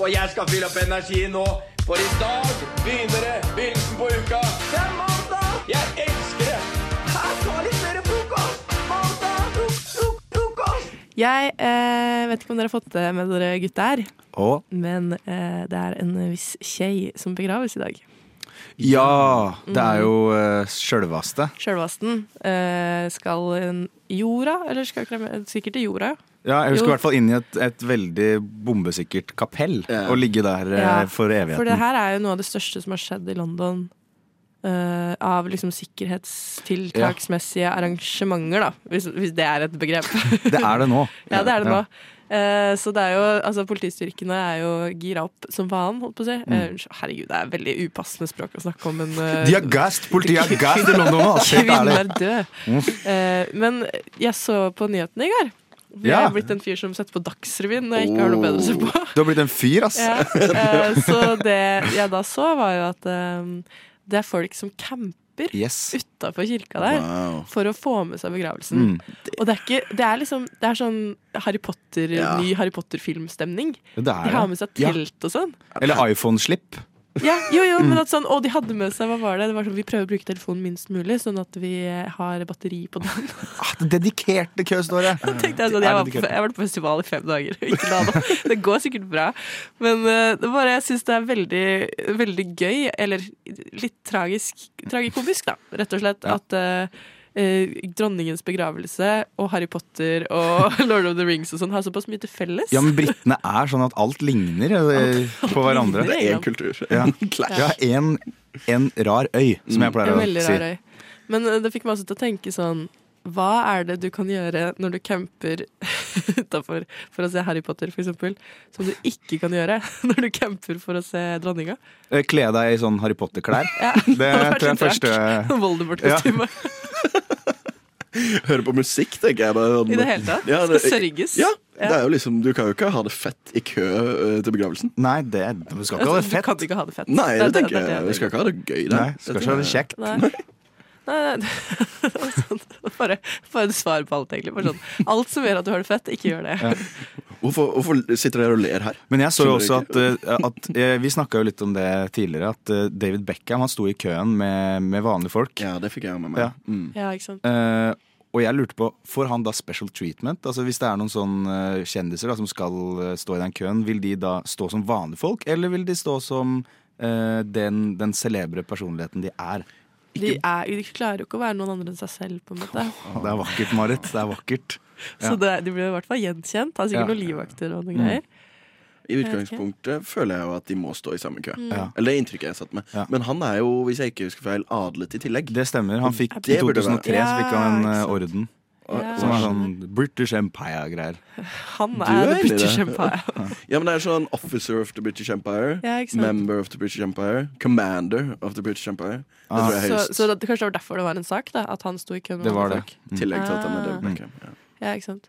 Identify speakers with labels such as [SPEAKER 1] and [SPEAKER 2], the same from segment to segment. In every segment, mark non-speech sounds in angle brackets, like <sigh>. [SPEAKER 1] og jeg skal fylle opp energien nå. For i dag begynner det begynnelsen på uka. Det er mandag! Jeg elsker det! Her tar litt mer frokost! Mandag, frokost!
[SPEAKER 2] Jeg eh, vet ikke om dere har fått det med dere gutter,
[SPEAKER 3] Og
[SPEAKER 2] men eh, det er en viss kjei som begraves i dag.
[SPEAKER 3] ja,
[SPEAKER 2] Mm.
[SPEAKER 3] det er jo uh, sjølvaste.
[SPEAKER 2] Sjølvasten eh, skal en jorda, eller skal ikke det sikkert til jorda?
[SPEAKER 3] Ja, jeg husker
[SPEAKER 2] Jo.
[SPEAKER 3] i hvert fall inn i et, et veldig bombesikkert kapell og ligge der eh,
[SPEAKER 2] Ja,
[SPEAKER 3] for evigheten.
[SPEAKER 2] For det her er jo noe av det største som har skjedd i London. eh, av liksom sikkerhetstiltaksmessige arrangementer, da. Hvis, hvis det er et begrep. <laughs>
[SPEAKER 3] Det er det nå.
[SPEAKER 2] ja, det er det nå. Eh, så det er jo, altså Politistyrkene er jo gira opp som faen, holdt på å si. Eh, herregud, det er veldig upassende språk å snakke om en eh,
[SPEAKER 3] Mm. De har gassed, politiet
[SPEAKER 2] <laughs>
[SPEAKER 3] har gassed i London nå. altså, helt
[SPEAKER 2] Kvinnen
[SPEAKER 3] ærlig.
[SPEAKER 2] er død.
[SPEAKER 3] Mm.
[SPEAKER 2] Eh, men jeg så på nyhetene i går. Jeg
[SPEAKER 3] Ja.
[SPEAKER 2] er blitt en fyr som setter på Dagsrevyen når jeg ikke har noe bedre å se på.
[SPEAKER 3] Du har blitt en fyr, ass. <laughs>
[SPEAKER 2] Ja. Eh, så det jeg da så, var jo at eh, det er folk som camper
[SPEAKER 3] Yes.
[SPEAKER 2] utafor kirka der.
[SPEAKER 4] Wow.
[SPEAKER 2] For å få med seg begravelsen.
[SPEAKER 3] Mm.
[SPEAKER 2] Og det er, ikke, det er liksom Det er sånn Harry Potter,
[SPEAKER 4] Ja.
[SPEAKER 2] ny Harry Potter-filmstemning.
[SPEAKER 3] Det er
[SPEAKER 2] De har med seg
[SPEAKER 3] Ja. Mm.
[SPEAKER 2] telt og sånn.
[SPEAKER 3] Eller iPhone-slipp.
[SPEAKER 2] Ja, jo, jo, men at sånn, Og de hadde med seg hva var det? det var sånn, vi prøver å bruke telefonen minst mulig, sånn at vi har batteri på den.
[SPEAKER 3] Ah, det dedikerte køståret.
[SPEAKER 2] <laughs> tenkte jeg sånn, jeg var, på, jeg var på festival i fem dager. Ikke la det. <laughs> det går sikkert bra. Men eh, det er bare, jeg syns det er veldig, veldig gøy, eller litt tragisk, tragikomisk, da, rett og slett, at eh, eh, dronningens begravelse og Harry Potter og <laughs> Lord of the Rings og sånn har såpass mye til felles.
[SPEAKER 3] Ja, men britene er sånn at alt ligner eh, på hverandre.
[SPEAKER 2] ligner.
[SPEAKER 4] Det er én kultur.
[SPEAKER 3] Ja.
[SPEAKER 4] Clash.
[SPEAKER 3] Ja, en, en rar øy, som jeg
[SPEAKER 2] Mm. En
[SPEAKER 3] pleier å
[SPEAKER 2] veldig
[SPEAKER 3] si.
[SPEAKER 2] rar øy. Men eh, det fikk meg også til å tenke sånn Hva er det du kan gjøre når du camper <laughs> utafor for å se Harry Potter, for eksempel, som du ikke kan gjøre <laughs> når du camper for å se dronninga?
[SPEAKER 3] Eh, Kle deg i sånn Harry Potter-klær.
[SPEAKER 2] Ja,
[SPEAKER 3] <laughs>
[SPEAKER 2] <laughs>
[SPEAKER 3] Det
[SPEAKER 2] hadde vært
[SPEAKER 3] tror jeg
[SPEAKER 2] litt
[SPEAKER 3] første
[SPEAKER 2] rart. <laughs> Voldemort-kostyme.
[SPEAKER 3] <laughs>
[SPEAKER 4] Høre på musikk, tenker jeg. Bare, sånn-
[SPEAKER 2] I det hele tatt.
[SPEAKER 4] Ja,
[SPEAKER 2] Skal
[SPEAKER 4] det-
[SPEAKER 2] sørges.
[SPEAKER 4] Ja,
[SPEAKER 2] Ja.
[SPEAKER 4] det er jo liksom, Du kan jo ikke ha det fett i kø eh, til begravelsen.
[SPEAKER 3] Nei, det, du skal ikke ha det
[SPEAKER 2] Altså, Du
[SPEAKER 3] fett.
[SPEAKER 2] kan ikke ha det fett.
[SPEAKER 4] Nei, det, tenker
[SPEAKER 2] er
[SPEAKER 4] jeg. Vi skal ikke ha det gøy der.
[SPEAKER 3] Nei, skal ikke ha det kjekt.
[SPEAKER 2] Nei. Nei, nei, det <laughs> var sånn. Bare, bare et svar på alt, egentlig. Bare sånn. Alt som gjør at du har det fett, ikke gjør det.
[SPEAKER 4] Hvorfor, hvorfor sitter dere og ler her?
[SPEAKER 3] Men jeg så jo også
[SPEAKER 4] Skjønner
[SPEAKER 3] at, eh, at eh, Vi snakka jo litt om det tidligere, at eh, David Beckham han sto i køen med, med vanlige folk.
[SPEAKER 4] Ja, det fikk jeg med meg.
[SPEAKER 3] Ja.
[SPEAKER 4] Mm.
[SPEAKER 2] Ja, ikke sant?
[SPEAKER 3] Eh, og jeg lurte på, får han da special treatment? Altså Hvis det er noen sånn eh, kjendiser da, som skal eh, stå i den køen, vil de da stå som vanlige folk, eller vil de stå som eh, den, den celebre personligheten de er?
[SPEAKER 2] De, er, de klarer jo ikke å være noen andre enn seg selv, på en måte.
[SPEAKER 4] Ah.
[SPEAKER 3] Det er vakkert, Marit. Det er vakkert. <laughs>
[SPEAKER 2] Så det, de blir i hvert fall gjenkjent. Har
[SPEAKER 3] Ja.
[SPEAKER 2] sikkert noen livvakter
[SPEAKER 4] Mm.
[SPEAKER 2] og noen greier.
[SPEAKER 4] I utgangspunktet føler jeg jo at de må stå i samme
[SPEAKER 2] Mm.
[SPEAKER 4] kø.
[SPEAKER 3] Ja.
[SPEAKER 4] Eller det er inntrykket jeg satt med.
[SPEAKER 3] Ja.
[SPEAKER 4] Men han er jo, hvis jeg ikke husker feil, adlet i tillegg.
[SPEAKER 3] Det stemmer. Han fikk, I
[SPEAKER 4] Det burde
[SPEAKER 3] 2003
[SPEAKER 2] være-
[SPEAKER 3] så fikk han en
[SPEAKER 2] Ja,
[SPEAKER 3] eh,
[SPEAKER 2] ikke sant.
[SPEAKER 3] orden
[SPEAKER 2] Ja.
[SPEAKER 3] som er sånn British Empire-greier.
[SPEAKER 2] Han
[SPEAKER 4] Du er
[SPEAKER 2] er the
[SPEAKER 4] enig i
[SPEAKER 2] British
[SPEAKER 4] det.
[SPEAKER 2] Empire.
[SPEAKER 4] <laughs> Ja, men det er sånn Officer of the British Empire.
[SPEAKER 2] Ja, ikke sant?
[SPEAKER 4] Member of the British Empire. Commander of the British Empire. Det
[SPEAKER 3] Ah.
[SPEAKER 4] tror jeg er
[SPEAKER 2] Så,
[SPEAKER 4] høyest.
[SPEAKER 2] så det, kanskje det var derfor det var en sak, da, at han sto i køen. med
[SPEAKER 3] Det var det.
[SPEAKER 2] andre
[SPEAKER 3] Mm.
[SPEAKER 2] folk.
[SPEAKER 4] I tillegg til at han er
[SPEAKER 2] Ah.
[SPEAKER 4] David Beckham. Ja.
[SPEAKER 2] Ja, ikke sant?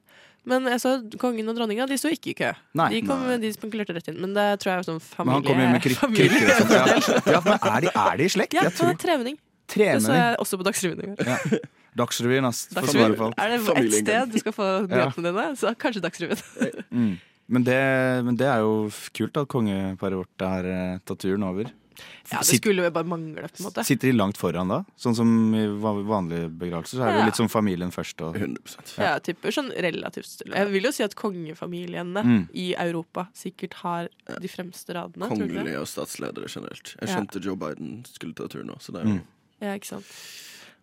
[SPEAKER 2] Men jeg så kongen og dronninga, de sto ikke i kø.
[SPEAKER 3] Nei.
[SPEAKER 2] de kom, de spankulerte rett inn. Men det tror jeg er sånn
[SPEAKER 3] Men
[SPEAKER 2] familie...
[SPEAKER 3] han kommer jo med kry-
[SPEAKER 2] familie-
[SPEAKER 3] krykker og sånt.
[SPEAKER 2] <laughs>
[SPEAKER 3] Ja. Ja, men er de, er de i slekt?
[SPEAKER 2] Ja,
[SPEAKER 3] Jeg tror
[SPEAKER 2] han er tremenning. Det så
[SPEAKER 3] Tremenning.
[SPEAKER 2] jeg også på Dagsrevyen i går.
[SPEAKER 3] Dagsrevyen, ass. For å svare på
[SPEAKER 2] Dagsrevyen.
[SPEAKER 3] alt.
[SPEAKER 2] Er det ett
[SPEAKER 4] Familien.
[SPEAKER 2] sted du skal få nyhetene dine, så kanskje Dagsrevyen.
[SPEAKER 3] Eh, Mm. Men det, men det er jo f- kult at kongeparet vårt har eh, tatt turen over.
[SPEAKER 2] Ja, det
[SPEAKER 3] Sitt-
[SPEAKER 2] skulle jo bare mangle, på en måte.
[SPEAKER 3] Sitter de langt foran da? Sånn som i va- vanlige begravelser, så er det
[SPEAKER 2] Ja.
[SPEAKER 3] jo litt som familien først. Og,
[SPEAKER 4] 100
[SPEAKER 2] Ja, jeg tipper sånn relativt stille. Jeg vil jo si at kongefamiliene
[SPEAKER 3] Mm.
[SPEAKER 2] i Europa sikkert har de fremste radene. tror du ikke det?
[SPEAKER 4] Kongelige og statsledere generelt. Jeg
[SPEAKER 2] Ja.
[SPEAKER 4] skjønte Joe Biden skulle ta turen nå, så
[SPEAKER 3] Mm.
[SPEAKER 4] det er jo
[SPEAKER 2] Ja, ikke sant.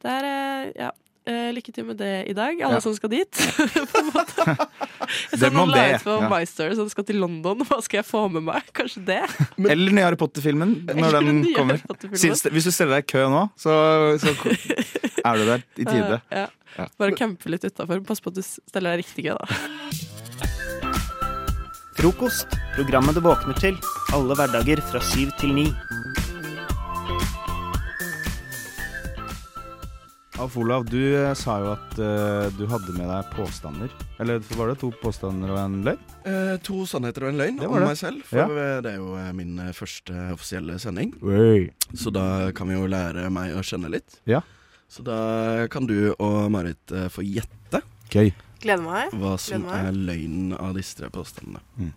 [SPEAKER 2] Det er, eh, ja. Eh, lykke til med det i dag, alle
[SPEAKER 3] Ja.
[SPEAKER 2] som skal dit. <laughs> på en måte. Jeg så
[SPEAKER 3] Dem om
[SPEAKER 2] noen la
[SPEAKER 3] det,
[SPEAKER 2] ut på
[SPEAKER 3] ja.
[SPEAKER 2] MyStory som skal til London. Hva skal jeg få med meg? Kanskje det?
[SPEAKER 3] eller den nye Harry Potter-filmen, når den
[SPEAKER 2] nye
[SPEAKER 3] kommer.
[SPEAKER 2] Harry Potter-filmen.
[SPEAKER 3] Sist- Hvis du steller deg i kø nå, så, så
[SPEAKER 2] <laughs>
[SPEAKER 3] ko- er du der <laughs> i tide.
[SPEAKER 2] Eh, ja.
[SPEAKER 3] Ja.
[SPEAKER 2] Bare campe litt utafor. Pass på at du steller deg riktig gøy, da.
[SPEAKER 5] Frokost. Programmet du våkner til. Alle hverdager fra syv til ni.
[SPEAKER 3] Alf Olav, du eh, sa jo at eh, du hadde med deg påstander. Eller var det to påstander og en løgn?
[SPEAKER 4] Eh, To sannheter og en løgn
[SPEAKER 3] Det
[SPEAKER 4] om
[SPEAKER 3] var det.
[SPEAKER 4] meg selv. For det er jo eh, min eh, første offisielle sending, så da kan vi jo lære meg å kjenne litt.
[SPEAKER 3] Ja.
[SPEAKER 4] Så da kan du og Marit eh, få gjette
[SPEAKER 3] Gøy.
[SPEAKER 2] Gleder meg.
[SPEAKER 4] hva som
[SPEAKER 2] Gleder meg.
[SPEAKER 3] Mm.
[SPEAKER 4] er løgnen av disse tre påstandene.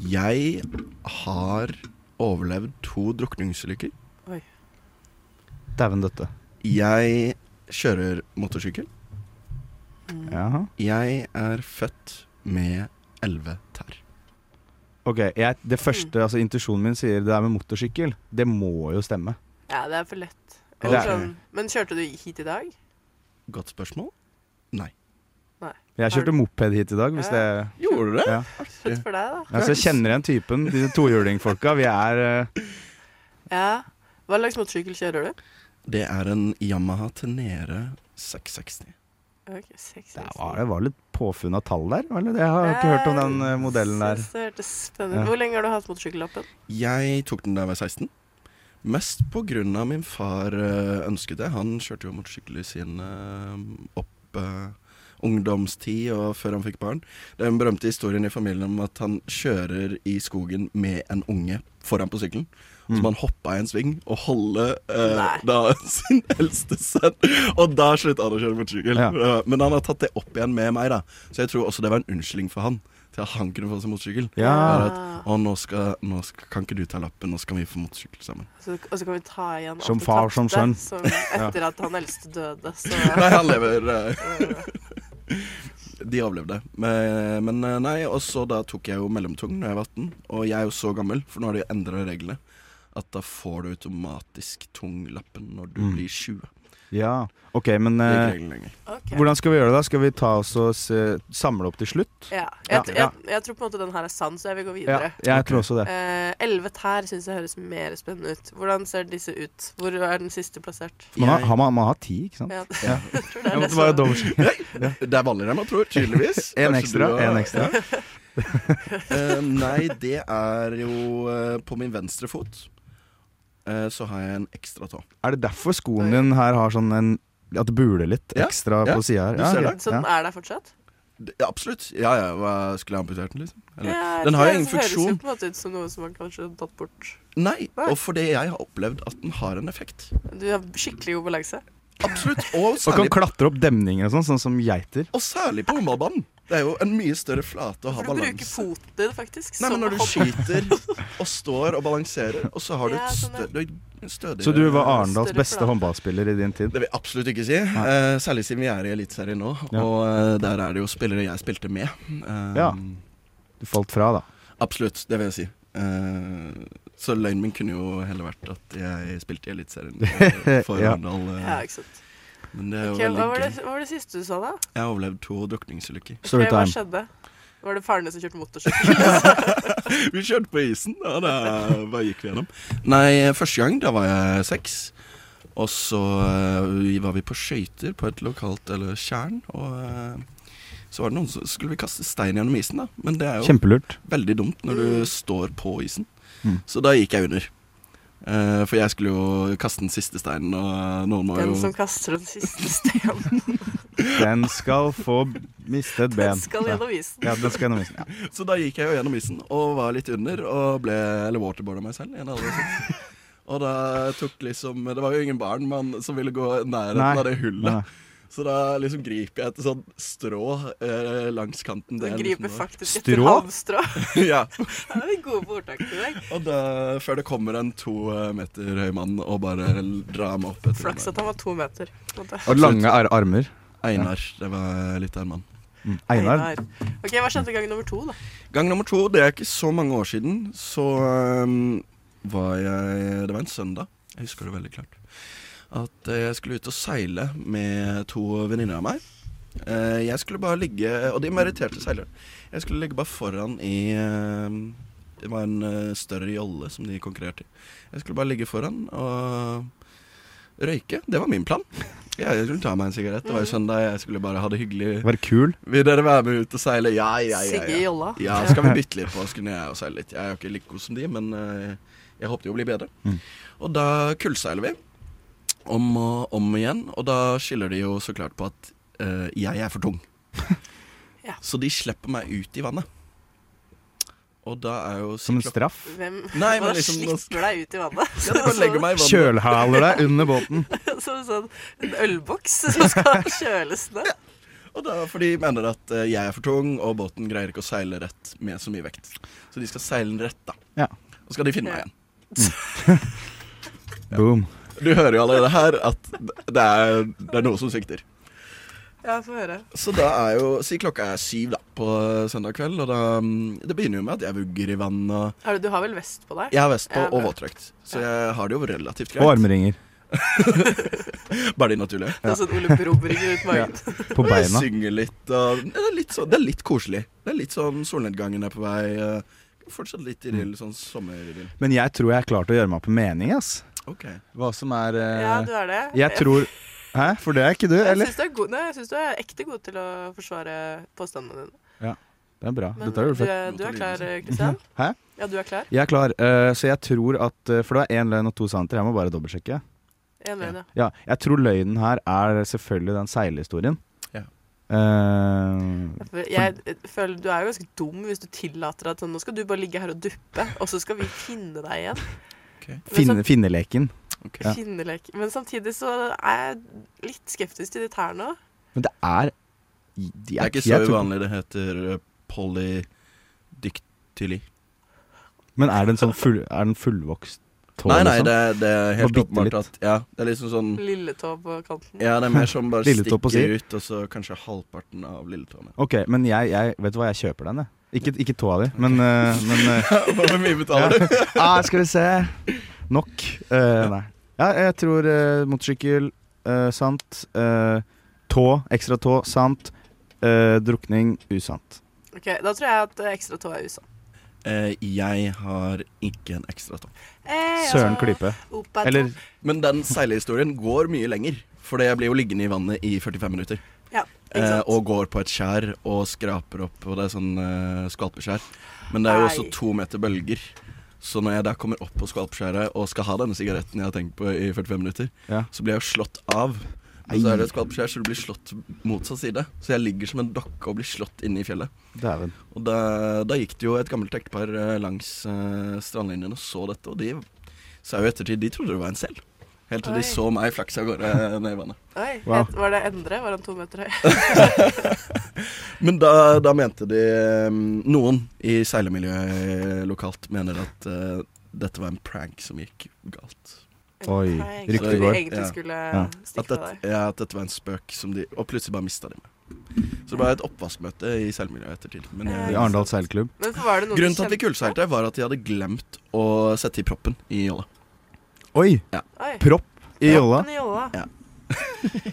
[SPEAKER 4] Jeg har overlevd to drukningsulykker.
[SPEAKER 3] Dæven døtte.
[SPEAKER 4] Jeg kjører motorsykkel.
[SPEAKER 2] Mm.
[SPEAKER 3] Jaha.
[SPEAKER 4] Jeg er født med elleve tær.
[SPEAKER 3] Ok, jeg, Det første altså intuisjonen min sier det er med motorsykkel. Det må jo stemme.
[SPEAKER 2] Ja, det er for lett.
[SPEAKER 4] Eller
[SPEAKER 2] Eller
[SPEAKER 4] Det er-
[SPEAKER 2] sånn,
[SPEAKER 4] sånn,
[SPEAKER 2] men kjørte du hit i dag?
[SPEAKER 4] Godt spørsmål.
[SPEAKER 3] Jeg kjørte moped hit i dag. Hvis det,
[SPEAKER 4] Gjorde du det?
[SPEAKER 3] ja.
[SPEAKER 2] Fett for deg, da.
[SPEAKER 3] altså, jeg kjenner igjen typen. De tohjulingfolka. Vi er eh,
[SPEAKER 2] Ja. Hva slags motorsykkel kjører du?
[SPEAKER 4] Det er en Yamaha Tenere 660.
[SPEAKER 2] Ok, seks,
[SPEAKER 3] det var, det var litt påfunn av tall der? Eller? Jeg har ikke hørt om den eh, modellen der.
[SPEAKER 2] Synes det hørtes spennende
[SPEAKER 3] Ja.
[SPEAKER 2] ut. Hvor lenge har du hatt motorsykkellappen?
[SPEAKER 4] Jeg tok den da jeg var 16. Mest på grunn av min far øh, ønsket det. Han kjørte jo motorsykkel i sin øh, opp øh, ungdomstid og før han fikk barn. Det er den berømte historien i familien om at han kjører i skogen med en unge foran på sykkelen.
[SPEAKER 3] Mm.
[SPEAKER 4] Så man hoppa i en sving og holde øh,
[SPEAKER 2] Nei.
[SPEAKER 4] da <laughs> sin eldste sønn. Og da slutta han å kjøre motorsykkel.
[SPEAKER 3] Ja.
[SPEAKER 4] Øh, Men han har tatt det opp igjen med meg, da. Så jeg tror også det var en unnskyldning for han til at han kunne få seg motorsykkel.
[SPEAKER 3] Ja.
[SPEAKER 4] Er at, å, nå, skal, nå skal, kan ikke du ta lappen, nå skal vi få motorsykkel sammen.
[SPEAKER 2] Så, og så kan vi ta igjen
[SPEAKER 3] Som
[SPEAKER 2] alt det
[SPEAKER 3] far, som
[SPEAKER 2] tapte,
[SPEAKER 3] sønn.
[SPEAKER 2] som etter at han eldste døde, så
[SPEAKER 4] <laughs> Nei, han lever. eh, De overlevde. Men, men eh, nei, og så da tok jeg jo mellomtung når jeg var 18. Og jeg er jo så gammel, for nå har de endra reglene. At da får du automatisk tunglappen når du
[SPEAKER 3] Mm.
[SPEAKER 4] blir 20.
[SPEAKER 3] ja. Ok, men
[SPEAKER 4] Det er
[SPEAKER 3] eh,
[SPEAKER 4] ikke regelen lenger.
[SPEAKER 2] Ok.
[SPEAKER 3] hvordan skal vi gjøre det? da? Skal vi ta oss og se, samle opp til slutt?
[SPEAKER 2] Ja. Jeg,
[SPEAKER 3] Ja,
[SPEAKER 2] jeg,
[SPEAKER 3] ja.
[SPEAKER 2] jeg, tror på en måte den her er sann, så jeg vil gå
[SPEAKER 3] Ja,
[SPEAKER 2] videre.
[SPEAKER 3] jeg tror også det.
[SPEAKER 2] Eh, Elleve tær syns jeg høres mer spennende ut. Hvordan ser disse ut? Hvor er den siste plassert?
[SPEAKER 3] Man har,
[SPEAKER 4] Jeg-
[SPEAKER 3] har man, man har ti, ikke sant?
[SPEAKER 2] Ja,
[SPEAKER 3] Ja.
[SPEAKER 2] <laughs> jeg tror
[SPEAKER 3] Jeg
[SPEAKER 2] det er sånn. det
[SPEAKER 3] måtte bare
[SPEAKER 2] som
[SPEAKER 3] dobbeltsjekke.
[SPEAKER 4] Det er vanligere enn man tror, tydeligvis.
[SPEAKER 3] <laughs> En
[SPEAKER 4] Kanskje
[SPEAKER 3] ekstra,
[SPEAKER 4] du har-
[SPEAKER 3] en ekstra.
[SPEAKER 4] <laughs> Eh, nei, det er jo eh, På min venstre fot eh, så har jeg en ekstra tå.
[SPEAKER 3] Er det derfor skoen din her har sånn en At det buler litt
[SPEAKER 4] Ja,
[SPEAKER 3] ekstra
[SPEAKER 4] ja,
[SPEAKER 3] på sida her?
[SPEAKER 4] du ser det.
[SPEAKER 2] Så den Sånn er der fortsatt?
[SPEAKER 4] Det- Ja, absolutt. Ja, ja, hva, skulle jeg amputert den, liksom? Eller?
[SPEAKER 2] Ja,
[SPEAKER 4] den har jo
[SPEAKER 2] det
[SPEAKER 4] ingen
[SPEAKER 2] høres jo
[SPEAKER 4] funksjon.
[SPEAKER 2] på en måte ut som noe som man kanskje har tatt bort.
[SPEAKER 4] Nei,
[SPEAKER 2] Nei.
[SPEAKER 4] og fordi jeg har opplevd at den har en effekt.
[SPEAKER 2] Du har skikkelig god balanse.
[SPEAKER 4] Absolutt. Og
[SPEAKER 3] Og kan
[SPEAKER 4] særlig,
[SPEAKER 3] klatre opp demninger og sånn, sånn som geiter.
[SPEAKER 4] og særlig på håndballbanen. Det er jo en mye større flate å ha
[SPEAKER 2] For du bruker
[SPEAKER 4] balanse.
[SPEAKER 2] foten din faktisk.
[SPEAKER 4] Nei,
[SPEAKER 2] som
[SPEAKER 4] men når du
[SPEAKER 2] hopp.
[SPEAKER 4] skyter
[SPEAKER 2] <laughs>
[SPEAKER 4] og står og balanserer, og så har du
[SPEAKER 2] Ja,
[SPEAKER 4] et
[SPEAKER 2] sånn, ja.
[SPEAKER 4] stø du har en stødigere
[SPEAKER 3] Så du var Arendals
[SPEAKER 2] Større
[SPEAKER 3] beste
[SPEAKER 2] flate.
[SPEAKER 3] håndballspiller i din tid?
[SPEAKER 4] Det vil jeg absolutt ikke si. Eh, særlig siden vi er i Eliteserien nå,
[SPEAKER 3] Ja.
[SPEAKER 4] og eh, der er det jo spillere jeg spilte med. Eh,
[SPEAKER 3] Ja. Du falt fra, da.
[SPEAKER 4] Absolutt, det vil jeg si. Eh, så løgnen min kunne jo heller vært at jeg spilte i Eliteserien eh, for
[SPEAKER 3] Ja.
[SPEAKER 4] Arendal. eh,
[SPEAKER 2] Ja, ikke sant.
[SPEAKER 4] Men det er jo
[SPEAKER 2] Ok, hva, var
[SPEAKER 4] veldig
[SPEAKER 2] det,
[SPEAKER 4] gøy.
[SPEAKER 2] hva var det siste du sa, da?
[SPEAKER 4] Jeg har overlevd to drukningsulykker.
[SPEAKER 3] Story
[SPEAKER 2] Ok, hva
[SPEAKER 3] time.
[SPEAKER 2] skjedde? Var det faren din som kjørte motorsykkel?
[SPEAKER 3] <laughs>
[SPEAKER 4] <laughs> Vi kjørte på isen, og da hva gikk vi gjennom? Nei, første gang, da var jeg seks. Og så eh, var vi på skøyter på et lokalt eller tjern, og eh, så var det noen som skulle vi kaste stein gjennom isen, da. Men det er jo
[SPEAKER 3] Kjempelurt.
[SPEAKER 4] veldig dumt når du står på isen.
[SPEAKER 3] Mm.
[SPEAKER 4] Så da gikk jeg under. Eh, for jeg skulle jo kaste den siste steinen, og noen må
[SPEAKER 2] Den
[SPEAKER 4] jo
[SPEAKER 2] som kaster den siste steinen,
[SPEAKER 3] Den skal få miste et ben.
[SPEAKER 2] skal gjennom isen.
[SPEAKER 3] Ja, den skal gjennom
[SPEAKER 4] <laughs>
[SPEAKER 3] isen. Ja.
[SPEAKER 4] Så da gikk jeg jo gjennom isen og var litt under og ble Eller waterboarda meg selv. En av alle sånn.
[SPEAKER 3] <laughs>
[SPEAKER 4] Og da tok liksom Det var jo ingen barn man, som ville gå i nærheten
[SPEAKER 3] Nei.
[SPEAKER 4] av det
[SPEAKER 3] Nei.
[SPEAKER 4] hullet. Så da liksom griper jeg etter sånn strå eh, langs kanten.
[SPEAKER 2] Den
[SPEAKER 4] er
[SPEAKER 2] griper
[SPEAKER 4] liksom
[SPEAKER 2] faktisk etter
[SPEAKER 3] Strå?
[SPEAKER 2] havstrå. <laughs>
[SPEAKER 4] da- <laughs> ja.
[SPEAKER 2] Ja, vi er gode på ordtak i dag.
[SPEAKER 4] Og da, før det kommer en to eh, meter høy mann og bare l- drar meg opp etter
[SPEAKER 2] Flaks
[SPEAKER 4] den
[SPEAKER 2] at han var to meter. på en måte.
[SPEAKER 3] Og lange ar armer.
[SPEAKER 4] der. Einar. Det var litt av en mann.
[SPEAKER 3] Mm. Einar.
[SPEAKER 2] Ok, Hva skjedde gang nummer to, da?
[SPEAKER 4] Gang nummer to, det er ikke så mange år siden, så ehm, var jeg Det var en søndag, jeg husker det veldig klart. At eh, jeg skulle ut og seile med to venninner av meg. Eh, jeg skulle bare ligge Og de meritterte seilere. Jeg skulle ligge bare foran i ehm, Det var en eh, større jolle som de konkurrerte i. Jeg skulle bare ligge foran og røyke. Det var min plan. Jeg skulle ta meg en sigarett. Det var
[SPEAKER 2] Mm.
[SPEAKER 4] jo søndag, jeg skulle bare ha det hyggelig.
[SPEAKER 3] Være kul.
[SPEAKER 4] Vil dere være med ut og seile? Ja, ja, ja.
[SPEAKER 2] Sigge i
[SPEAKER 4] ja.
[SPEAKER 2] jolla.
[SPEAKER 4] Ja, skal vi bytte litt på, så kunne jeg jo seile litt. Jeg er jo ikke like god som de, men eh, jeg håpet jo å bli bedre.
[SPEAKER 3] Mm.
[SPEAKER 4] Og da kullseiler vi om og om igjen, og da skiller de jo så klart på at eh, jeg er for tung.
[SPEAKER 2] <laughs> Ja.
[SPEAKER 4] Så de slipper meg ut i vannet. Og da er jo
[SPEAKER 3] Som en straff.
[SPEAKER 2] Hvem
[SPEAKER 4] Nei, men
[SPEAKER 2] Hva
[SPEAKER 4] liksom-
[SPEAKER 2] slipper deg ut i vannet?
[SPEAKER 4] Ja, de bare legger meg i vannet. <laughs>
[SPEAKER 2] <laughs>
[SPEAKER 3] Kjølhaler deg under båten. <laughs>
[SPEAKER 2] Som en sånn en ølboks som skal kjøles ned.
[SPEAKER 4] Og det er fordi de mener at eh, jeg er for tung, og båten greier ikke å seile rett med så mye vekt. Så de skal seile den rett, da.
[SPEAKER 3] Ja.
[SPEAKER 4] Og så skal de finne meg igjen. <laughs>
[SPEAKER 3] Boom.
[SPEAKER 4] Du hører jo allerede her at det er, det er noe som svikter.
[SPEAKER 2] Ja, få høre.
[SPEAKER 4] Så da er jo Si klokka er syv da på søndag kveld, og da mm, Det begynner jo med at jeg vugger i vann og
[SPEAKER 2] Har du, du har vel vest på deg?
[SPEAKER 4] Jeg har vest på
[SPEAKER 2] Ja, bra.
[SPEAKER 4] og våtdrakt, så jeg har det jo relativt
[SPEAKER 3] Og
[SPEAKER 4] greit.
[SPEAKER 3] armringer
[SPEAKER 4] <laughs> Bare de naturlige.
[SPEAKER 2] Det er sånn Ole Brumm ringer ut magen.
[SPEAKER 3] på
[SPEAKER 4] <laughs> Og jeg
[SPEAKER 3] beina.
[SPEAKER 4] synger litt og ja, det, er litt sånn- det er litt koselig. Det er litt sånn solnedgangen er på vei. eh, Fortsatt litt
[SPEAKER 3] Mm.
[SPEAKER 4] idrill, sånn sommeridyll.
[SPEAKER 3] Men jeg tror jeg er klar til å gjøre meg opp en mening, ass.
[SPEAKER 4] Ok.
[SPEAKER 3] Hva som er eh,
[SPEAKER 2] Ja, du er det.
[SPEAKER 3] Jeg tror Hæ, for det er ikke du,
[SPEAKER 2] Jeg
[SPEAKER 3] eller?
[SPEAKER 2] syns du, er god- nei, jeg synes du er ekte god til å forsvare påstandene dine.
[SPEAKER 3] Det er bra.
[SPEAKER 2] Men
[SPEAKER 3] Dette har du
[SPEAKER 2] du,
[SPEAKER 3] fått.
[SPEAKER 2] er, du er klar, Kristian?
[SPEAKER 3] <laughs> Hæ?
[SPEAKER 2] Ja, du er klar?
[SPEAKER 3] Jeg er klar, eh, så jeg tror at eh, For det var én løgn og to sannheter. Jeg må bare dobbeltsjekke.
[SPEAKER 2] En løgn, ja.
[SPEAKER 3] Ja, jeg tror løgnen her er selvfølgelig den seilehistorien.
[SPEAKER 4] Ja.
[SPEAKER 3] Eh,
[SPEAKER 2] For Jeg føler Du er jo ganske dum hvis du tillater at sånn, nå skal du bare ligge her og duppe, og så skal vi finne deg igjen.
[SPEAKER 4] Ok.
[SPEAKER 2] Men
[SPEAKER 3] finne, finneleken.
[SPEAKER 4] ok.
[SPEAKER 3] Ja.
[SPEAKER 2] Finnelek. Men samtidig så er jeg litt skeptisk til ditt her nå.
[SPEAKER 3] Men det er
[SPEAKER 4] Det er ikke så uvanlig. Det heter eh, polydictyli.
[SPEAKER 3] Men er den sånn full, er den fullvokst tå?
[SPEAKER 4] Nei, nei,
[SPEAKER 3] liksom?
[SPEAKER 4] det, er- det er helt
[SPEAKER 3] Og bitte
[SPEAKER 4] åpenbart
[SPEAKER 3] litt.
[SPEAKER 4] at Ja, det er liksom sånn
[SPEAKER 2] Lilletå på kanten.
[SPEAKER 4] Ja, det er mer som
[SPEAKER 2] <laughs>
[SPEAKER 4] bare
[SPEAKER 3] Lilletå på
[SPEAKER 4] stikker ut, og så kanskje halvparten av lilletåene.
[SPEAKER 3] Ok, men jeg, jeg Vet du hva, jeg kjøper den, jeg. Ikke, ikke tåa di, men, eh, men eh,
[SPEAKER 4] <laughs> Hvor mye betaler
[SPEAKER 3] <laughs>
[SPEAKER 4] du?
[SPEAKER 3] ah, Skal vi se. Nok. Eh, nei. Ja, jeg tror eh, motorsykkel, eh, sant. Eh, tå, ekstra tå, sant. Eh, drukning, usant.
[SPEAKER 2] Ok, Da tror jeg at eh, ekstra tå er USA.
[SPEAKER 4] Eh, jeg har ikke en ekstra tå.
[SPEAKER 2] Eh,
[SPEAKER 3] Søren
[SPEAKER 2] altså,
[SPEAKER 3] klype.
[SPEAKER 2] opa tå.
[SPEAKER 3] Eller
[SPEAKER 4] Men den seilehistorien går mye lenger, for jeg blir jo liggende i vannet i 45 minutter.
[SPEAKER 2] Ja, ikke
[SPEAKER 4] Eh,
[SPEAKER 2] sant?
[SPEAKER 4] og går på et skjær og skraper opp, og det er sånn eh, skvalpeskjær. Men det er jo også
[SPEAKER 2] Ei.
[SPEAKER 4] to meter bølger. Så når jeg da kommer opp på skvalpeskjæret og skal ha denne sigaretten jeg har tenkt på i 45 minutter,
[SPEAKER 3] Ja.
[SPEAKER 4] så blir jeg jo slått av. Og så
[SPEAKER 3] Ei.
[SPEAKER 4] er det et skvalpeskjær, så du blir slått motsatt side. Så jeg ligger som en dokke og blir slått inne i fjellet.
[SPEAKER 3] Dæven.
[SPEAKER 4] Og da, da gikk det jo et gammelt ektepar eh, langs eh, strandlinjen og så dette, og de sa jo i ettertid de trodde det var en sel. Helt til
[SPEAKER 2] Oi.
[SPEAKER 4] de så meg flakse av gårde eh, ned i vannet.
[SPEAKER 2] Oi,
[SPEAKER 3] Wow.
[SPEAKER 2] het, Var det Endre? Var han to meter høy?
[SPEAKER 3] <laughs>
[SPEAKER 4] Men da, da mente de um, Noen i seilemiljøet lokalt mener at eh, dette var en prank som gikk galt.
[SPEAKER 3] Oi,
[SPEAKER 2] Nei,
[SPEAKER 3] ryktet
[SPEAKER 2] så de
[SPEAKER 3] går.
[SPEAKER 2] egentlig
[SPEAKER 4] Ja.
[SPEAKER 2] skulle
[SPEAKER 3] Ja.
[SPEAKER 4] At,
[SPEAKER 2] stikke fra
[SPEAKER 4] dette-
[SPEAKER 2] deg.
[SPEAKER 4] ja, at dette var en spøk som de Og plutselig bare mista de meg. Så det var et oppvaskmøte i seilmiljøet i ettertid. Men
[SPEAKER 3] I
[SPEAKER 4] jeg,
[SPEAKER 3] Arendal seilklubb.
[SPEAKER 2] Men for var det noen
[SPEAKER 4] grunnen
[SPEAKER 2] som
[SPEAKER 4] til at de
[SPEAKER 2] kjempe-
[SPEAKER 4] kulseilte, var at de hadde glemt å sette i proppen i jolla.
[SPEAKER 3] Oi!
[SPEAKER 2] Oi,
[SPEAKER 3] Propp i jolla.
[SPEAKER 2] proppen i jolla.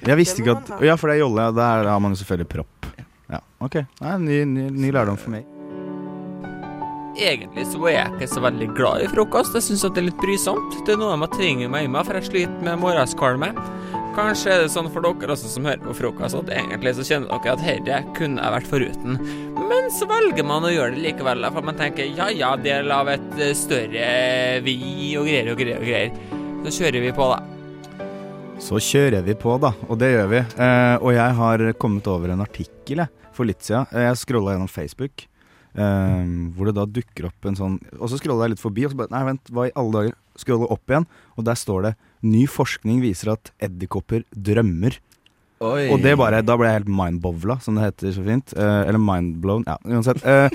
[SPEAKER 3] Jeg visste
[SPEAKER 2] Det
[SPEAKER 3] ikke
[SPEAKER 2] må man
[SPEAKER 3] at
[SPEAKER 2] ha.
[SPEAKER 3] Ja, for det er jolle. ja, Der har man jo selvfølgelig propp. Ja, ok. Nei, ny, ny, ny lærdom for meg.
[SPEAKER 6] Egentlig så er jeg ikke så veldig glad i frokost. Jeg syns det er litt brysomt. Det er noe man tvinger meg i meg, for jeg sliter med morgenskvalme. Kanskje er det sånn for dere også som hører på frokost, at egentlig så kjenner dere at herre kunne jeg vært foruten. Men så velger man å gjøre det likevel, da, for man tenker ja ja, del av et eh, større vi og greier og greier og greier. Så kjører vi på, da.
[SPEAKER 3] Så kjører vi på, da. Og det gjør vi. Eh, og jeg har kommet over en artikkel jeg, for litt siden. Eh, Jeg scrolla gjennom Facebook, eh, hvor det da dukker opp en sånn Og så scrolla jeg litt forbi, og så bare Nei, vent, hva i alle dager? Scroller opp igjen, og der står det Ny forskning viser at edderkopper drømmer.
[SPEAKER 4] Oi.
[SPEAKER 3] Og det bare, da ble jeg helt mindbovla, som det heter så fint. Eh, eller mindblown, ja, uansett. Eh,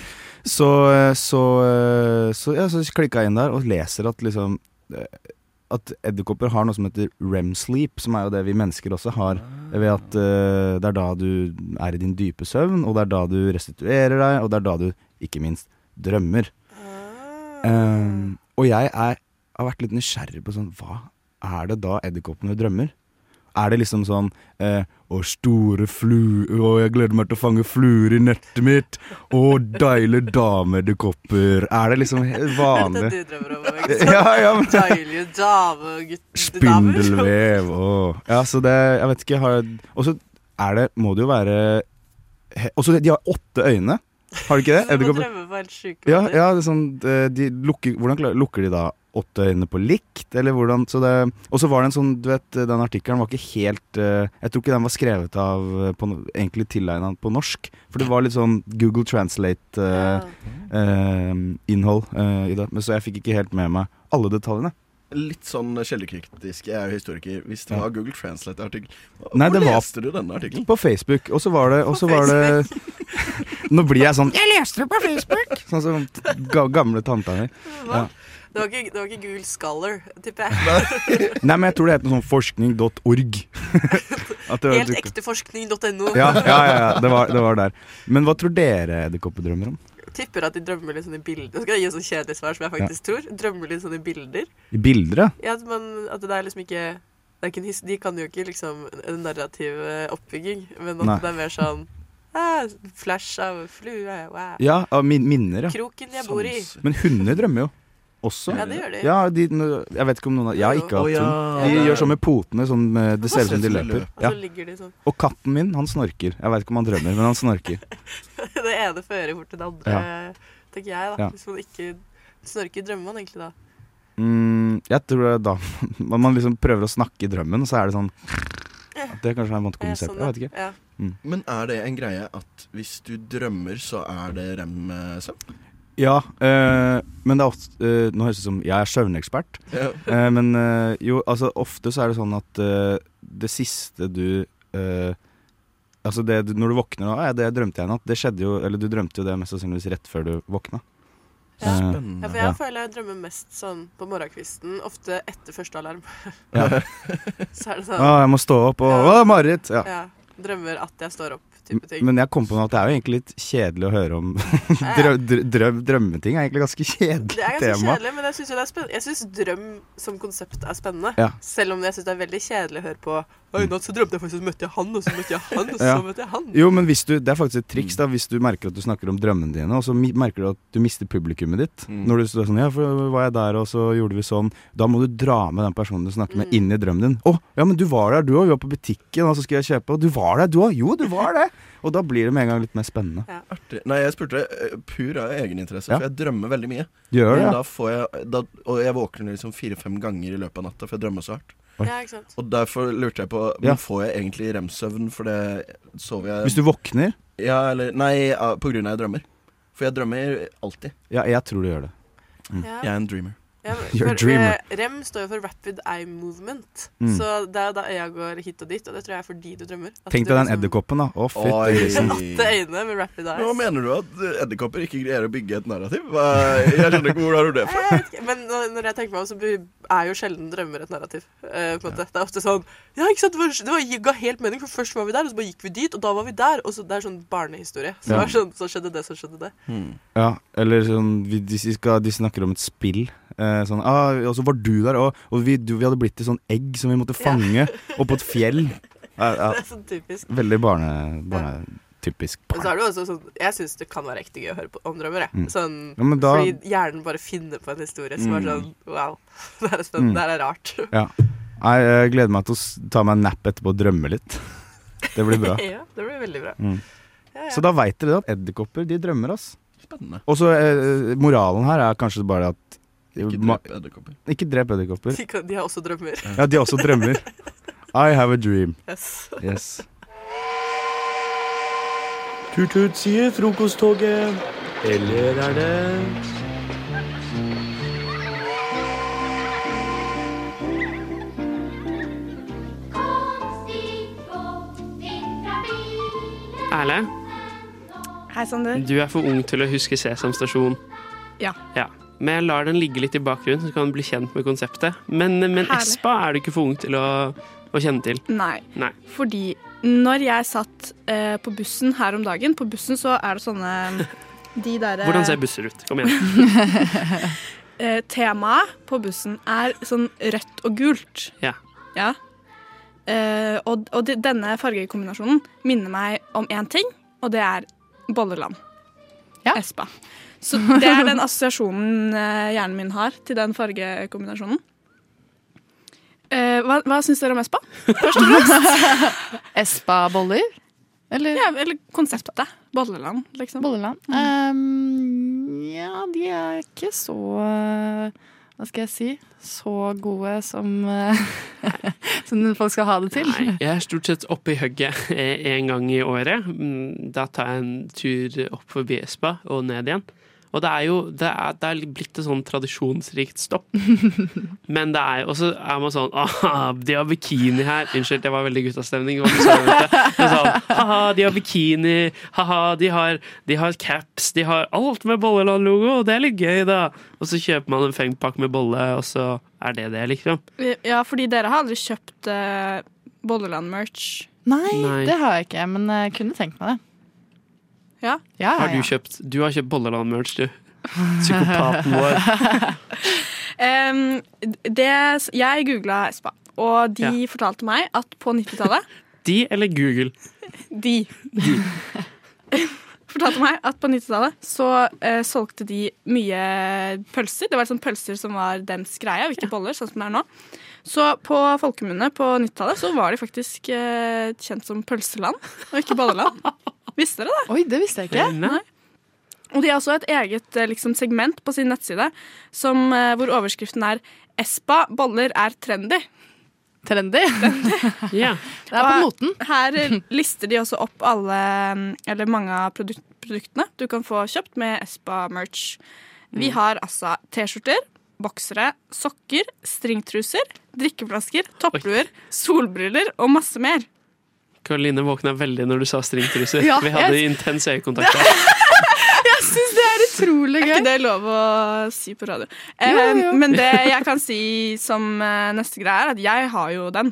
[SPEAKER 3] så så, eh, så, ja, så klikka jeg inn der og leser at liksom eh, At edderkopper har noe som heter rem sleep, som er jo det vi mennesker også har. Ved at eh, det er da du er i din dype søvn, og det er da du restituerer deg, og det er da du ikke minst drømmer.
[SPEAKER 2] Ah.
[SPEAKER 3] Eh, og jeg er, har vært litt nysgjerrig på sånn Hva er det da edderkoppene drømmer? Er det liksom sånn eh, Å, store fluer Å, jeg gleder meg til å fange fluer i nettet mitt. Å, deilige dameedderkopper. Er det liksom
[SPEAKER 2] <laughs>
[SPEAKER 3] helt
[SPEAKER 2] Er det
[SPEAKER 3] vanlig?
[SPEAKER 2] det du drømmer om?
[SPEAKER 3] <laughs>
[SPEAKER 2] ikke sant?
[SPEAKER 3] Ja, ja, men
[SPEAKER 2] Deilige dame og gutt- damer.
[SPEAKER 3] Spindelvev og Ja, så det Jeg vet ikke. Har, og så er det Må det jo være he- Og så de har åtte øyne. Har de ikke
[SPEAKER 2] <laughs>
[SPEAKER 3] det?
[SPEAKER 2] Så du må
[SPEAKER 3] Edderkopper.
[SPEAKER 2] drømme på helt sjuke
[SPEAKER 3] Ja,
[SPEAKER 2] måter.
[SPEAKER 3] ja det er sånn eh, de lukker, Hvordan klar- lukker de da åtte øyne på likt? Eller hvordan så det, Og så var det en sånn Du vet, den artikkelen var ikke helt eh, Jeg tror ikke den var skrevet av eh, på, no- Egentlig tilegnet på norsk For det var litt sånn Google eh, Translate-innhold i det Men så jeg fikk ikke helt med meg alle detaljene
[SPEAKER 4] litt sånn kjeldekritisk. Jeg er jo historiker. Hvis det var Google Translate-artikkel, hvor
[SPEAKER 3] Nei, det var-
[SPEAKER 4] leste du denne artikkelen?
[SPEAKER 3] På Facebook, og så var det, og så var det <laughs> Nå blir jeg sånn Jeg leste det på Facebook!
[SPEAKER 2] <laughs>
[SPEAKER 3] Sånn som ga, gamle tanta mi. Ja.
[SPEAKER 2] Det var ikke, det var ikke Google Scholar, tipper jeg. <laughs>
[SPEAKER 3] Nei, men jeg tror det het noe sånn <laughs> forskning.org. At det var-
[SPEAKER 2] Helt ekteforskning.no.
[SPEAKER 3] Ja, ja, ja, ja. Det, var, det var der. Men hva tror dere edderkopper drømmer om?
[SPEAKER 2] Tipper at de drømmer litt sånne bilder. Nå skal jeg gi et sånt kjedelig svar som jeg faktisk tror. Drømmer litt sånne bilder.
[SPEAKER 3] I bilder, ja?
[SPEAKER 2] Ja, at, man, at det er liksom ikke det er ikke en his De kan jo ikke liksom en narrativ eh, oppbygging, men at
[SPEAKER 3] Nei.
[SPEAKER 2] det er mer sånn ah, Flash av flue, wow.
[SPEAKER 3] Ja, av min minner, ja. Sånn
[SPEAKER 2] Kroken jeg bor i.
[SPEAKER 4] Sans-
[SPEAKER 3] Men hunder drømmer jo også.
[SPEAKER 2] Ja, det gjør de.
[SPEAKER 3] Ja, de, nå- jeg vet ikke om noen har Jeg har ikke
[SPEAKER 4] Å,
[SPEAKER 3] hatt
[SPEAKER 4] ja.
[SPEAKER 3] hund. De gjør sånn med potene. Sånn, eh, det ser ut som de løper.
[SPEAKER 2] Og
[SPEAKER 3] Ja.
[SPEAKER 2] så ligger de sånn.
[SPEAKER 3] Og katten min, han snorker. Jeg vet ikke om han drømmer, men han snorker.
[SPEAKER 2] <laughs> Det ene fører bort til det andre, tenker jeg, da.
[SPEAKER 3] Ja.
[SPEAKER 2] Hvis man ikke snorker, drømmer man egentlig da.
[SPEAKER 3] Mm, jeg tror det er da <laughs> Når man liksom prøver å snakke i drømmen, så er det sånn at Det kanskje er en måte å
[SPEAKER 2] Eh,
[SPEAKER 3] kommunisere på.
[SPEAKER 2] da.
[SPEAKER 3] Jeg vet ikke. Mm.
[SPEAKER 2] Ja.
[SPEAKER 4] Men er det en greie at hvis du drømmer, så er det eh, rem-søvn?
[SPEAKER 3] Ja, eh, men det er ofte eh, Nå høres det ut som jeg er søvnekspert,
[SPEAKER 4] <laughs> Ja.
[SPEAKER 3] eh, men eh, jo, altså ofte så er det sånn at eh, det siste du eh, Altså det du, når du våkner nå, ja, det drømte jeg i natt. Det skjedde jo Eller du drømte jo det mest sannsynligvis rett før du våkna.
[SPEAKER 2] Ja.
[SPEAKER 3] Eh,
[SPEAKER 2] Ja, for
[SPEAKER 4] Spennende.
[SPEAKER 2] jeg
[SPEAKER 3] Ja.
[SPEAKER 2] føler jeg drømmer mest sånn på morgenkvisten, ofte etter første alarm.
[SPEAKER 3] Ja.
[SPEAKER 2] <laughs> så er
[SPEAKER 3] Å,
[SPEAKER 2] det sånn
[SPEAKER 3] jeg må stå opp, og Å,
[SPEAKER 2] Ja.
[SPEAKER 3] mareritt! Ja.
[SPEAKER 2] ja, Drømmer at jeg står opp, type ting.
[SPEAKER 3] Men jeg kom på nå at det er jo egentlig litt kjedelig å høre om drø drø <laughs> drøm- Drømmeting er egentlig ganske kjedelig
[SPEAKER 2] det er ganske
[SPEAKER 3] tema.
[SPEAKER 2] kjedelig, men jeg syns, jo det er spenn- jeg syns drøm som konsept er spennende.
[SPEAKER 3] Ja.
[SPEAKER 2] Selv om jeg syns det er veldig kjedelig å høre på Oi, i natt så drømte jeg faktisk, så møtte jeg han, og så møtte jeg han, <laughs> og så
[SPEAKER 3] Ja.
[SPEAKER 2] møtte jeg han.
[SPEAKER 3] Jo, men hvis du, det er faktisk et
[SPEAKER 4] Mm.
[SPEAKER 3] triks da Hvis du merker at du snakker om drømmene dine Og så mi- merker du at du mister publikummet ditt
[SPEAKER 4] Mm.
[SPEAKER 3] Når du står sånn, ja, for var jeg der og så gjorde vi sånn Da må du dra med den personen du snakker med
[SPEAKER 2] Mm.
[SPEAKER 3] Inn i drømmen din Åh, ja, men du var der, du og vi var på butikken Og så skulle jeg kjøpe, og du var der, <laughs> du og jo, du var det Og da blir det med en gang litt mer spennende
[SPEAKER 4] Artig. Nei, jeg spurte eh, pur av egeninteresse,
[SPEAKER 3] Ja.
[SPEAKER 4] for jeg drømmer veldig mye.
[SPEAKER 3] Gjør det, ja
[SPEAKER 4] Men da får jeg, da, og jeg våkner liksom fire-fem ganger i løpet av natta, for jeg drømmer så hardt.
[SPEAKER 3] Oi.
[SPEAKER 2] Ja, ikke sant?
[SPEAKER 4] Og derfor lurte jeg på
[SPEAKER 3] Ja.
[SPEAKER 4] Men får jeg egentlig rem-søvn, for det sover jeg
[SPEAKER 3] Hvis du våkner,
[SPEAKER 4] Ja, eller Nei, ja, på grunn av jeg drømmer. For jeg drømmer alltid.
[SPEAKER 3] ja, jeg tror du gjør det Mm.
[SPEAKER 2] Ja.
[SPEAKER 4] Jeg er en dreamer.
[SPEAKER 2] Ja, men
[SPEAKER 3] You're a
[SPEAKER 2] for,
[SPEAKER 3] dreamer.
[SPEAKER 2] eh, REM står jo for Rapid Eye Movement.
[SPEAKER 3] Mm.
[SPEAKER 2] Så det er da øya går hit og dit, og det tror jeg er fordi du drømmer. At
[SPEAKER 3] Tenk deg den
[SPEAKER 2] du liksom- eh,
[SPEAKER 3] edderkoppen da Å, fytt
[SPEAKER 4] Oi.
[SPEAKER 3] grisen.
[SPEAKER 2] Åtte øyne med rapid eyes.
[SPEAKER 4] Nå mener du at eh, edderkopper ikke greier å bygge et narrativ? Hva- Jeg skjønner ikke hvor har du det fra?
[SPEAKER 2] Jeg vet ikke, Men når når jeg tenker meg om, så bu- er jo sjelden drømmer et narrativ. eh, på en måte. Det er ofte sånn Ja, ikke sant, det, var, det var, ga helt mening, for først var vi der, og så bare gikk vi dit, og da var vi der. Og så, det er sånn barnehistorie. Så,
[SPEAKER 3] Ja.
[SPEAKER 2] det er sånn, så skjedde det, så skjedde det.
[SPEAKER 3] Ja, eller sånn vi, de, skal, de snakker om et spill. Eh, sånn, ah, og så var du der, og, og vi, du, vi hadde blitt til sånn egg som vi måtte fange oppå et
[SPEAKER 2] <laughs>
[SPEAKER 3] fjell. Ja, ja,
[SPEAKER 2] Det er sånn typisk.
[SPEAKER 3] veldig barne, barnetypisk.
[SPEAKER 2] Men så er det jo også sånn Jeg syns det kan være ekte gøy å høre på om drømmer, jeg. Sånn,
[SPEAKER 3] Mm. Ja, men da- Mm.
[SPEAKER 2] Fordi hjernen bare finner på en historie som er sånn Wow, <laughs> det her er spennende. Det her er rart. <laughs>
[SPEAKER 3] Ja. Nei, jeg gleder meg til å s- ta meg en nap etterpå og drømme litt. Det blir bra.
[SPEAKER 2] <laughs>
[SPEAKER 3] Mm.
[SPEAKER 2] Ja, det blir veldig bra. Ja, ja.
[SPEAKER 3] Så da veit dere det at edderkopper, de drømmer, ass.
[SPEAKER 4] Spennende.
[SPEAKER 3] Og så eh, moralen her er kanskje bare at
[SPEAKER 4] Ikke
[SPEAKER 3] ma-
[SPEAKER 4] drep edderkopper.
[SPEAKER 3] ikke drep edderkopper.
[SPEAKER 2] De, kan, de har også drømmer.
[SPEAKER 3] Ja, de også drømmer. I have a dream.
[SPEAKER 2] Yes.
[SPEAKER 3] Yes.
[SPEAKER 7] Tut-tut, sier frokosttoget. Eller er det
[SPEAKER 8] Erle,
[SPEAKER 9] Hei, Sander.
[SPEAKER 8] du er for ung til å huske Sesam stasjon.
[SPEAKER 9] Ja.
[SPEAKER 8] Ja. Men jeg lar den ligge litt i bakgrunnen, så du kan bli kjent med konseptet. Men, men
[SPEAKER 9] Herlig.
[SPEAKER 8] Espa er du ikke for ung til å, å kjenne til.
[SPEAKER 9] Nei.
[SPEAKER 8] Nei.
[SPEAKER 9] Fordi når jeg satt eh, på bussen her om dagen På bussen så er det
[SPEAKER 8] <laughs>
[SPEAKER 9] sånne De derre
[SPEAKER 8] Hvordan ser busser ut? Kom igjen.
[SPEAKER 9] <laughs> eh, Temaet på bussen er sånn rødt og gult.
[SPEAKER 8] Ja.
[SPEAKER 9] Ja. Eh, og og de, denne fargekombinasjonen minner meg om én ting, og det er bolleland.
[SPEAKER 10] Ja.
[SPEAKER 9] Espa. Så det er den assosiasjonen eh, hjernen min har til den fargekombinasjonen. Eh, hva hva syns dere om Espa?
[SPEAKER 10] <laughs> Espa-boller? Eller
[SPEAKER 9] Ja, eller konseptet. Bolleland, liksom.
[SPEAKER 10] bolleland? Ehm, ja, de er ikke så eh, Hva skal jeg si? Så gode som eh, <laughs> Som folk skal ha det til. <laughs>
[SPEAKER 8] Nei, jeg er stort sett oppe i hugget <laughs> e- eh, en gang i året. Mm, Da tar jeg en tur opp forbi Espa og ned igjen. Og det er jo det er, det er blitt et sånn tradisjonsrikt stopp. Men det er jo Og så er man sånn Aha, de har bikini her. Unnskyld, jeg var veldig i guttastemning. hva du sa, vet du. Men Sånn, Haha, de har bikini. Haha, de har, de har caps. De har alt med Bolleland-logo. Det er litt gøy, da. Og så kjøper man en fengpakke med bolle, og så er det det, liksom.
[SPEAKER 9] Ja, fordi dere har aldri kjøpt eh, Bolleland-merch.
[SPEAKER 10] Nei,
[SPEAKER 8] Nei.
[SPEAKER 10] det har jeg ikke, men jeg kunne tenkt meg det.
[SPEAKER 9] Ja.
[SPEAKER 10] Ja,
[SPEAKER 8] Har du
[SPEAKER 10] Ah, ja.
[SPEAKER 8] kjøpt Du har kjøpt Bolleland-merch, du. <laughs> Psykopaten vår.
[SPEAKER 10] <laughs>
[SPEAKER 9] Em, det, jeg googla Espa, og de fortalte meg at på 90-tallet
[SPEAKER 8] De eller Google?
[SPEAKER 9] De. <laughs> fortalte meg at på 90-tallet så eh, solgte de mye pølser. Det var sånn pølser som var dems greie, og ikke boller, sånn som det er nå. Så på folkemunne på 90-tallet så var de faktisk eh, kjent som pølseland, og ikke
[SPEAKER 10] <laughs>
[SPEAKER 9] bolleland. Visste dere det?
[SPEAKER 10] Oi, det visste jeg ikke.
[SPEAKER 8] Nei.
[SPEAKER 9] Og de har også et eget eh, liksom, segment på sin nettside som, eh, hvor overskriften er Espa boller er trendy.
[SPEAKER 10] Trendy. <laughs>
[SPEAKER 8] Ja.
[SPEAKER 10] Det er på moten.
[SPEAKER 9] Her eh, lister de også opp alle, mm, eller mange av produk produktene du kan få kjøpt med Espa-merch. Vi
[SPEAKER 10] Mm.
[SPEAKER 9] har altså T-skjorter, boksere, sokker, stringtruser, drikkeflasker, toppluer, solbriller og masse mer.
[SPEAKER 8] Karoline våkna veldig når du sa stringtruser.
[SPEAKER 10] Ja,
[SPEAKER 8] Vi hadde
[SPEAKER 10] jeg-
[SPEAKER 8] intens øyekontakt. der.
[SPEAKER 10] <laughs> Jeg syns det er utrolig
[SPEAKER 9] Er
[SPEAKER 10] gøy.
[SPEAKER 9] ikke det lov å si på radio?
[SPEAKER 10] Jo,
[SPEAKER 9] Eh,
[SPEAKER 10] jo.
[SPEAKER 9] Men det jeg kan si som eh, neste greie, er at jeg har jo den.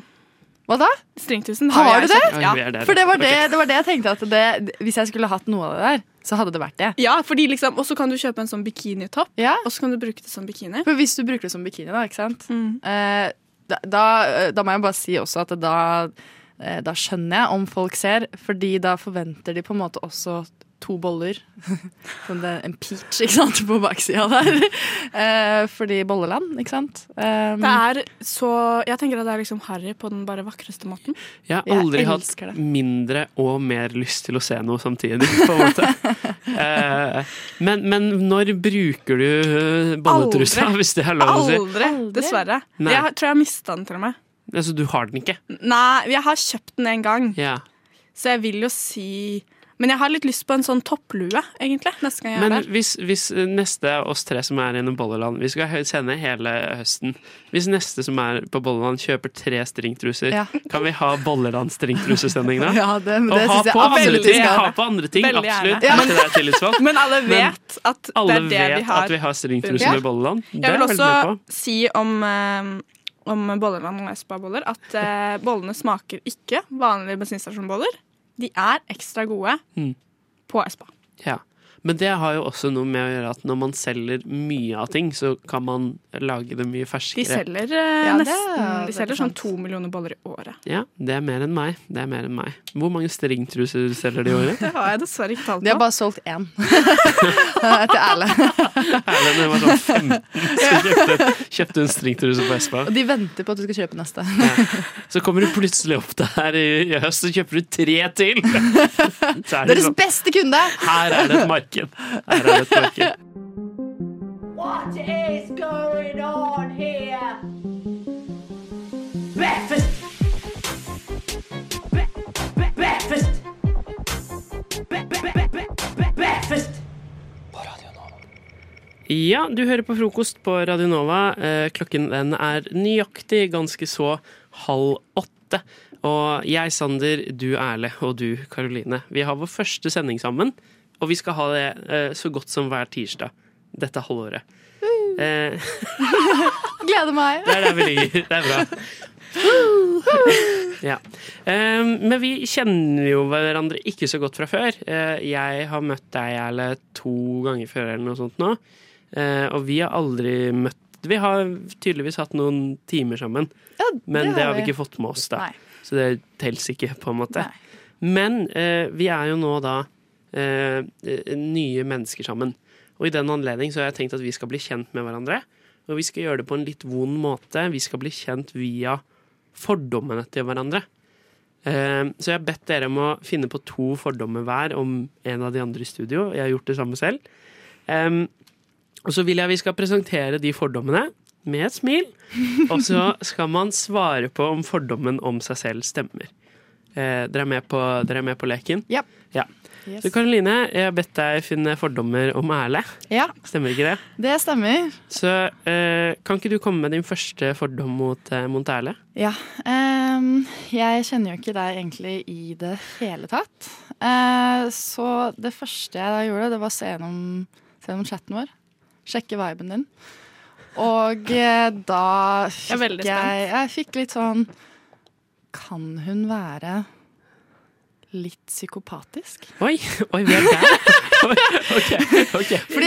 [SPEAKER 10] Hva da?
[SPEAKER 9] Stringtrusen
[SPEAKER 10] Har
[SPEAKER 9] jeg
[SPEAKER 10] du det?
[SPEAKER 9] kjøpt,
[SPEAKER 8] Oi,
[SPEAKER 9] Ja.
[SPEAKER 8] vi er der.
[SPEAKER 10] For det var
[SPEAKER 8] Ok.
[SPEAKER 10] det, det var det jeg tenkte at det, hvis jeg skulle hatt noe av det der, så hadde det vært det.
[SPEAKER 9] Ja, fordi liksom, Og så kan du kjøpe en sånn bikinitopp,
[SPEAKER 10] Ja.
[SPEAKER 9] og så kan du bruke det som bikini.
[SPEAKER 10] For hvis du bruker det som bikini, da, ikke sant?
[SPEAKER 9] Mm.
[SPEAKER 10] Eh, da, da, eh, da må jeg bare si også at da, eh, da skjønner jeg om folk ser, fordi da forventer de på en måte også to boller. <laughs> Som det, en peach, ikke sant, på baksida der.
[SPEAKER 9] <laughs>
[SPEAKER 10] Eh, fordi Bolleland, ikke sant. Eh,
[SPEAKER 9] Det er så Jeg tenker at det er liksom harry på den bare vakreste måten.
[SPEAKER 8] Jeg har
[SPEAKER 10] Jeg
[SPEAKER 8] aldri
[SPEAKER 10] elsker
[SPEAKER 8] hatt
[SPEAKER 10] det.
[SPEAKER 8] mindre og mer lyst til å se noe samtidig, på en måte.
[SPEAKER 10] <laughs>
[SPEAKER 8] Eh, Men, men når bruker du eh, bolletrusa,
[SPEAKER 9] Aldri.
[SPEAKER 8] hvis det er lov å si?
[SPEAKER 9] Aldri, dessverre.
[SPEAKER 8] Nei.
[SPEAKER 9] Jeg har- tror jeg har mista den til og med.
[SPEAKER 8] Altså, du har den ikke?
[SPEAKER 9] Nei, jeg har kjøpt den en gang,
[SPEAKER 8] Ja.
[SPEAKER 9] så jeg vil jo si Men jeg har litt lyst på en sånn topplue, egentlig, neste gang jeg
[SPEAKER 8] Men
[SPEAKER 9] er der.
[SPEAKER 8] hvis, hvis neste av oss tre som er gjennom Bolleland Vi skal hø- sende hele høsten. Hvis neste som er på Bolleland, kjøper tre stringtruser,
[SPEAKER 10] Ja.
[SPEAKER 8] kan vi ha Bolleland-stringtrusesending
[SPEAKER 9] <laughs>
[SPEAKER 8] da?
[SPEAKER 10] ja, det,
[SPEAKER 8] Og
[SPEAKER 10] det
[SPEAKER 8] ha
[SPEAKER 10] syns jeg
[SPEAKER 8] på
[SPEAKER 10] absolutt
[SPEAKER 8] andre
[SPEAKER 10] vi
[SPEAKER 8] ting.
[SPEAKER 10] skal
[SPEAKER 8] Ha
[SPEAKER 10] ha.
[SPEAKER 8] på andre ting,
[SPEAKER 9] Veldig gjerne.
[SPEAKER 8] absolutt. Men til deg,
[SPEAKER 9] <laughs>
[SPEAKER 8] tillitsvalgt.
[SPEAKER 9] Men alle
[SPEAKER 8] Men
[SPEAKER 9] vet at det
[SPEAKER 8] Alle
[SPEAKER 9] er det
[SPEAKER 8] vet
[SPEAKER 9] vi har.
[SPEAKER 8] at vi har stringtruse
[SPEAKER 10] Ja.
[SPEAKER 8] med bolleland. Det
[SPEAKER 9] Jeg
[SPEAKER 8] er
[SPEAKER 9] vil
[SPEAKER 8] jeg veldig
[SPEAKER 9] også
[SPEAKER 8] med på.
[SPEAKER 9] si om, eh, om Bolleland og Espa-boller at eh, bollene smaker ikke vanlige bensinstasjonboller. De er ekstra gode
[SPEAKER 8] Mm.
[SPEAKER 9] på Espa.
[SPEAKER 8] Ja. Men det har jo også noe med å gjøre at når man selger mye av ting, så kan man lage det mye
[SPEAKER 9] De
[SPEAKER 8] ferskere.
[SPEAKER 9] selger eh,
[SPEAKER 10] Ja, det er
[SPEAKER 9] nesten De
[SPEAKER 10] veldig
[SPEAKER 9] selger sånn
[SPEAKER 10] sant.
[SPEAKER 9] to millioner boller i året.
[SPEAKER 8] Ja, det er mer enn meg. Det er mer enn meg. Hvor mange stringtruser selger de i året?
[SPEAKER 9] Det har jeg dessverre ikke tall
[SPEAKER 10] De
[SPEAKER 9] på.
[SPEAKER 10] har bare solgt én
[SPEAKER 9] <laughs>
[SPEAKER 10] eh, til Erle.
[SPEAKER 8] Erlend det var sånn 15, så kjøpte, kjøpte hun stringtruse på Espa.
[SPEAKER 10] Og de venter på at du skal kjøpe neste.
[SPEAKER 8] Så kommer du plutselig opp der i, i høst og kjøper du tre til! Så er det
[SPEAKER 10] Deres
[SPEAKER 8] sånn,
[SPEAKER 10] beste kunde!
[SPEAKER 8] her er det et marked. Her er det et marked.
[SPEAKER 1] What is going on here? Breakfast. Bre- bre- breakfast. Bre- bre- bre- bre- breakfast.
[SPEAKER 8] Ja, du hører på frokost på Radio Nova. Eh, Klokken den er nøyaktig ganske så halv åtte. Og jeg, Sander, du Erle og du Karoline, vi har vår første sending sammen. Og vi skal ha det eh, så godt som hver tirsdag dette halvåret. Eh,
[SPEAKER 10] <laughs>
[SPEAKER 8] <laughs>
[SPEAKER 10] Gleder meg.
[SPEAKER 8] Det er der vi ligger. Det er bra. Ja. Ehm, men vi kjenner jo hverandre ikke så godt fra før. Eh, jeg har møtt deg, Erle, to ganger før eller noe sånt nå. Eh, og vi har aldri møtt Vi har tydeligvis hatt noen timer sammen, men det, har vi ikke fått med oss, da.
[SPEAKER 10] Nei.
[SPEAKER 8] Så det teller ikke, på en måte.
[SPEAKER 10] Nei.
[SPEAKER 8] Men eh, vi er jo nå da eh, eh, nye mennesker sammen. Og i den anledning så har jeg tenkt at vi skal bli kjent med hverandre. Og vi skal gjøre det på en litt vond måte. Vi skal bli kjent via fordommene til hverandre. Eh, så jeg har bedt dere om å finne på to fordommer hver om en av de andre i studio. Jeg har gjort det samme selv. Em, og så vil jeg vi skal presentere de fordommene med et smil. Og så skal man svare på om fordommen om seg selv stemmer. Eh, dere, er med på, dere er med på leken?
[SPEAKER 10] Ja.
[SPEAKER 8] ja. Så Karoline, jeg har bedt deg finne fordommer om Erle.
[SPEAKER 10] Ja,
[SPEAKER 8] Stemmer ikke det?
[SPEAKER 10] det stemmer.
[SPEAKER 8] Så eh, kan ikke du komme med din første fordom mot, eh, mot Erle?
[SPEAKER 10] Ja. ehm, jeg kjenner jo ikke deg egentlig i det hele tatt. Eh, så det første jeg da gjorde, det var å se gjennom, se gjennom chatten vår. Sjekke viben din. Og eh, da
[SPEAKER 11] Jeg er
[SPEAKER 10] fikk
[SPEAKER 11] veldig
[SPEAKER 10] jeg, jeg, fikk litt sånn Kan hun være litt psykopatisk?
[SPEAKER 8] Oi, <laughs> oi, vi er der!
[SPEAKER 10] <laughs> Fordi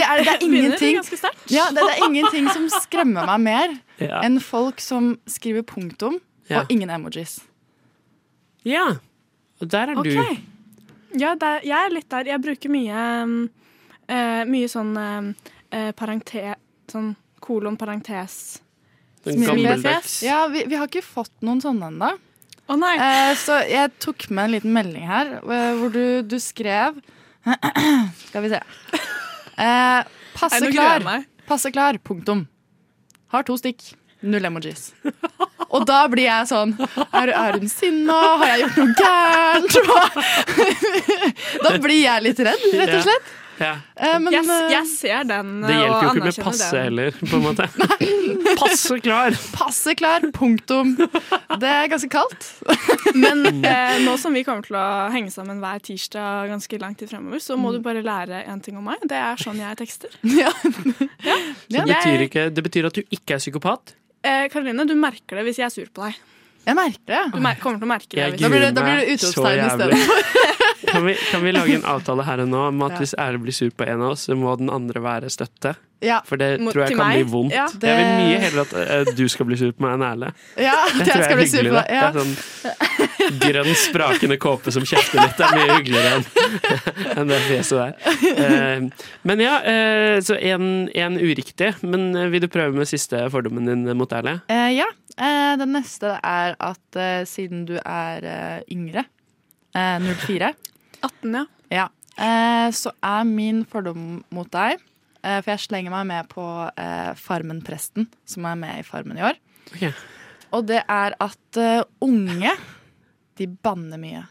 [SPEAKER 10] er det, det
[SPEAKER 11] <laughs>
[SPEAKER 10] er
[SPEAKER 11] Begynner
[SPEAKER 10] ingenting
[SPEAKER 11] ganske sterkt.
[SPEAKER 10] Ja, det, det er ingenting som skremmer meg mer
[SPEAKER 11] <laughs>
[SPEAKER 8] Ja.
[SPEAKER 10] enn folk som skriver punktum
[SPEAKER 8] Ja.
[SPEAKER 10] og ingen emojis.
[SPEAKER 8] ja. Og der er
[SPEAKER 11] Ok. Ja, der, jeg er litt der. Jeg bruker mye um, eh, Mye sånn uh, parente... Sånn kolon parentes.
[SPEAKER 8] du. Den gammeldags.
[SPEAKER 10] Ja, vi, vi har ikke fått noen sånn sånne ennå.
[SPEAKER 11] Å nei!
[SPEAKER 10] Eh, så jeg tok med en liten melding her, eh, hvor du, du skrev <clears throat> Skal vi se. Eh, passe
[SPEAKER 11] Nei, nå gruer jeg
[SPEAKER 10] klar.
[SPEAKER 11] meg.
[SPEAKER 10] Passe klar. Punktum. Har to stikk.
[SPEAKER 11] <laughs>
[SPEAKER 10] Null emojis. Og da blir jeg sånn Er, er hun sinna? Har jeg gjort noe gærent? <laughs> Hva- da blir jeg litt redd, rett og slett.
[SPEAKER 8] Ja.
[SPEAKER 10] Eh, men
[SPEAKER 11] Jeg,
[SPEAKER 10] eh,
[SPEAKER 11] jeg ser den
[SPEAKER 8] Det
[SPEAKER 11] eh, og
[SPEAKER 8] hjelper jo ikke
[SPEAKER 11] anerkjenner
[SPEAKER 8] med passe
[SPEAKER 11] den.
[SPEAKER 8] heller, på en måte.
[SPEAKER 11] <laughs>
[SPEAKER 8] Passe klar!
[SPEAKER 10] passe klar. Punktum. Det er ganske kaldt.
[SPEAKER 11] Men
[SPEAKER 8] Mm.
[SPEAKER 11] eh, nå som vi kommer til å henge sammen hver tirsdag ganske lang tid fremover, så må du bare lære en ting om meg. Det er sånn jeg tekster.
[SPEAKER 10] Mm. <laughs> Ja.
[SPEAKER 8] Det
[SPEAKER 10] Ja.
[SPEAKER 8] betyr, ikke, det betyr at du ikke er psykopat.
[SPEAKER 11] Eh, Karoline, du merker det hvis jeg er sur på deg.
[SPEAKER 10] Jeg merker det.
[SPEAKER 11] Du mer kommer til å merke det.
[SPEAKER 8] Jeg
[SPEAKER 10] Da
[SPEAKER 11] Hvis
[SPEAKER 10] blir det,
[SPEAKER 8] gruer
[SPEAKER 10] da blir det
[SPEAKER 8] meg
[SPEAKER 10] utropstegn
[SPEAKER 8] så jævlig.
[SPEAKER 10] istedenfor.
[SPEAKER 8] <laughs> Kan vi, kan vi lage en avtale her og nå om at
[SPEAKER 10] Ja.
[SPEAKER 8] hvis Erle blir sur på en av oss, så må den andre være støtte?
[SPEAKER 10] Ja,
[SPEAKER 8] For det
[SPEAKER 11] Mot-
[SPEAKER 8] tror jeg
[SPEAKER 11] til
[SPEAKER 8] kan bli
[SPEAKER 11] meg?
[SPEAKER 8] vondt.
[SPEAKER 11] Ja.
[SPEAKER 8] Jeg vil mye
[SPEAKER 10] Det-
[SPEAKER 8] heller at eh, du skal bli sur på meg enn Erle.
[SPEAKER 10] <laughs> ja,
[SPEAKER 8] tror
[SPEAKER 10] det
[SPEAKER 8] jeg
[SPEAKER 10] skal
[SPEAKER 8] er
[SPEAKER 10] bli sur på.
[SPEAKER 8] hyggeligere.
[SPEAKER 10] Ja.
[SPEAKER 8] Det er sånn grønn, sprakende kåpe som kjefter litt. Det er mye hyggeligere enn enn <laughs> det fjeset der. Eh, Men ja, eh, så én uriktig. Men eh, vil du prøve med siste fordommen din mot Erle?
[SPEAKER 10] Eh, ja. Eh, den neste er at eh, siden du er eh, yngre, eh, 04,
[SPEAKER 11] 18, ja.
[SPEAKER 10] ja, eh, så er min fordom mot deg eh, For jeg slenger meg med på eh, Farmen-presten, som er med i Farmen i år.
[SPEAKER 8] Ok.
[SPEAKER 10] Og det er at eh, unge de banner mye.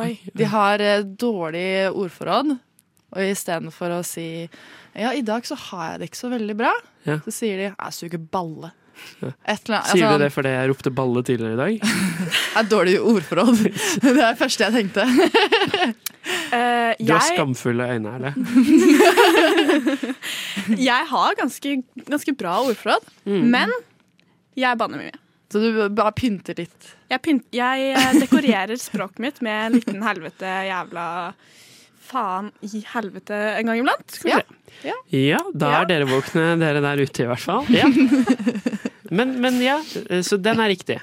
[SPEAKER 11] Oi.
[SPEAKER 10] De har eh, dårlig ordforråd. Og istedenfor å si ja, i dag så har jeg det ikke så veldig bra,
[SPEAKER 8] Ja.
[SPEAKER 10] så sier de jeg suger balle.
[SPEAKER 8] Ja.
[SPEAKER 10] Et eller annet.
[SPEAKER 8] Sier
[SPEAKER 10] altså,
[SPEAKER 8] du det fordi jeg ropte balle tidligere i dag?
[SPEAKER 10] <laughs> er dårlig
[SPEAKER 8] <laughs>
[SPEAKER 10] ordforråd. <laughs> Det er det første jeg tenkte. <laughs>
[SPEAKER 11] Eh,
[SPEAKER 8] Du har
[SPEAKER 11] jeg,
[SPEAKER 8] skamfulle øyne, Erle.
[SPEAKER 10] <laughs>
[SPEAKER 11] jeg har ganske, ganske bra ordforråd,
[SPEAKER 10] Mm.
[SPEAKER 11] men jeg banner mye.
[SPEAKER 10] Så du bare pynter litt.
[SPEAKER 11] Jeg, pynt, jeg eh, dekorerer språket mitt med en liten helvete jævla faen i helvete en gang iblant. Skal vi
[SPEAKER 10] Ja.
[SPEAKER 11] se.
[SPEAKER 8] Ja, da
[SPEAKER 11] Ja.
[SPEAKER 8] er dere våkne, dere der ute i hvert fall.
[SPEAKER 10] <laughs>
[SPEAKER 8] Ja. Men, men ja, eh, så den er riktig.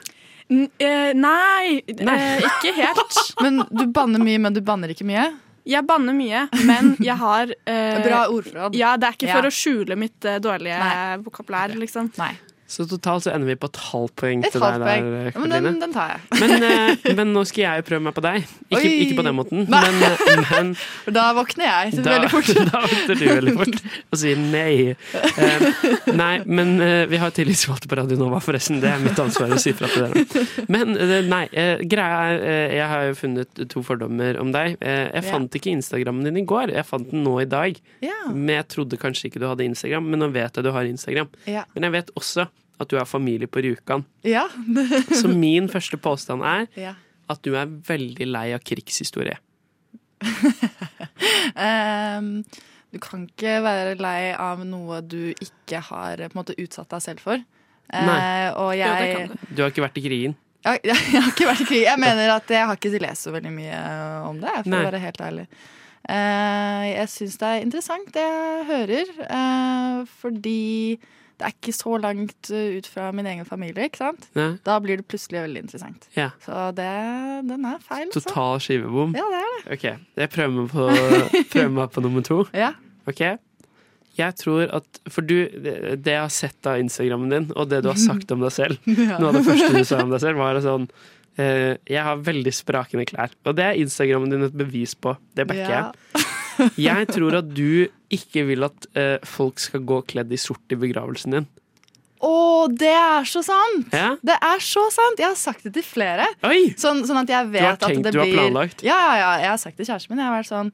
[SPEAKER 11] N eh, nei,
[SPEAKER 8] Nei.
[SPEAKER 11] eh, ikke helt.
[SPEAKER 10] <laughs> Men du banner mye, men du banner ikke mye.
[SPEAKER 11] Jeg banner mye, men jeg
[SPEAKER 10] <laughs>
[SPEAKER 11] har eh,
[SPEAKER 10] Bra ordforråd.
[SPEAKER 11] Ja, det er ikke for
[SPEAKER 10] Ja.
[SPEAKER 11] å skjule mitt eh, dårlige
[SPEAKER 10] Nei.
[SPEAKER 11] vokabulær, liksom.
[SPEAKER 10] Nei.
[SPEAKER 8] Så totalt så ender vi på et halvt poeng
[SPEAKER 10] Et
[SPEAKER 8] til deg
[SPEAKER 10] halvt poeng.
[SPEAKER 8] der,
[SPEAKER 10] Ja, men
[SPEAKER 8] Karoline.
[SPEAKER 10] den, den tar jeg.
[SPEAKER 8] Men, eh, men nå skal jeg prøve meg på deg. Ikke,
[SPEAKER 10] Oi.
[SPEAKER 8] ikke på den måten,
[SPEAKER 10] Nei.
[SPEAKER 8] men, eh,
[SPEAKER 10] <laughs>
[SPEAKER 8] men
[SPEAKER 10] For Da våkner jeg til
[SPEAKER 8] da,
[SPEAKER 10] veldig
[SPEAKER 8] <laughs>
[SPEAKER 10] fort.
[SPEAKER 8] da venter du veldig fort og sier nei. Eh, nei, men eh, vi har tillitsvalgte på Radio Nova, forresten. Det er mitt ansvar å si fra til dere. Men eh, nei, eh, greia er eh, Jeg har jo funnet to fordommer om deg. Eh, jeg
[SPEAKER 10] Ja.
[SPEAKER 8] fant ikke Instagrammen din i går, jeg fant den nå i dag.
[SPEAKER 10] Ja.
[SPEAKER 8] Men jeg trodde kanskje ikke du hadde Instagram, men nå vet jeg du har Instagram.
[SPEAKER 10] Ja.
[SPEAKER 8] Men jeg vet også at du er familie på Rjukan.
[SPEAKER 10] Ja.
[SPEAKER 8] Så min første påstand er
[SPEAKER 10] <laughs> ja.
[SPEAKER 8] at du er veldig lei av krigshistorie.
[SPEAKER 10] Ehm, du kan ikke være lei av noe du ikke har eh, på en måte, utsatt deg selv for. Eh,
[SPEAKER 8] Nei.
[SPEAKER 10] og jeg,
[SPEAKER 11] Jo, det kan du.
[SPEAKER 8] Du har ikke vært i krigen.
[SPEAKER 10] Jeg, <laughs> jeg, har ikke vært i krig. Jeg mener at jeg har ikke lest så veldig mye eh, om det, for
[SPEAKER 8] Nei.
[SPEAKER 10] å være helt ærlig. Eh, jeg syns det er interessant, det jeg hører. eh, fordi det er ikke så langt eh, ut fra min egen familie, ikke sant?
[SPEAKER 8] Nei.
[SPEAKER 10] Da blir det plutselig veldig interessant.
[SPEAKER 8] Ja.
[SPEAKER 10] Så det, den er feil. altså.
[SPEAKER 8] Total skivebom.
[SPEAKER 10] Ja, det er det.
[SPEAKER 8] Ok, jeg prøver meg
[SPEAKER 10] <laughs>
[SPEAKER 8] på, prøver meg på nummer to.
[SPEAKER 10] Ja.
[SPEAKER 8] Ok? Jeg tror at For du, det det jeg har sett av Instagrammen din, og det du har sagt om deg
[SPEAKER 10] <laughs>
[SPEAKER 8] selv Noe av det første du sa om deg selv, var sånn eh, Jeg har veldig sprakende klær. Og det er Instagrammen din et bevis på. Det backer
[SPEAKER 10] Ja.
[SPEAKER 8] jeg.
[SPEAKER 10] <laughs>
[SPEAKER 8] Jeg tror at du ikke vil at eh, folk skal gå kledd i sort i begravelsen din.
[SPEAKER 10] Å, det er så sant!
[SPEAKER 8] Ja.
[SPEAKER 10] Det er så sant! Jeg har sagt det til flere.
[SPEAKER 8] Oi!
[SPEAKER 10] Sånn, sånn at jeg vet
[SPEAKER 8] har
[SPEAKER 10] at
[SPEAKER 8] tenkt,
[SPEAKER 10] det
[SPEAKER 8] du har
[SPEAKER 10] blir
[SPEAKER 8] planlagt.
[SPEAKER 10] Ja, ja, ja. Jeg har sagt til kjæresten min. Jeg har vært sånn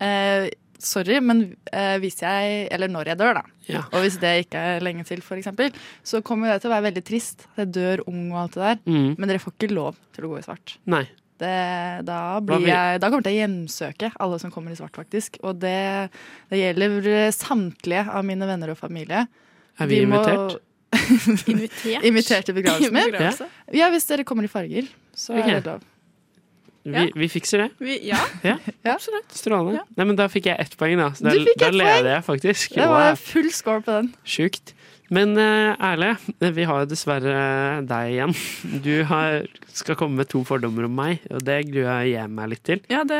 [SPEAKER 10] eh, Sorry, men eh, hvis jeg Eller når jeg dør, da.
[SPEAKER 8] Ja.
[SPEAKER 10] Og hvis det ikke er lenge til, f.eks., så kommer det til å være veldig trist. at Jeg dør ung og alt det der.
[SPEAKER 8] Mm.
[SPEAKER 10] Men dere får ikke lov til å gå i svart.
[SPEAKER 8] Nei.
[SPEAKER 10] Det, da, blir
[SPEAKER 8] blir-
[SPEAKER 10] jeg, da kommer jeg til å hjemsøke alle som kommer i svart, faktisk. Og det, det gjelder eh, samtlige av mine venner og familie.
[SPEAKER 8] Er vi,
[SPEAKER 10] må- <laughs>
[SPEAKER 8] invitert?
[SPEAKER 9] Invitert.
[SPEAKER 10] Invitert til begravelsen min?
[SPEAKER 9] Begravelse.
[SPEAKER 10] Ja, hvis dere kommer i farger, så
[SPEAKER 8] Ok.
[SPEAKER 10] er det lov.
[SPEAKER 8] Vi,
[SPEAKER 9] Ja.
[SPEAKER 8] vi fikser det.
[SPEAKER 9] Vi, ja,
[SPEAKER 8] Ja.
[SPEAKER 9] absolutt.
[SPEAKER 8] Strålende. Nei, men da fikk jeg ett poeng, da. Så
[SPEAKER 10] Du
[SPEAKER 8] da,
[SPEAKER 10] fikk
[SPEAKER 8] da
[SPEAKER 10] ett
[SPEAKER 8] leder jeg faktisk.
[SPEAKER 10] Det var full score på den.
[SPEAKER 8] Sjukt. Men eh, Erle, vi har jo dessverre deg igjen. Du har, skal komme med to fordommer om meg, og det gruer jeg meg litt til.
[SPEAKER 9] Ja, det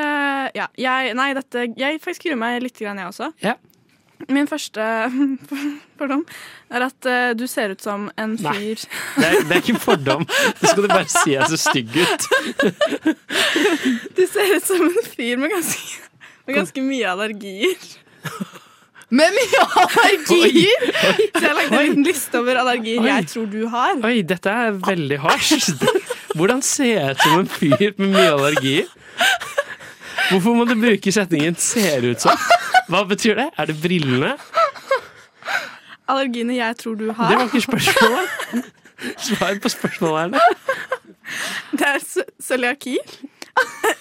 [SPEAKER 9] ja. Jeg, Nei, dette Jeg faktisk gruer meg litt, grann, jeg også.
[SPEAKER 8] Ja.
[SPEAKER 9] Min første <laughs> fordom er at eh, du ser ut som en
[SPEAKER 8] Nei.
[SPEAKER 9] fyr
[SPEAKER 8] Det er, det er ikke en fordom. Det skal du bare si jeg er så stygg ut.
[SPEAKER 9] <laughs> Du ser ut som en fyr med ganske, med ganske mye allergier.
[SPEAKER 10] Men mye allergier!
[SPEAKER 9] Så jeg lagde en liten liste over allergier
[SPEAKER 8] Oi.
[SPEAKER 9] jeg tror du har.
[SPEAKER 8] Oi, dette er veldig hardt. Hvordan ser jeg ut som en fyr med mye allergier? Hvorfor må du bruke setningen 'ser ut som'? Hva betyr det? Er det brillene?
[SPEAKER 9] Allergiene jeg tror du
[SPEAKER 8] Det
[SPEAKER 9] har,
[SPEAKER 8] var ikke spørsmålet. Svar på spørsmålet, Erle.
[SPEAKER 9] <laughs> det er c- cøliaki,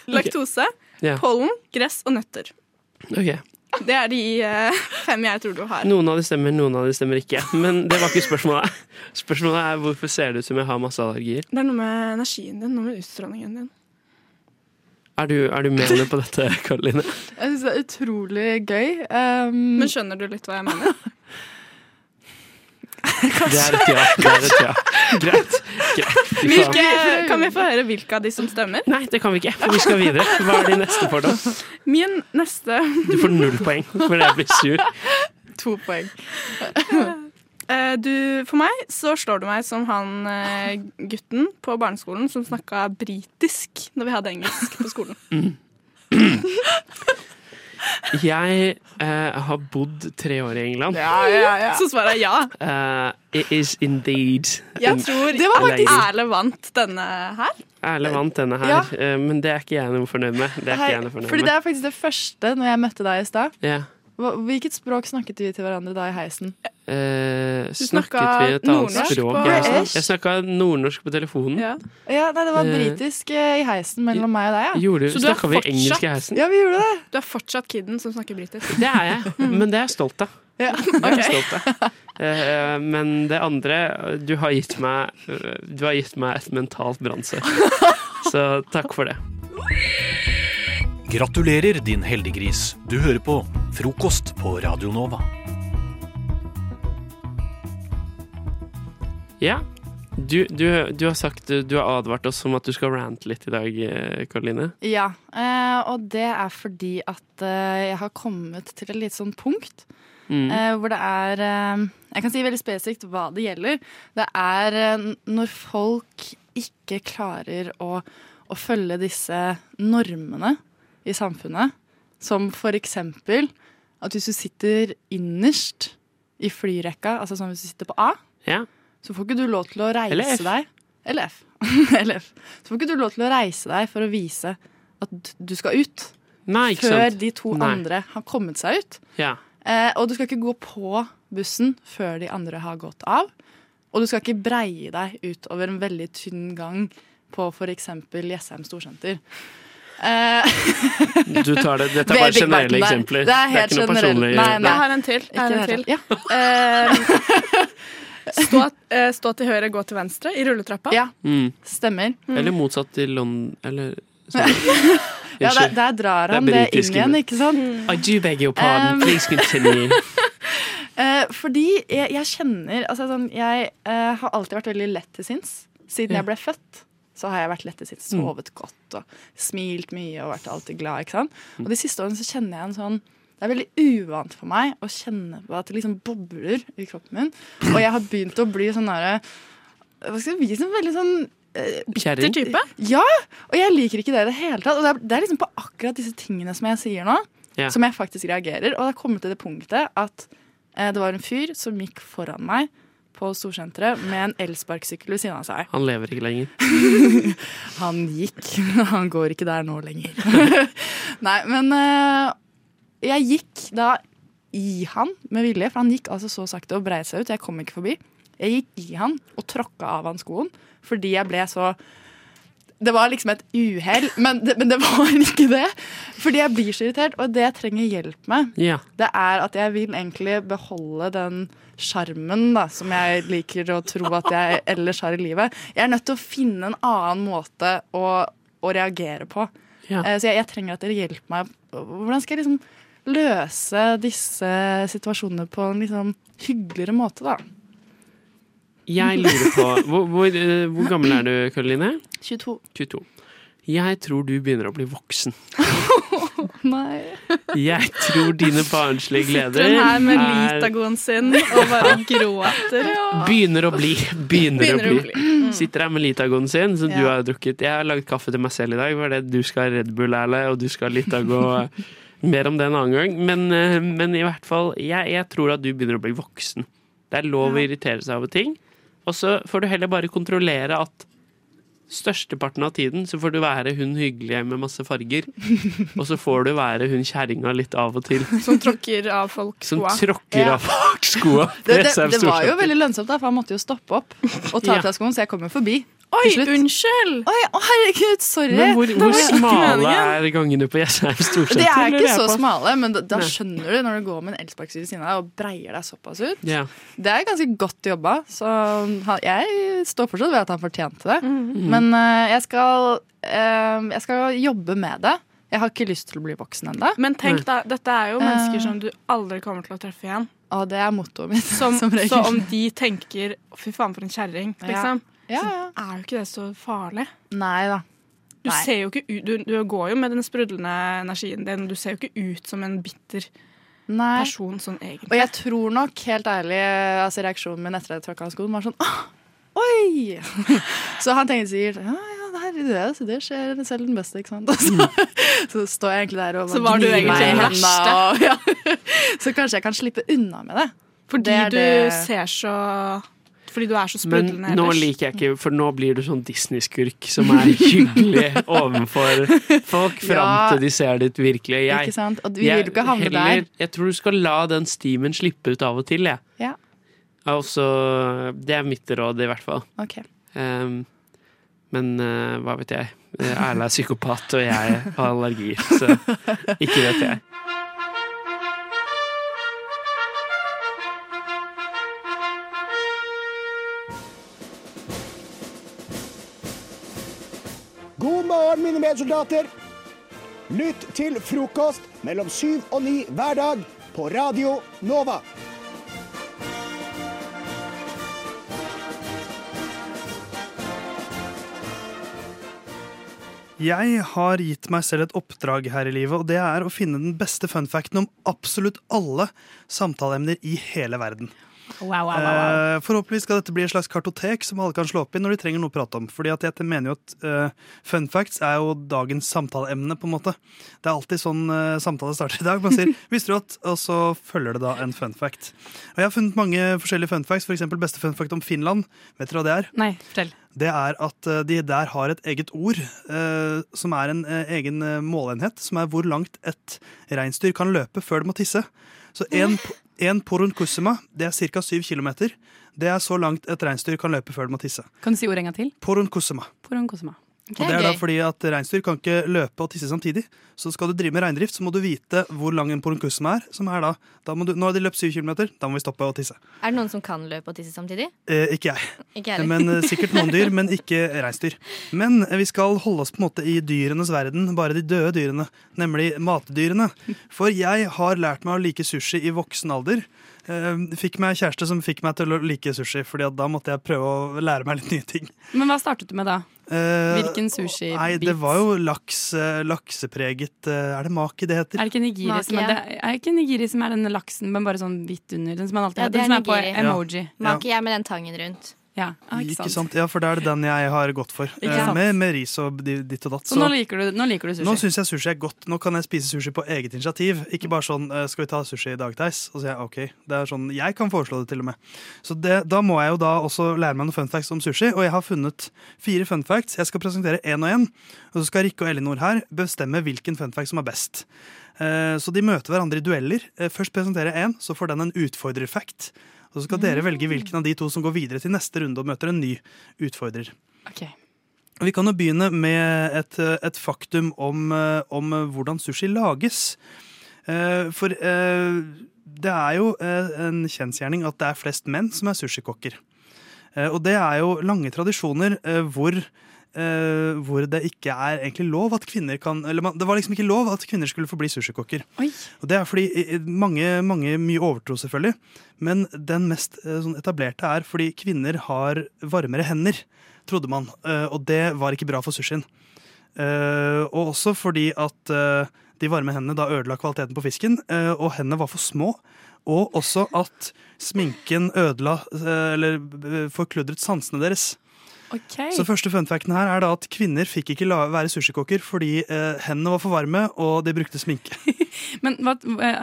[SPEAKER 9] laktose,
[SPEAKER 8] Ja.
[SPEAKER 9] pollen, gress og nøtter.
[SPEAKER 8] ok.
[SPEAKER 9] Det er de eh, fem jeg tror du har.
[SPEAKER 8] Noen av de stemmer, noen av de stemmer
[SPEAKER 10] <laughs>
[SPEAKER 8] ikke. Men det var ikke spørsmålet. Spørsmålet er hvorfor ser det ut som jeg har masse allergier?
[SPEAKER 9] Det er noe med energien din, noe med utstrålingen din.
[SPEAKER 8] Er du, er du med meg på dette, Karoline?
[SPEAKER 10] Jeg syns det er utrolig gøy. Um,
[SPEAKER 9] Men skjønner du litt hva jeg
[SPEAKER 10] <laughs>
[SPEAKER 9] mener?
[SPEAKER 8] Det er et ja. Det er et ja. Greit. Greit. Fy faen.
[SPEAKER 9] Hvilke, kan vi få høre hvilke av de som stemmer?
[SPEAKER 8] Nei, det kan vi ikke, for vi skal videre. Hva er din neste fordom?
[SPEAKER 9] <laughs> Min neste
[SPEAKER 8] Du
[SPEAKER 9] <laughs>
[SPEAKER 8] får null poeng fordi jeg blir sur.
[SPEAKER 10] to poeng.
[SPEAKER 9] Eh, du, For meg så slår du meg som han eh, gutten på barneskolen som snakka britisk når vi hadde engelsk på skolen.
[SPEAKER 8] Mm. Jeg eh, har bodd tre år i England.
[SPEAKER 9] Så svaret er ja.
[SPEAKER 8] Eh, it is indeed
[SPEAKER 9] Jeg tror
[SPEAKER 10] Det var faktisk-
[SPEAKER 9] Erle vant denne her.
[SPEAKER 8] Erle vant denne her,
[SPEAKER 10] Ja.
[SPEAKER 8] eh, men det er ikke jeg noe fornøyd med. Det er ikke jeg noe fornøyd
[SPEAKER 10] Fordi det
[SPEAKER 8] med.
[SPEAKER 10] er faktisk det første når jeg møtte deg i stad.
[SPEAKER 8] Ja.
[SPEAKER 10] Hva- Hvilket språk snakket vi til hverandre da i heisen?
[SPEAKER 8] Eh, snakket
[SPEAKER 9] snakket
[SPEAKER 8] vi et annet
[SPEAKER 9] nordnorsk
[SPEAKER 8] språk?
[SPEAKER 9] på-
[SPEAKER 8] Jeg snak-
[SPEAKER 10] British?
[SPEAKER 8] Jeg snakka nordnorsk på telefonen.
[SPEAKER 10] Ja, nei, Det var
[SPEAKER 8] Eh,
[SPEAKER 10] britisk eh, i heisen mellom meg og deg.
[SPEAKER 8] Gjorde,
[SPEAKER 9] Så du er
[SPEAKER 8] snakka vi
[SPEAKER 9] fortsatt-
[SPEAKER 8] engelsk i heisen?
[SPEAKER 10] Ja, ja vi gjorde det.
[SPEAKER 9] Du er fortsatt kiden som snakker britisk.
[SPEAKER 8] Det
[SPEAKER 10] <laughs>
[SPEAKER 8] er jeg, men det er jeg stolt av. <laughs>
[SPEAKER 10] Ja.
[SPEAKER 8] Det er jeg stolt av. Eh, men det andre Du har gitt meg, du har gitt meg et mentalt brannsår. Så takk for det.
[SPEAKER 12] Gratulerer, din heldiggris. Du hører på Frokost på Radio Nova.
[SPEAKER 8] Ja. Du, du, du har sagt Du har advart oss om at du skal rante litt i dag, eh, Karoline.
[SPEAKER 10] Ja, eh, og det er fordi at eh, jeg har kommet til et lite sånn punkt
[SPEAKER 8] Mm.
[SPEAKER 10] eh, hvor det er eh, Jeg kan si veldig spesifikt hva det gjelder. Det er eh, n- når folk ikke klarer å, å følge disse normene i samfunnet, som for eksempel at hvis du sitter innerst i flyrekka, altså sånn hvis du sitter på A,
[SPEAKER 8] Ja.
[SPEAKER 10] så får ikke du lov til å reise
[SPEAKER 8] Eller F.
[SPEAKER 10] deg Eller F. <laughs> Eller F. Så får ikke du lov til å reise deg for å vise at du skal ut.
[SPEAKER 8] Nei, ikke
[SPEAKER 10] Før
[SPEAKER 8] sant?
[SPEAKER 10] de to
[SPEAKER 8] Nei.
[SPEAKER 10] andre har kommet seg ut.
[SPEAKER 8] Ja.
[SPEAKER 10] Eh, og du skal ikke gå på bussen før de andre har gått av. Og du skal ikke breie deg utover en veldig tynn gang på f.eks. Jessheim storsenter. Eh,
[SPEAKER 8] Du tar det. Dette
[SPEAKER 10] <laughs> ved
[SPEAKER 8] er bare
[SPEAKER 10] Big
[SPEAKER 8] generelle
[SPEAKER 10] Mac-en der.
[SPEAKER 8] eksempler.
[SPEAKER 10] Det er helt
[SPEAKER 8] ikke noe
[SPEAKER 10] generelt.
[SPEAKER 8] personlig.
[SPEAKER 10] Nei, nei.
[SPEAKER 9] Jeg har en til. Jeg
[SPEAKER 10] ikke
[SPEAKER 9] har en
[SPEAKER 10] det
[SPEAKER 9] til.
[SPEAKER 10] hele tatt. Ja. Eh,
[SPEAKER 11] Ehm,
[SPEAKER 9] Stå, eh, stå til høyre, gå til venstre i rulletrappa.
[SPEAKER 10] Ja.
[SPEAKER 8] Mm.
[SPEAKER 10] stemmer.
[SPEAKER 8] Eller motsatt til London Eller
[SPEAKER 10] Ja, der,
[SPEAKER 8] Unnskyld.
[SPEAKER 10] der drar
[SPEAKER 8] Det er
[SPEAKER 10] han det inn
[SPEAKER 8] britisk
[SPEAKER 10] igjen,
[SPEAKER 8] humor.
[SPEAKER 10] ikke sant?
[SPEAKER 8] I do beg your pardon.
[SPEAKER 10] Um.
[SPEAKER 8] Please continue.
[SPEAKER 10] Eh, fordi jeg, jeg kjenner altså, sånn, Jeg eh, har alltid vært veldig lett til sinns. Siden
[SPEAKER 8] Ja.
[SPEAKER 10] jeg ble født, så har jeg vært lett til sinns.
[SPEAKER 8] Mm.
[SPEAKER 10] Sovet godt og smilt mye og vært alltid glad. Ikke sant?
[SPEAKER 8] Mm.
[SPEAKER 10] Og de siste årene så kjenner jeg en sånn det er veldig uvant for meg å kjenne på at det liksom bobler i kroppen min. Og jeg har begynt å bli sånn derre Hva skal jeg bli sånn veldig sånn eh,
[SPEAKER 8] Kjerring.
[SPEAKER 9] Type.
[SPEAKER 10] ja, og jeg liker ikke det i det hele tatt. Og det er, det er liksom på akkurat disse tingene som jeg sier nå,
[SPEAKER 8] Ja.
[SPEAKER 10] som jeg faktisk reagerer. Og det har kommet til det punktet at eh, det var en fyr som gikk foran meg på Storsenteret med en elsparkesykkel ved siden av seg.
[SPEAKER 8] Han lever ikke lenger.
[SPEAKER 10] Han gikk, <laughs> men han går ikke der nå lenger. <laughs> Nei, men eh, jeg gikk da i han med vilje, for han gikk altså så sakte og breide seg ut. Jeg kom ikke forbi. Jeg gikk i han og tråkka av han skoen fordi jeg ble så det var liksom et uhell, men, det- men det var ikke det. Fordi jeg blir så irritert, og det jeg trenger hjelp med,
[SPEAKER 8] Ja.
[SPEAKER 10] det er at jeg vil egentlig beholde den sjarmen da, som jeg liker å tro at jeg ellers har i livet. Jeg er nødt til å finne en annen måte å, å reagere på.
[SPEAKER 8] Ja.
[SPEAKER 10] Eh, Så jeg, jeg trenger at dere hjelper meg. Hvordan skal jeg liksom løse disse situasjonene på en liksom hyggeligere måte, da?
[SPEAKER 8] Jeg lurer på hvor, hvor, eh, hvor gammel er du, Karoline? <laughs>
[SPEAKER 10] 22.
[SPEAKER 8] 22. Jeg tror du begynner å bli voksen.
[SPEAKER 10] Nei.
[SPEAKER 8] Jeg tror dine barnslige gleder
[SPEAKER 11] Sitter hun her med
[SPEAKER 8] er-
[SPEAKER 11] litagoen sin og
[SPEAKER 10] <laughs>
[SPEAKER 11] bare gråter.
[SPEAKER 8] Begynner å bli. Begynner,
[SPEAKER 11] Begynner
[SPEAKER 8] å
[SPEAKER 11] å
[SPEAKER 8] bli.
[SPEAKER 11] bli.
[SPEAKER 8] Sitter her med Litagoen sin, som du
[SPEAKER 10] Mm. Ja.
[SPEAKER 8] har drukket. Jeg har lagd kaffe til meg selv i dag, for det du skal ha Red Bull, Erle, og du skal ha Litago. Mer om det en annen gang. Men, eh, men i hvert fall, jeg, jeg tror at du begynner å bli voksen. Det er lov å irritere seg over ting. Og så får du heller bare kontrollere at størsteparten av tiden så får du være hun hyggelige med masse farger. Og så får du være hun kjerringa litt av og til.
[SPEAKER 11] Som tråkker av folk
[SPEAKER 8] Som
[SPEAKER 11] skoa.
[SPEAKER 8] tråkker av folk skoa.
[SPEAKER 10] Det, det,
[SPEAKER 8] Pressheim
[SPEAKER 10] det var jo
[SPEAKER 8] Storsenter.
[SPEAKER 10] veldig lønnsomt, da, for han måtte jo stoppe opp og
[SPEAKER 8] Ja.
[SPEAKER 10] ta av seg skoen, så jeg kom jo forbi.
[SPEAKER 11] Oi, unnskyld!
[SPEAKER 10] Oi, å, herregud, sorry!
[SPEAKER 8] Men hvor,
[SPEAKER 10] Det
[SPEAKER 8] hvor
[SPEAKER 10] var ikke
[SPEAKER 8] smale
[SPEAKER 10] meningen.
[SPEAKER 8] er gangene på Jessheim Storsenter?
[SPEAKER 10] <laughs> Det er
[SPEAKER 8] lurer
[SPEAKER 10] ikke
[SPEAKER 8] jeg
[SPEAKER 10] så
[SPEAKER 8] på?
[SPEAKER 10] smale, men da, da
[SPEAKER 8] Nei.
[SPEAKER 10] skjønner du når du går med en elsparkesykkel ved siden av deg og breier deg såpass ut.
[SPEAKER 8] Ja.
[SPEAKER 10] Det er ganske godt jobba, så han, jeg står fortsatt ved at han fortjente det.
[SPEAKER 11] Mhm.
[SPEAKER 8] Mhm.
[SPEAKER 10] Men eh, jeg, skal, eh, jeg skal jobbe med det. Jeg har ikke lyst til å bli voksen ennå.
[SPEAKER 11] Men tenk da, dette er jo mennesker
[SPEAKER 10] Eh.
[SPEAKER 11] som du aldri kommer til å treffe igjen.
[SPEAKER 10] Og det er mottoet mitt. <laughs>
[SPEAKER 11] Som,
[SPEAKER 10] som regel.
[SPEAKER 11] så om de tenker 'fy faen, for en kjerring',
[SPEAKER 10] Ja.
[SPEAKER 11] liksom,
[SPEAKER 10] Ja,
[SPEAKER 11] så er jo ikke det så farlig.
[SPEAKER 10] Nei da.
[SPEAKER 11] Du,
[SPEAKER 10] Nei.
[SPEAKER 11] ser jo ikke ut, du, du går jo med den sprudlende energien din, du ser jo ikke ut som en bitter
[SPEAKER 10] Nei.
[SPEAKER 11] person sånn egentlig.
[SPEAKER 10] Og jeg tror nok, helt ærlig, altså reaksjonen min etter at jeg tråkka av skoen, var sånn Åh, Oi! <laughs> Så han tenkte sikkert ja, ja, det, her, det, så det skjer selv den beste, ikke sant. Og Så, <laughs> så står jeg egentlig der og
[SPEAKER 11] Mm. Så var du
[SPEAKER 10] gnir
[SPEAKER 11] egentlig
[SPEAKER 10] meg i
[SPEAKER 11] den
[SPEAKER 10] hendene, og- <laughs> Ja. Så kanskje jeg kan slippe unna med det.
[SPEAKER 11] Fordi
[SPEAKER 10] Det er
[SPEAKER 11] du
[SPEAKER 10] det-
[SPEAKER 11] ser så Fordi du er så
[SPEAKER 8] Men
[SPEAKER 11] sprudlende
[SPEAKER 8] nå liker jeg ikke, for nå blir du sånn Disney-skurk som er hyggelig overfor folk fram
[SPEAKER 10] <laughs> Ja.
[SPEAKER 8] til de ser ditt virkelige jeg.
[SPEAKER 10] Ikke sant? Og vi vil jo ikke havne
[SPEAKER 8] heller-
[SPEAKER 10] der.
[SPEAKER 8] Jeg tror du skal la den stimen slippe ut av og til, jeg.
[SPEAKER 10] Ja,
[SPEAKER 8] Altså, det er mitt råd, i hvert fall.
[SPEAKER 10] ok.
[SPEAKER 8] Ehm, men eh, hva vet jeg. Eh,
[SPEAKER 10] <laughs>
[SPEAKER 8] Erle er psykopat, og jeg har allergier, så ikke vet jeg.
[SPEAKER 13] God morgen, mine medsoldater. Lytt til frokost mellom syv og ni hver dag på Radio Nova.
[SPEAKER 14] Jeg har gitt meg selv et oppdrag her i livet, og det er å finne den beste funfacten om absolutt alle samtaleemner i hele verden.
[SPEAKER 15] Wow,
[SPEAKER 14] Eh, forhåpentligvis skal dette bli et slags kartotek som alle kan slå opp i når de trenger noe å prate om. Fordi at jeg mener jo at eh, fun facts er jo dagens samtaleemne, på en måte. Det er alltid sånn eh, samtale starter i dag. Man sier <laughs> 'visste du at', og så følger det da en fun fact. Og jeg har funnet mange forskjellige fun facts, f.eks. beste fun fact om Finland. Vet dere hva det er?
[SPEAKER 15] Nei, fortell.
[SPEAKER 14] Det er at eh, de der har et eget ord, eh, som er en eh, egen eh, måleenhet, som er hvor langt et reinsdyr kan løpe før det må tisse. Så en, po- en porunkusima, det er ca. 7 km. Det er så langt et reinsdyr kan løpe før det må tisse.
[SPEAKER 15] Kan du si ordet en gang til?
[SPEAKER 14] Porunkusima.
[SPEAKER 15] Poronkosma.
[SPEAKER 14] Og det er da fordi at reinsdyr kan ikke løpe og tisse samtidig. Så skal du drive med reindrift, så må du vite hvor lang en porunkusima er. Som er da, da må du, Nå har de løpt 7 km, da må vi stoppe og tisse.
[SPEAKER 16] Er det noen som kan løpe og tisse samtidig?
[SPEAKER 14] Eh, ikke jeg.
[SPEAKER 16] Ikke jeg heller.
[SPEAKER 14] men eh, sikkert noen dyr, men ikke reinsdyr. Men eh, vi skal holde oss på en måte i dyrenes verden, bare de døde dyrene, nemlig matdyrene. For jeg har lært meg å like sushi i voksen alder. Eh, Fikk meg kjæreste som fikk meg til å like sushi, Fordi at da måtte jeg prøve å lære meg litt nye ting.
[SPEAKER 15] Men hva startet du med da?
[SPEAKER 14] Eh,
[SPEAKER 15] Hvilken sushi?
[SPEAKER 14] Nei, det var jo laks, eh, laksepreget eh, Er det maki det heter?
[SPEAKER 15] Er det ikke nigiri som er, det er ikke nigiri som er denne laksen, men bare sånn hvitt under? Den som man alltid
[SPEAKER 16] Ja,
[SPEAKER 15] har,
[SPEAKER 16] det
[SPEAKER 15] den
[SPEAKER 16] er
[SPEAKER 15] som er på
[SPEAKER 16] nigiri.
[SPEAKER 15] emoji.
[SPEAKER 16] Maker jeg med den tangen rundt.
[SPEAKER 15] Ja, ah, ikke
[SPEAKER 14] Ikke
[SPEAKER 15] sant.
[SPEAKER 14] sant? Ja, for det er det den jeg har gått for.
[SPEAKER 15] Ikke
[SPEAKER 14] Eh,
[SPEAKER 15] sant.
[SPEAKER 14] Med, med ris og di- ditt og datt.
[SPEAKER 15] Så nå liker du, nå liker du sushi?
[SPEAKER 14] Nå syns jeg sushi er godt. Nå kan jeg spise sushi på eget initiativ. Ikke bare sånn eh, 'skal vi ta sushi i dag, Theis?' Og så sier jeg OK. Det er sånn, Jeg kan foreslå det, til og med. Så det, da må jeg jo da også lære meg noen fun facts om sushi. Og jeg har funnet fire fun facts. Jeg skal presentere én og én. Og så skal Rikke og Elinor her bestemme hvilken fun fact som er best. Eh, Så de møter hverandre i dueller. Eh, Først presenterer jeg én, så får den en utfordrerfact. Og så
[SPEAKER 15] Mm.
[SPEAKER 14] skal dere velge hvilken av de to som går videre til neste runde og møter en ny utfordrer.
[SPEAKER 15] Ok.
[SPEAKER 14] Vi kan jo begynne med et, eh, et faktum om, eh, om eh, hvordan sushi lages. Eh, For eh, det er jo eh, en kjensgjerning at det er flest menn som er sushikokker. Eh, Og det er jo lange tradisjoner eh, hvor eh, hvor det ikke er egentlig lov at kvinner kan Eller man, det var liksom ikke lov at kvinner skulle få bli sushikokker. Og det er fordi eh, mange, mange mye overtro, selvfølgelig. Men den mest eh, sånn etablerte er fordi kvinner har varmere hender, trodde man. Eh, og det var ikke bra for sushien. Eh, og også fordi at eh, de varme hendene da ødela kvaliteten på fisken, eh, og hendene var for små. Og også at sminken ødela, eh, eller eh, forkludret sansene deres.
[SPEAKER 15] Ok.
[SPEAKER 14] Så første funfacten her er da at kvinner fikk ikke la være sushikokker fordi eh, hendene var for varme, og de brukte sminke.
[SPEAKER 15] Men hva, eh,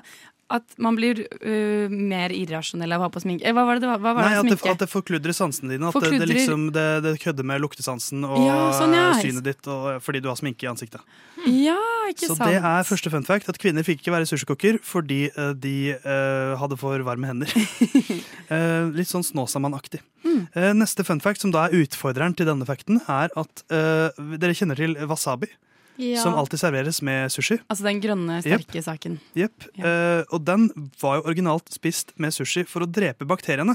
[SPEAKER 15] at man blir eh, mer irrasjonell av å ha på sminke? Eh, Hva var det det var? Hva var
[SPEAKER 14] Nei,
[SPEAKER 15] det
[SPEAKER 14] at det,
[SPEAKER 15] sminke?
[SPEAKER 14] at det forkludrer sansene dine. At det,
[SPEAKER 15] Forkludrer-
[SPEAKER 14] det, liksom, det, det kødder med luktesansen og
[SPEAKER 15] Ja, sånn, ja.
[SPEAKER 14] eh, synet ditt og, fordi du har sminke i ansiktet.
[SPEAKER 15] Ja, ikke
[SPEAKER 14] Så
[SPEAKER 15] sant.
[SPEAKER 14] det er første fun fact, at kvinner fikk ikke være sushikokker fordi eh, de eh, hadde for varme
[SPEAKER 15] <laughs>
[SPEAKER 14] hender. Eh, litt sånn Snåsamann-aktig.
[SPEAKER 15] Hmm.
[SPEAKER 14] Eh, neste fun fact, som da er utfordreren til denne facten, er at eh, dere kjenner til wasabi,
[SPEAKER 15] Ja.
[SPEAKER 14] som alltid serveres med sushi.
[SPEAKER 15] Altså den grønne,
[SPEAKER 14] Jepp.
[SPEAKER 15] sterke saken.
[SPEAKER 14] Jepp. Eh, og den var jo originalt spist med sushi for å drepe bakteriene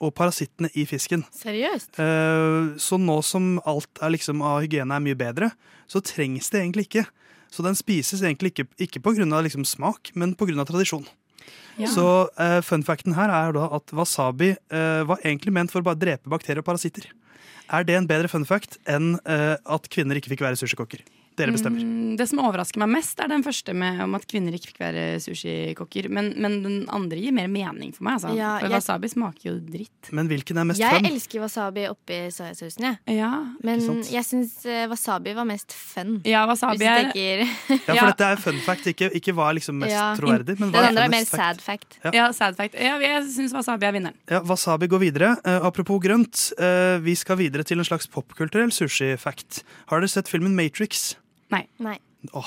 [SPEAKER 14] og parasittene i fisken.
[SPEAKER 16] Seriøst?
[SPEAKER 14] Eh, så nå som alt er liksom av hygiene er mye bedre, så trengs det egentlig ikke. Så den spises egentlig ikke, ikke pga. Liksom smak, men pga. tradisjon.
[SPEAKER 15] Ja.
[SPEAKER 14] Så eh, fun facten her er da at wasabi eh, var egentlig ment for å bare drepe bakterier og parasitter. Er det en bedre fun fact enn eh, at kvinner ikke fikk være sushikokker? Dere bestemmer.
[SPEAKER 15] Mm, Det som overrasker meg mest, er den første med, om at kvinner ikke fikk være sushikokker. Men, men den andre gir mer mening for meg. Altså.
[SPEAKER 16] Ja,
[SPEAKER 15] for
[SPEAKER 16] jeg-
[SPEAKER 15] wasabi smaker jo dritt.
[SPEAKER 14] Men hvilken er
[SPEAKER 16] <laughs>
[SPEAKER 14] mest
[SPEAKER 16] jeg
[SPEAKER 14] fun?
[SPEAKER 16] elsker wasabi oppi soyasausen, jeg. Men
[SPEAKER 14] Ikke sant?
[SPEAKER 16] jeg syns eh, wasabi var mest fun.
[SPEAKER 15] Ja, wasabi
[SPEAKER 16] Hvis
[SPEAKER 15] er-
[SPEAKER 16] du tenker
[SPEAKER 14] Ja, for dette er fun fact, ikke, ikke hva er liksom mest
[SPEAKER 16] Ja.
[SPEAKER 14] troverdig. Men hva
[SPEAKER 16] Den andre
[SPEAKER 14] funnest
[SPEAKER 16] er mer
[SPEAKER 14] fact?
[SPEAKER 16] sad fact.
[SPEAKER 14] Ja.
[SPEAKER 15] Ja, sad fact. Ja, jeg syns wasabi er vinneren.
[SPEAKER 14] Ja, Wasabi går videre. Eh, apropos grønt, eh, vi skal videre til en slags popkulturell sushi-fact. Har dere sett filmen Matrix?
[SPEAKER 15] Nei. <laughs>
[SPEAKER 14] Åh,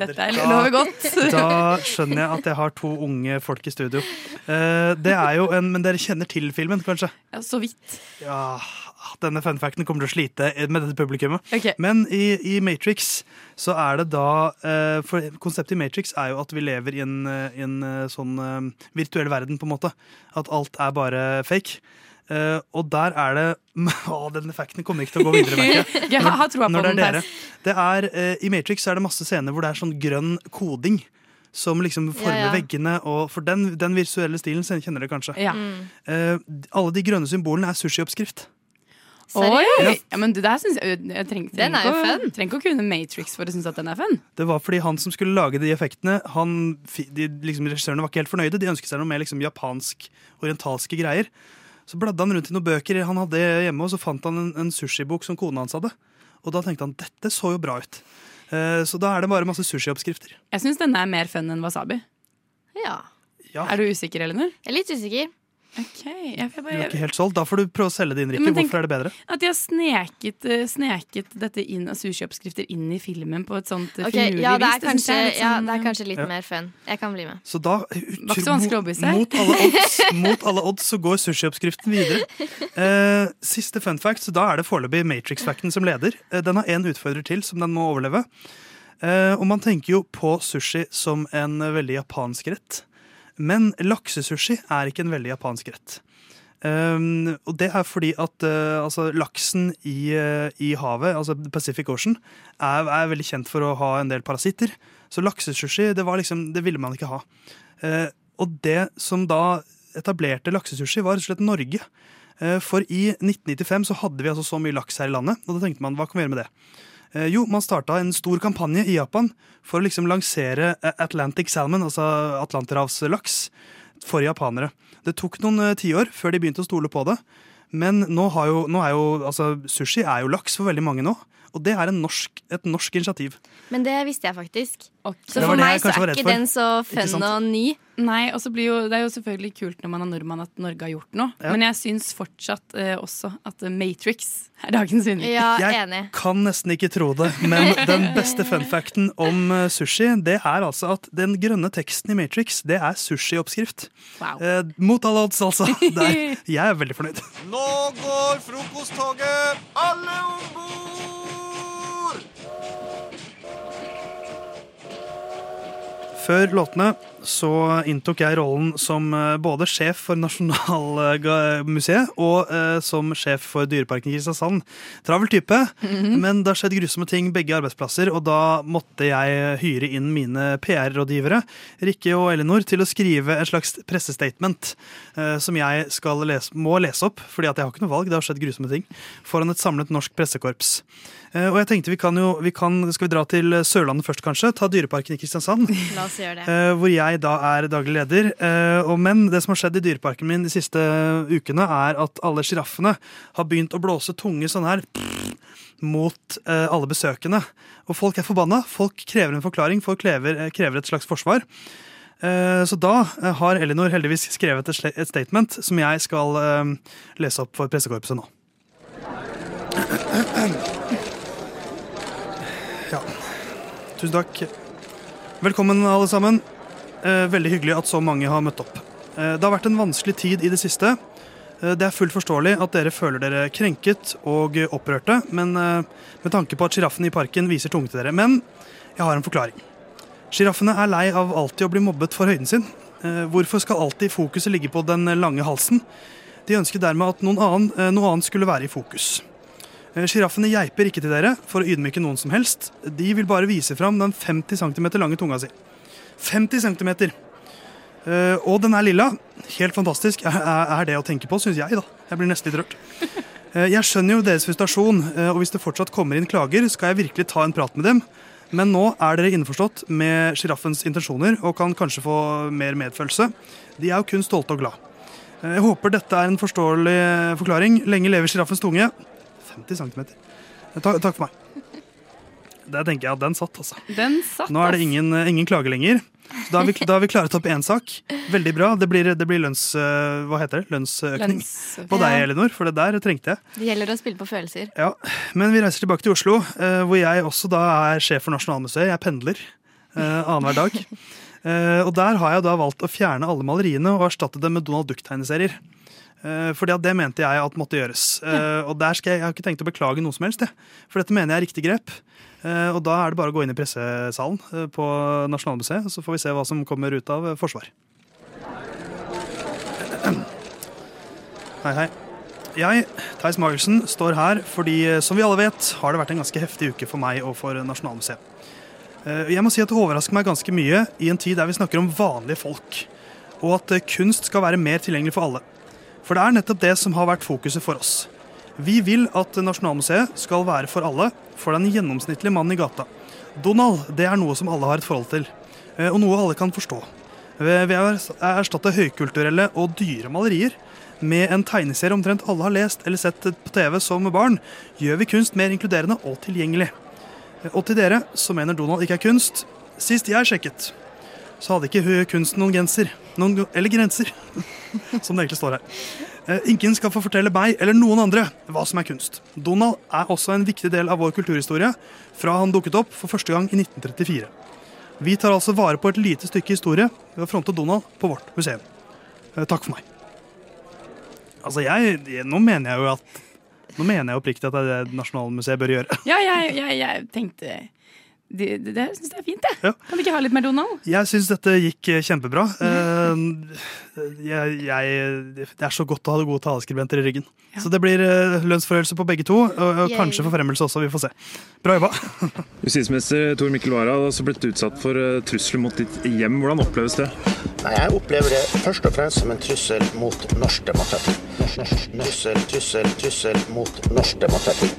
[SPEAKER 15] Dette er lover godt.
[SPEAKER 14] Da skjønner jeg at jeg har to unge folk i studio. Eh, det er jo en, Men dere kjenner til filmen, kanskje?
[SPEAKER 15] <laughs> Ja, så vidt.
[SPEAKER 14] Ja, denne funfacten kommer til å slite med dette publikummet.
[SPEAKER 15] Ok.
[SPEAKER 14] Men i, i Matrix så er det da eh, For konseptet i Matrix er jo at vi lever i en, eh, i en eh, sånn eh, virtuell verden, på en måte. At alt er bare fake. Eh, og der er det <laughs> Å, denne facten kommer ikke til å gå videre, merker
[SPEAKER 15] <laughs> Jeg har- har troa på
[SPEAKER 14] Når det er
[SPEAKER 15] den,
[SPEAKER 14] dere. Det er, eh, I Matrix er det masse scener hvor det er sånn grønn koding. Som liksom former
[SPEAKER 15] Ja, ja.
[SPEAKER 14] veggene, og for den, den visuelle stilen kjenner dere kanskje.
[SPEAKER 15] Ja. Mm.
[SPEAKER 14] Eh, alle de grønne symbolene er sushioppskrift.
[SPEAKER 15] Oi!
[SPEAKER 14] Ja.
[SPEAKER 15] Ja, men det der synes jeg, jeg trenger,
[SPEAKER 16] Den
[SPEAKER 15] trenger
[SPEAKER 16] er jo
[SPEAKER 15] ikke å- Trenger ikke å kunne Matrix for å synes at den er fun.
[SPEAKER 14] Det var fordi han som skulle lage de effektene han, fi- de, liksom, Regissørene var ikke helt fornøyde. De ønsket seg noe mer liksom, japansk, orientalske greier. Så bladde han rundt i noen bøker han hadde hjemme, og så fant han en, en sushibok som kona hans hadde. Og da tenkte han dette så jo bra ut. Eh, så da er det bare masse sushioppskrifter.
[SPEAKER 15] Jeg syns denne er mer fun enn wasabi.
[SPEAKER 16] Ja.
[SPEAKER 15] Er du usikker, Elinor?
[SPEAKER 16] Jeg er litt usikker.
[SPEAKER 15] Ok, jeg, jeg,
[SPEAKER 14] Du er ikke
[SPEAKER 15] bare,
[SPEAKER 14] helt solgt. Da får du prøve å selge din, Rikke.
[SPEAKER 15] Men tenk-
[SPEAKER 14] Hvorfor er det bedre?
[SPEAKER 15] At de har sneket, eh, sneket dette inn av sushioppskrifter inn i filmen på et sånt eh,
[SPEAKER 16] Ok,
[SPEAKER 15] finurlig
[SPEAKER 16] ja, det
[SPEAKER 15] vis.
[SPEAKER 16] er kanskje,
[SPEAKER 15] synes jeg er litt
[SPEAKER 16] ja,
[SPEAKER 15] sånn,
[SPEAKER 16] det er kanskje litt
[SPEAKER 14] Ja.
[SPEAKER 16] mer fun. Jeg kan bli med.
[SPEAKER 14] Så da,
[SPEAKER 15] var ikke så vanskelig å overbevise.
[SPEAKER 14] Mot alle odds, mot alle odds så går sushioppskriften videre. Eh, siste fun fact, så da er det foreløpig Matrix-facten som leder. Eh, den har én utfordrer til som den må overleve. Eh, og man tenker jo på sushi som en eh, veldig japansk rett. Men laksesushi er ikke en veldig japansk rett. Um, og det er fordi at eh, altså, laksen i, eh, i havet, altså Pacific Ocean, er, er veldig kjent for å ha en del parasitter. Så laksesushi, det, var liksom, det ville man ikke ha. Eh, og det som da etablerte laksesushi, var rett og slett Norge. Eh, for i 1995 så hadde vi altså så mye laks her i landet, og da tenkte man hva kan vi gjøre med det? Eh, jo, man starta en stor kampanje i Japan for å liksom lansere eh, Atlantic salmon, altså atlanterhavslaks, for japanere. Det tok noen eh, tiår før de begynte å stole på det. Men nå, har jo, nå er jo altså, sushi er jo laks for veldig mange nå. Og det er en norsk, et norsk initiativ.
[SPEAKER 16] Men det visste jeg faktisk. Så
[SPEAKER 14] Det
[SPEAKER 16] for
[SPEAKER 14] var det
[SPEAKER 16] meg
[SPEAKER 14] jeg
[SPEAKER 16] så
[SPEAKER 14] kanskje var
[SPEAKER 16] er
[SPEAKER 14] redd
[SPEAKER 16] ikke
[SPEAKER 14] for.
[SPEAKER 16] den så
[SPEAKER 14] Ikke
[SPEAKER 16] fun
[SPEAKER 14] sant?
[SPEAKER 16] og ny.
[SPEAKER 15] Nei, og så blir jo, Det er jo selvfølgelig kult når man er nordmann at Norge har gjort noe,
[SPEAKER 14] Ja.
[SPEAKER 15] men jeg syns fortsatt eh, også at Matrix er dagens vinner.
[SPEAKER 14] jeg kan nesten ikke tro det, men den beste funfacten om eh, sushi, det er altså at den grønne teksten i Matrix, det er sushioppskrift.
[SPEAKER 15] Wow.
[SPEAKER 14] Eh, mot alle odds, altså. Der. Jeg er veldig fornøyd.
[SPEAKER 4] Nå går frokosttoget! Alle om bord!
[SPEAKER 14] Før låtene så inntok jeg rollen som eh, både sjef for Nasjonalmuseet og eh, som sjef for Dyreparken i Kristiansand. Travel type, men det har skjedd grusomme ting begge arbeidsplasser, og da måtte jeg hyre inn mine PR-rådgivere, Rikke og Elinor, til å skrive en slags pressestatement eh, som jeg skal lese, må lese opp, fordi at jeg har ikke noe valg, det har skjedd grusomme ting, foran et samlet norsk pressekorps. Eh, Og jeg tenkte vi kan jo, vi kan, Skal vi dra til Sørlandet først, kanskje? Ta Dyreparken i Kristiansand.
[SPEAKER 16] La oss gjøre det.
[SPEAKER 14] Eh, hvor jeg da er daglig leder. Eh, og men det som har skjedd i dyreparken min de siste ukene, er at alle sjiraffene har begynt å blåse tunge sånn her mot eh, alle besøkende. Og folk er forbanna. Folk krever en forklaring, folk krever, eh, krever et slags forsvar. Eh, Så da eh, har Elinor heldigvis skrevet et sle- et statement som jeg skal eh, lese opp for pressekorpset nå. <clears throat> Ja. Tusen takk. Velkommen, alle sammen. Eh, Veldig hyggelig at så mange har møtt opp. Eh, Det har vært en vanskelig tid i det siste. Eh, Det er fullt forståelig at dere føler dere krenket og eh, opprørte, men eh, med tanke på at sjiraffen i parken viser tunge til dere. Men jeg har en forklaring. Sjiraffene er lei av alltid å bli mobbet for høyden sin. Eh, Hvorfor skal alltid fokuset ligge på den lange halsen? De ønsket dermed at noen annen, eh, noe annet skulle være i fokus. Eh, Sjiraffene geiper ikke til dere for å ydmyke noen som helst. De vil bare vise fram den 50 cm lange tunga si. 50 cm! Eh, og den er lilla. Helt fantastisk er, er er det å tenke på, syns jeg. da. Jeg blir nesten litt rørt. Eh, jeg skjønner jo deres frustrasjon, eh, og hvis det fortsatt kommer inn klager, skal jeg virkelig ta en prat med dem. Men nå er dere innforstått med sjiraffens intensjoner og kan kanskje få mer medfølelse. De er jo kun stolte og glad. Eh, Jeg håper dette er en forståelig eh, forklaring. Lenge lever sjiraffens tunge. 50 cm. Takk, Eh, takk for meg. Der tenker jeg at den satt, altså.
[SPEAKER 15] Den satt,
[SPEAKER 14] Nå er det
[SPEAKER 15] ass.
[SPEAKER 14] ingen, eh, ingen klage lenger. Så Da har, vi, da har vi klaret opp én sak. Veldig bra. Det blir, det blir lønns... eh, Hva heter det? Lønnsøkning
[SPEAKER 16] Lønns-
[SPEAKER 14] på deg,
[SPEAKER 16] Ja.
[SPEAKER 14] Elinor, for det der trengte jeg.
[SPEAKER 16] Det gjelder å spille på følelser.
[SPEAKER 14] Ja, Men vi reiser tilbake til Oslo, eh, hvor jeg også da er sjef for Nasjonalmuseet. Jeg pendler eh, annenhver dag. Eh, og der har jeg da valgt å fjerne alle maleriene og erstatte dem med Donald Duck-tegneserier. Eh, fordi at det mente jeg at måtte gjøres. Eh, og der skal jeg, jeg har ikke tenkt å beklage noe som helst, jeg. for dette mener jeg er riktig grep. Eh, og da er det bare å gå inn i pressesalen eh, på Nasjonalmuseet, så får vi se hva som kommer ut av eh, forsvar. <clears throat> Hei, hei. Jeg, Theis Magelsen, står her fordi, eh, som vi alle vet, har det vært en ganske heftig uke for meg og for eh, Nasjonalmuseet. Eh, Jeg må si at det overrasker meg ganske mye i en tid der vi snakker om vanlige folk, og at eh, kunst skal være mer tilgjengelig for alle. For det er nettopp det som har vært fokuset for oss. Vi vil at Nasjonalmuseet skal være for alle, for den gjennomsnittlige mannen i gata. Donald, det er noe som alle har et forhold til, eh, og noe alle kan forstå. Eh, Ved ved å erstatte høykulturelle og dyre malerier med en tegneserie omtrent alle har lest eller sett på TV som barn, gjør vi kunst mer inkluderende og tilgjengelig. Og til dere som mener Donald ikke er kunst, sist jeg sjekket, så hadde ikke hø- kunsten noen genser. Noen, eller grenser, <laughs> som det egentlig står her. Eh, Ingen skal få fortelle meg eller noen andre hva som er kunst. Donald er også en viktig del av vår kulturhistorie fra han dukket opp for første gang i 1934. Vi tar altså vare på et lite stykke historie ved å fronte Donald på vårt museum. Eh, Takk for meg. Altså, jeg, jeg Nå mener jeg jo at Nå mener jeg oppriktig at det er det Nasjonalmuseet bør gjøre.
[SPEAKER 15] Ja, jeg, jeg, jeg tenkte Det, det, det syns jeg er fint, jeg. Kan vi ikke ha litt mer Donald?
[SPEAKER 14] Jeg syns dette gikk eh, kjempebra. Eh, Jeg, jeg, det er så godt å ha gode taleskribenter i ryggen. Så det blir eh, lønnsforhøyelse på begge to, og og
[SPEAKER 17] Yay.
[SPEAKER 14] kanskje forfremmelse også. Vi får se. Bra jobba.
[SPEAKER 17] Justisminister Tor Mikkel Wara har også blitt utsatt for eh, trusler mot ditt hjem. Hvordan oppleves det?
[SPEAKER 18] Nei, Jeg opplever det først og fremst som en trussel mot norsk demokrati. Norsk, norsk, trussel, trussel, trussel mot norsk demokrati.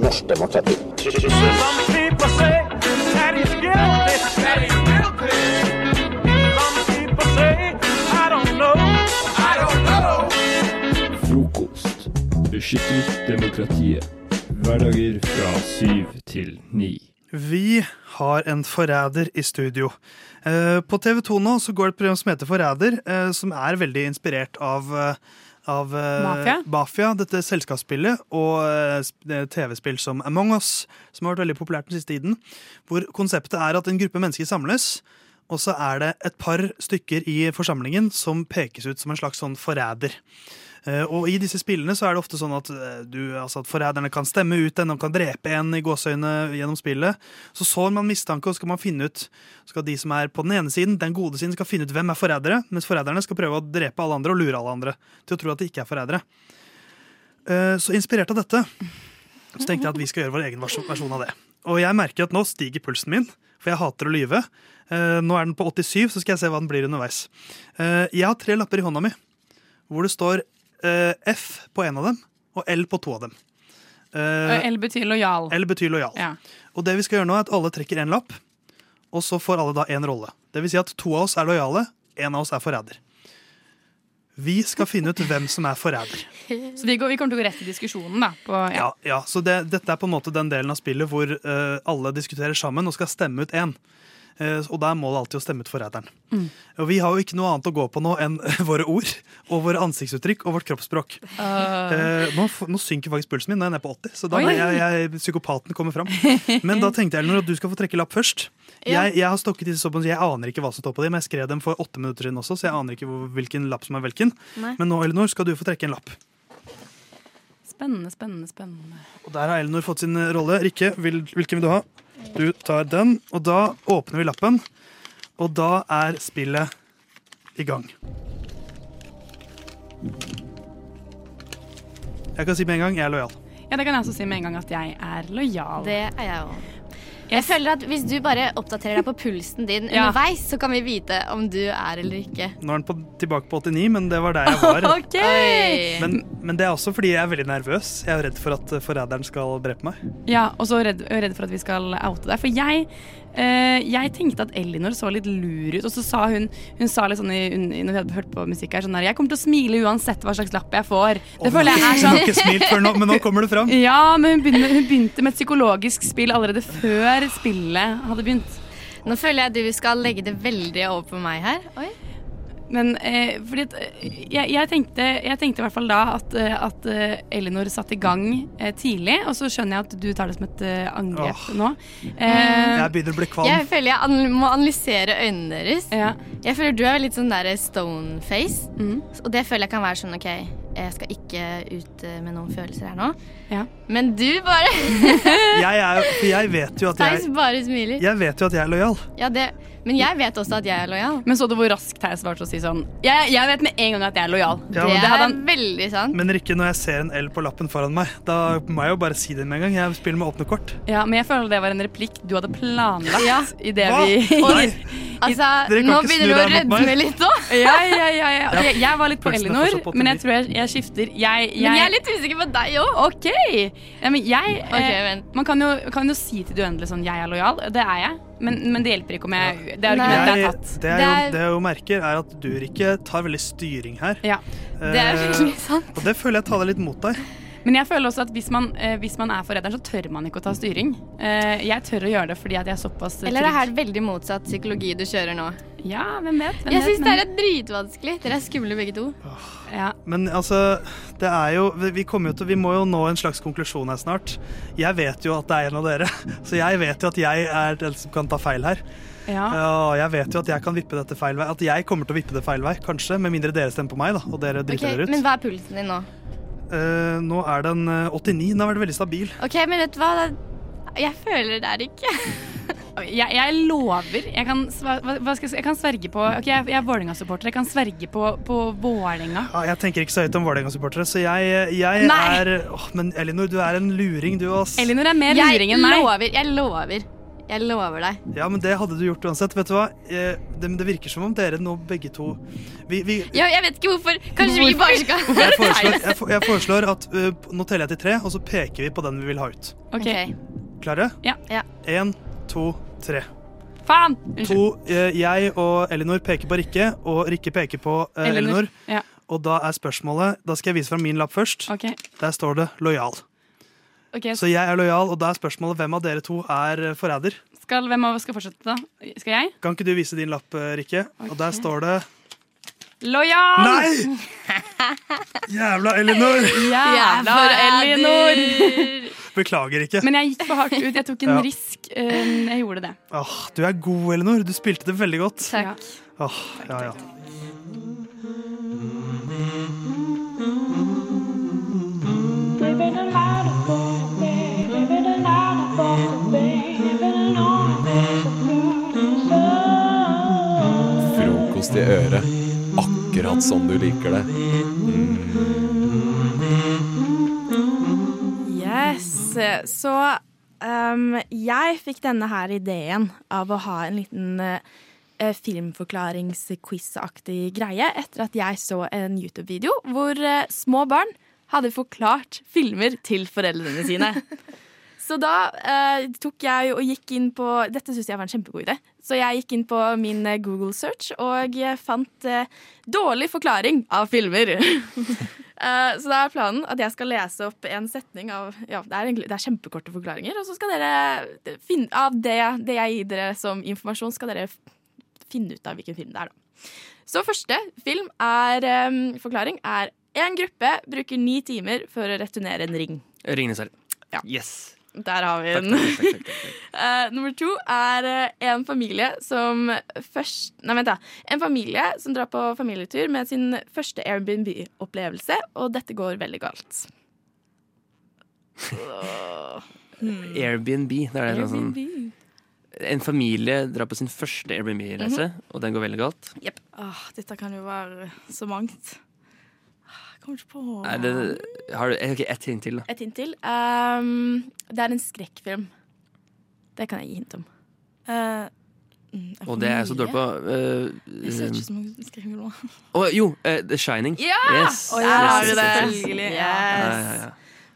[SPEAKER 18] Norsk demokrati. Trussel.
[SPEAKER 4] Some people say that he's guilty. That he's guilty. Some people say I don't know. I don't know.
[SPEAKER 19] Frokost
[SPEAKER 1] Skyttervestdemokratiet. Hverdager fra syv til ni.
[SPEAKER 14] Vi har en forræder i studio. Eh, På TV 2 nå så går det et program som heter Forræder, eh, som er veldig inspirert av eh, av eh,
[SPEAKER 15] Mafia?
[SPEAKER 14] Mafia, dette selskapsspillet, og eh, sp- eh, TV-spill som Among Us, som har vært veldig populært den siste tiden, hvor konseptet er at en gruppe mennesker samles, og så er det et par stykker i forsamlingen som pekes ut som en slags sånn forræder. Eh, Og i disse spillene så er det ofte sånn at, eh, du, altså at forræderne kan stemme ut en, de kan drepe en i gåseøynene gjennom spillet. Så sår man mistanke, og skal man finne ut skal de som er på den ene siden, den gode siden, skal finne ut hvem er forrædere, mens forræderne skal prøve å drepe alle andre og lure alle andre til å tro at de ikke er forrædere. Eh, Så inspirert av dette, så tenkte jeg at vi skal gjøre vår egen vers- versjon av det. Og jeg merker at nå stiger pulsen min, for jeg hater å lyve. Eh, Nå er den på 87, så skal jeg se hva den blir underveis. Eh, Jeg har tre lapper i hånda mi hvor det står eh, F på en av dem og L på to av dem. Eh,
[SPEAKER 15] L betyr lojal.
[SPEAKER 14] L betyr lojal.
[SPEAKER 15] Ja.
[SPEAKER 14] Og det vi skal gjøre nå er at alle trekker en lapp, og så får alle da en rolle. Det vil si at to av oss er lojale, en av oss er forræder. Vi skal finne ut hvem som er forræder.
[SPEAKER 15] Så vi, går, vi kommer til å gå rett i diskusjonen, da. <laughs> På, ja.
[SPEAKER 14] Ja, ja, så det, dette er på en måte den delen av spillet hvor eh, alle diskuterer sammen og skal stemme ut én. Eh, og da er målet alltid å stemme ut forræderen.
[SPEAKER 12] Mm.
[SPEAKER 14] Og vi har jo ikke noe annet å gå på nå enn <laughs> våre ord og våre ansiktsuttrykk og vårt kroppsspråk. Eh, nå, f- nå synker faktisk pulsen min, nå er jeg nede på 80, så da
[SPEAKER 12] Oi.
[SPEAKER 14] blir jeg, jeg, psykopaten kommer fram. Men da tenkte jeg Elinor, at du skal få trekke lapp først.
[SPEAKER 12] Ja.
[SPEAKER 14] Jeg, jeg har stokket disse såpass, jeg aner ikke hva som står på dem. Jeg skrev dem for åtte minutter siden også, så jeg aner ikke hvor, hvilken lapp som er hvilken.
[SPEAKER 20] Nei.
[SPEAKER 14] Men nå Elinor, skal du få trekke en lapp.
[SPEAKER 20] Spennende, spennende, spennende.
[SPEAKER 14] Og der har Elinor fått sin eh, rolle. Rikke, vil, hvilken vil du ha? Du tar den, og da åpner vi lappen. Og da er spillet i gang. Jeg kan si med en gang jeg er lojal.
[SPEAKER 15] ja, Det kan jeg også si med en gang at jeg er lojal.
[SPEAKER 9] Det er jeg òg. Jeg føler at Hvis du bare oppdaterer deg på pulsen din
[SPEAKER 15] Ja.
[SPEAKER 9] underveis, så kan vi vite om du er eller ikke.
[SPEAKER 14] Nå er den på, tilbake på 89, men det var der jeg
[SPEAKER 15] <laughs>
[SPEAKER 14] var.
[SPEAKER 9] Ok. Oi.
[SPEAKER 14] Men, men det er også fordi jeg er veldig nervøs. Jeg er redd for at eh, forræderen skal drepe meg.
[SPEAKER 15] Ja, Og så redd, redd for at vi skal oute deg. For jeg, eh, jeg tenkte at Elinor så litt lur ut. Og så sa hun Hun sa litt sånn i, un- når vi hadde hørt på musikk her sånn der Jeg kommer til å smile uansett hva slags lapp jeg får. Det
[SPEAKER 14] Og
[SPEAKER 15] føler jeg
[SPEAKER 14] hun
[SPEAKER 15] er
[SPEAKER 14] har ikke- hun har ikke
[SPEAKER 15] sånn. Eh,
[SPEAKER 14] smilt før nå, men nå kommer det fram.
[SPEAKER 15] <laughs> Ja, men hun begynte, hun begynte med et psykologisk spill allerede før spillet hadde begynt.
[SPEAKER 9] Nå føler jeg du skal legge det veldig over på meg her. Oi.
[SPEAKER 15] Men eh, fordi at, eh, jeg, jeg, tenkte, jeg tenkte i hvert fall da at, eh, at eh, Elinor satte i gang eh, tidlig, og så skjønner jeg at du tar det som et eh, angrep
[SPEAKER 14] Åh.
[SPEAKER 15] nå.
[SPEAKER 14] jeg begynner å bli kvalm.
[SPEAKER 9] Jeg føler jeg an må analysere øynene deres. Jeg føler du er litt sånn der stone-face. Og det føler jeg kan være sånn OK, jeg skal ikke ut eh, med noen følelser her nå. Men du bare <laughs>
[SPEAKER 14] Jeg, er, for jeg vet jo at
[SPEAKER 9] Theis
[SPEAKER 14] jeg,
[SPEAKER 9] bare smiler.
[SPEAKER 14] jeg vet jo at jeg er lojal.
[SPEAKER 9] Ja, det, men jeg vet også at jeg er lojal.
[SPEAKER 15] Men så du hvor raskt Theis svarte å si sånn Jeg, jeg vet med en gang at jeg er lojal.
[SPEAKER 14] Ja,
[SPEAKER 9] det
[SPEAKER 14] men-
[SPEAKER 9] er veldig sant.
[SPEAKER 14] Men Rikke, når jeg ser en L på lappen foran meg, da må jeg jo bare si det med en gang. Jeg spiller med åpne kort.
[SPEAKER 15] Ja, men jeg føler det var en replikk du hadde planlagt
[SPEAKER 9] Ja.
[SPEAKER 15] i det
[SPEAKER 14] Hva?
[SPEAKER 15] vi <laughs>
[SPEAKER 14] Nei.
[SPEAKER 15] Altså,
[SPEAKER 14] Dere kan nå ikke snu begynner du å dere mot meg. redde
[SPEAKER 9] litt nå.
[SPEAKER 15] ja, ja, ja, ja.
[SPEAKER 14] Ja.
[SPEAKER 15] Jeg, jeg var litt på
[SPEAKER 14] Pulsen er
[SPEAKER 15] Elinor,
[SPEAKER 14] fortsatt på
[SPEAKER 15] men jeg tror jeg, jeg skifter. Jeg,
[SPEAKER 9] Men jeg er litt usikker på deg òg.
[SPEAKER 15] OK. Ja, men jeg eh,
[SPEAKER 9] Ok, vent.
[SPEAKER 15] Man kan jo, kan jo si til det uendelige sånn Jeg er lojal. Det er jeg. Men, men det hjelper ikke om jeg Det er argumentet jeg har tatt.
[SPEAKER 14] det, jeg jo, det jeg jo merker, er at du, Rikke, tar veldig styring her. Eh,
[SPEAKER 15] Ja. Det er veldig <laughs> sant.
[SPEAKER 14] Og det føler jeg taler litt mot deg.
[SPEAKER 15] Men jeg føler også at hvis man, eh, hvis man er forræder, så tør man ikke å ta styring. Eh, jeg tør å gjøre det fordi at jeg er såpass trygg.
[SPEAKER 9] Eller er det her veldig motsatt psykologi du kjører nå?
[SPEAKER 15] Ja, hvem vet? Hvem
[SPEAKER 9] jeg
[SPEAKER 15] vet,
[SPEAKER 9] syns det
[SPEAKER 15] men-
[SPEAKER 9] er dritvanskelig. Dere er skumle begge to.
[SPEAKER 14] Men altså, det er jo vi- Vi kommer jo til Vi må jo nå en slags konklusjon her snart. Jeg vet jo at det er en av dere, <laughs> så jeg vet jo at jeg er den som kan ta feil her.
[SPEAKER 15] Ja.
[SPEAKER 14] Ja, jeg vet jo at jeg kan vippe dette feil vei. At jeg kommer til å vippe det feil vei, kanskje. Med mindre dere stemmer på meg, da. Og dere driter
[SPEAKER 9] Ok,
[SPEAKER 14] dere ut.
[SPEAKER 9] men hva er pulsen din nå?
[SPEAKER 14] Eh, nå er den eh, 89. Den har vært veldig stabil.
[SPEAKER 9] OK, men vet du hva? Jeg føler det er ikke.
[SPEAKER 15] <laughs> Jeg, jeg lover. Jeg kan, sva- hva, hva skal jeg, si? jeg kan sverge på Ok, jeg, jeg er Vålerenga-supporter. Jeg kan sverge på, på Vålerenga.
[SPEAKER 14] Ja, jeg tenker ikke så høyt om Vålerenga-supportere, så jeg, jeg
[SPEAKER 15] Nei.
[SPEAKER 14] er åh, Men Elinor, du er en luring, du, ass.
[SPEAKER 15] Elinor er mer
[SPEAKER 9] Jeg
[SPEAKER 15] luring enn meg.
[SPEAKER 9] lover. Jeg lover. Jeg lover deg.
[SPEAKER 14] Ja, men det hadde du gjort uansett. Vet du hva? Eh, Det, men det virker som om dere nå begge to Vi, vi
[SPEAKER 9] Ja, jeg vet ikke hvorfor. Kanskje vi bare skal
[SPEAKER 14] jeg foreslår, jeg, fo- jeg foreslår at eh, Nå teller jeg til tre, og så peker vi på den vi vil ha ut.
[SPEAKER 9] Ok.
[SPEAKER 14] Klare?
[SPEAKER 15] Ja.
[SPEAKER 14] Én, to, tre.
[SPEAKER 15] Faen!
[SPEAKER 14] To, eh, jeg og Elinor peker på Rikke, og Rikke peker på eh, Elinor.
[SPEAKER 15] Ja.
[SPEAKER 14] Og da er spørsmålet Da skal jeg vise fram min lapp først.
[SPEAKER 15] Ok.
[SPEAKER 14] Der står det 'lojal'.
[SPEAKER 15] Ok,
[SPEAKER 14] Så jeg er lojal, og da er spørsmålet hvem av dere to er eh, forræder?
[SPEAKER 15] skal, hvem av oss skal fortsette, da? Skal jeg?
[SPEAKER 14] Kan ikke du vise din lapp, eh, Rikke? Og der står det
[SPEAKER 15] Lojal!
[SPEAKER 14] Nei! Jævla Elinor!
[SPEAKER 15] Jævla Elinor!
[SPEAKER 14] Beklager ikke.
[SPEAKER 15] Men jeg gikk for hardt ut. Jeg tok en
[SPEAKER 14] Ja.
[SPEAKER 15] risk. eh, Jeg gjorde det.
[SPEAKER 14] Åh, du er god, Elinor. Du spilte det veldig godt.
[SPEAKER 15] Takk.
[SPEAKER 14] Åh, ja, ja.
[SPEAKER 21] Frokost i øret. Akkurat som du liker det. Mm.
[SPEAKER 9] Yes. Så um, jeg fikk denne her ideen av å ha en liten uh, filmforklaringsquiz-aktig greie etter at jeg så en YouTube-video hvor eh, små barn hadde forklart filmer til foreldrene sine. <laughs> Så da eh, tok jeg og gikk inn på Dette syns jeg var en kjempegod idé. Så jeg gikk inn på min eh, Google search og eh, fant eh, 'dårlig forklaring av filmer'. <laughs> Eh, så da er planen at jeg skal lese opp en setning av ja, det, er egentlig, det er kjempekorte forklaringer. Og så skal dere finne av det, det jeg gir dere som informasjon, skal dere finne ut av hvilken film det er, da. Så første film er eh, forklaring er en gruppe bruker ni timer for å returnere en ring.
[SPEAKER 22] Ringnes herre.
[SPEAKER 9] Yes. Der har vi
[SPEAKER 22] Takk,
[SPEAKER 9] den.
[SPEAKER 22] takk, takk, takk,
[SPEAKER 9] <laughs> Eh, nummer to er eh, en familie som først Nei, vent, da. En familie som drar på familietur med sin første Airbnb-opplevelse, og dette går veldig galt. Åh. Hmm.
[SPEAKER 22] Airbnb. Det er det sånn, en familie drar på sin første Airbnb-reise,
[SPEAKER 9] Mhm.
[SPEAKER 22] og den går veldig galt.
[SPEAKER 9] Jepp. Åh, Ah, dette kan jo være så mangt. Ah, Jeg Kommer ikke på
[SPEAKER 22] Er det, har du, ok, Ett hint til, da.
[SPEAKER 9] Et hint til. Ehm, det er en skrekkfilm. Det kan jeg gi hint om. Eh, mm, en
[SPEAKER 22] Og det er jeg så
[SPEAKER 9] familie?
[SPEAKER 22] dårlig på.
[SPEAKER 9] Jeg ser ikke
[SPEAKER 22] Uh,
[SPEAKER 9] så mange skrekkfilmer nå.
[SPEAKER 22] jo, eh, The Shining.
[SPEAKER 9] Ja!
[SPEAKER 22] Yes.
[SPEAKER 9] Der
[SPEAKER 22] Yes,
[SPEAKER 9] har
[SPEAKER 22] yes,
[SPEAKER 9] du det.
[SPEAKER 22] yes, yes.
[SPEAKER 9] Yes.
[SPEAKER 22] Ja, ja, ja.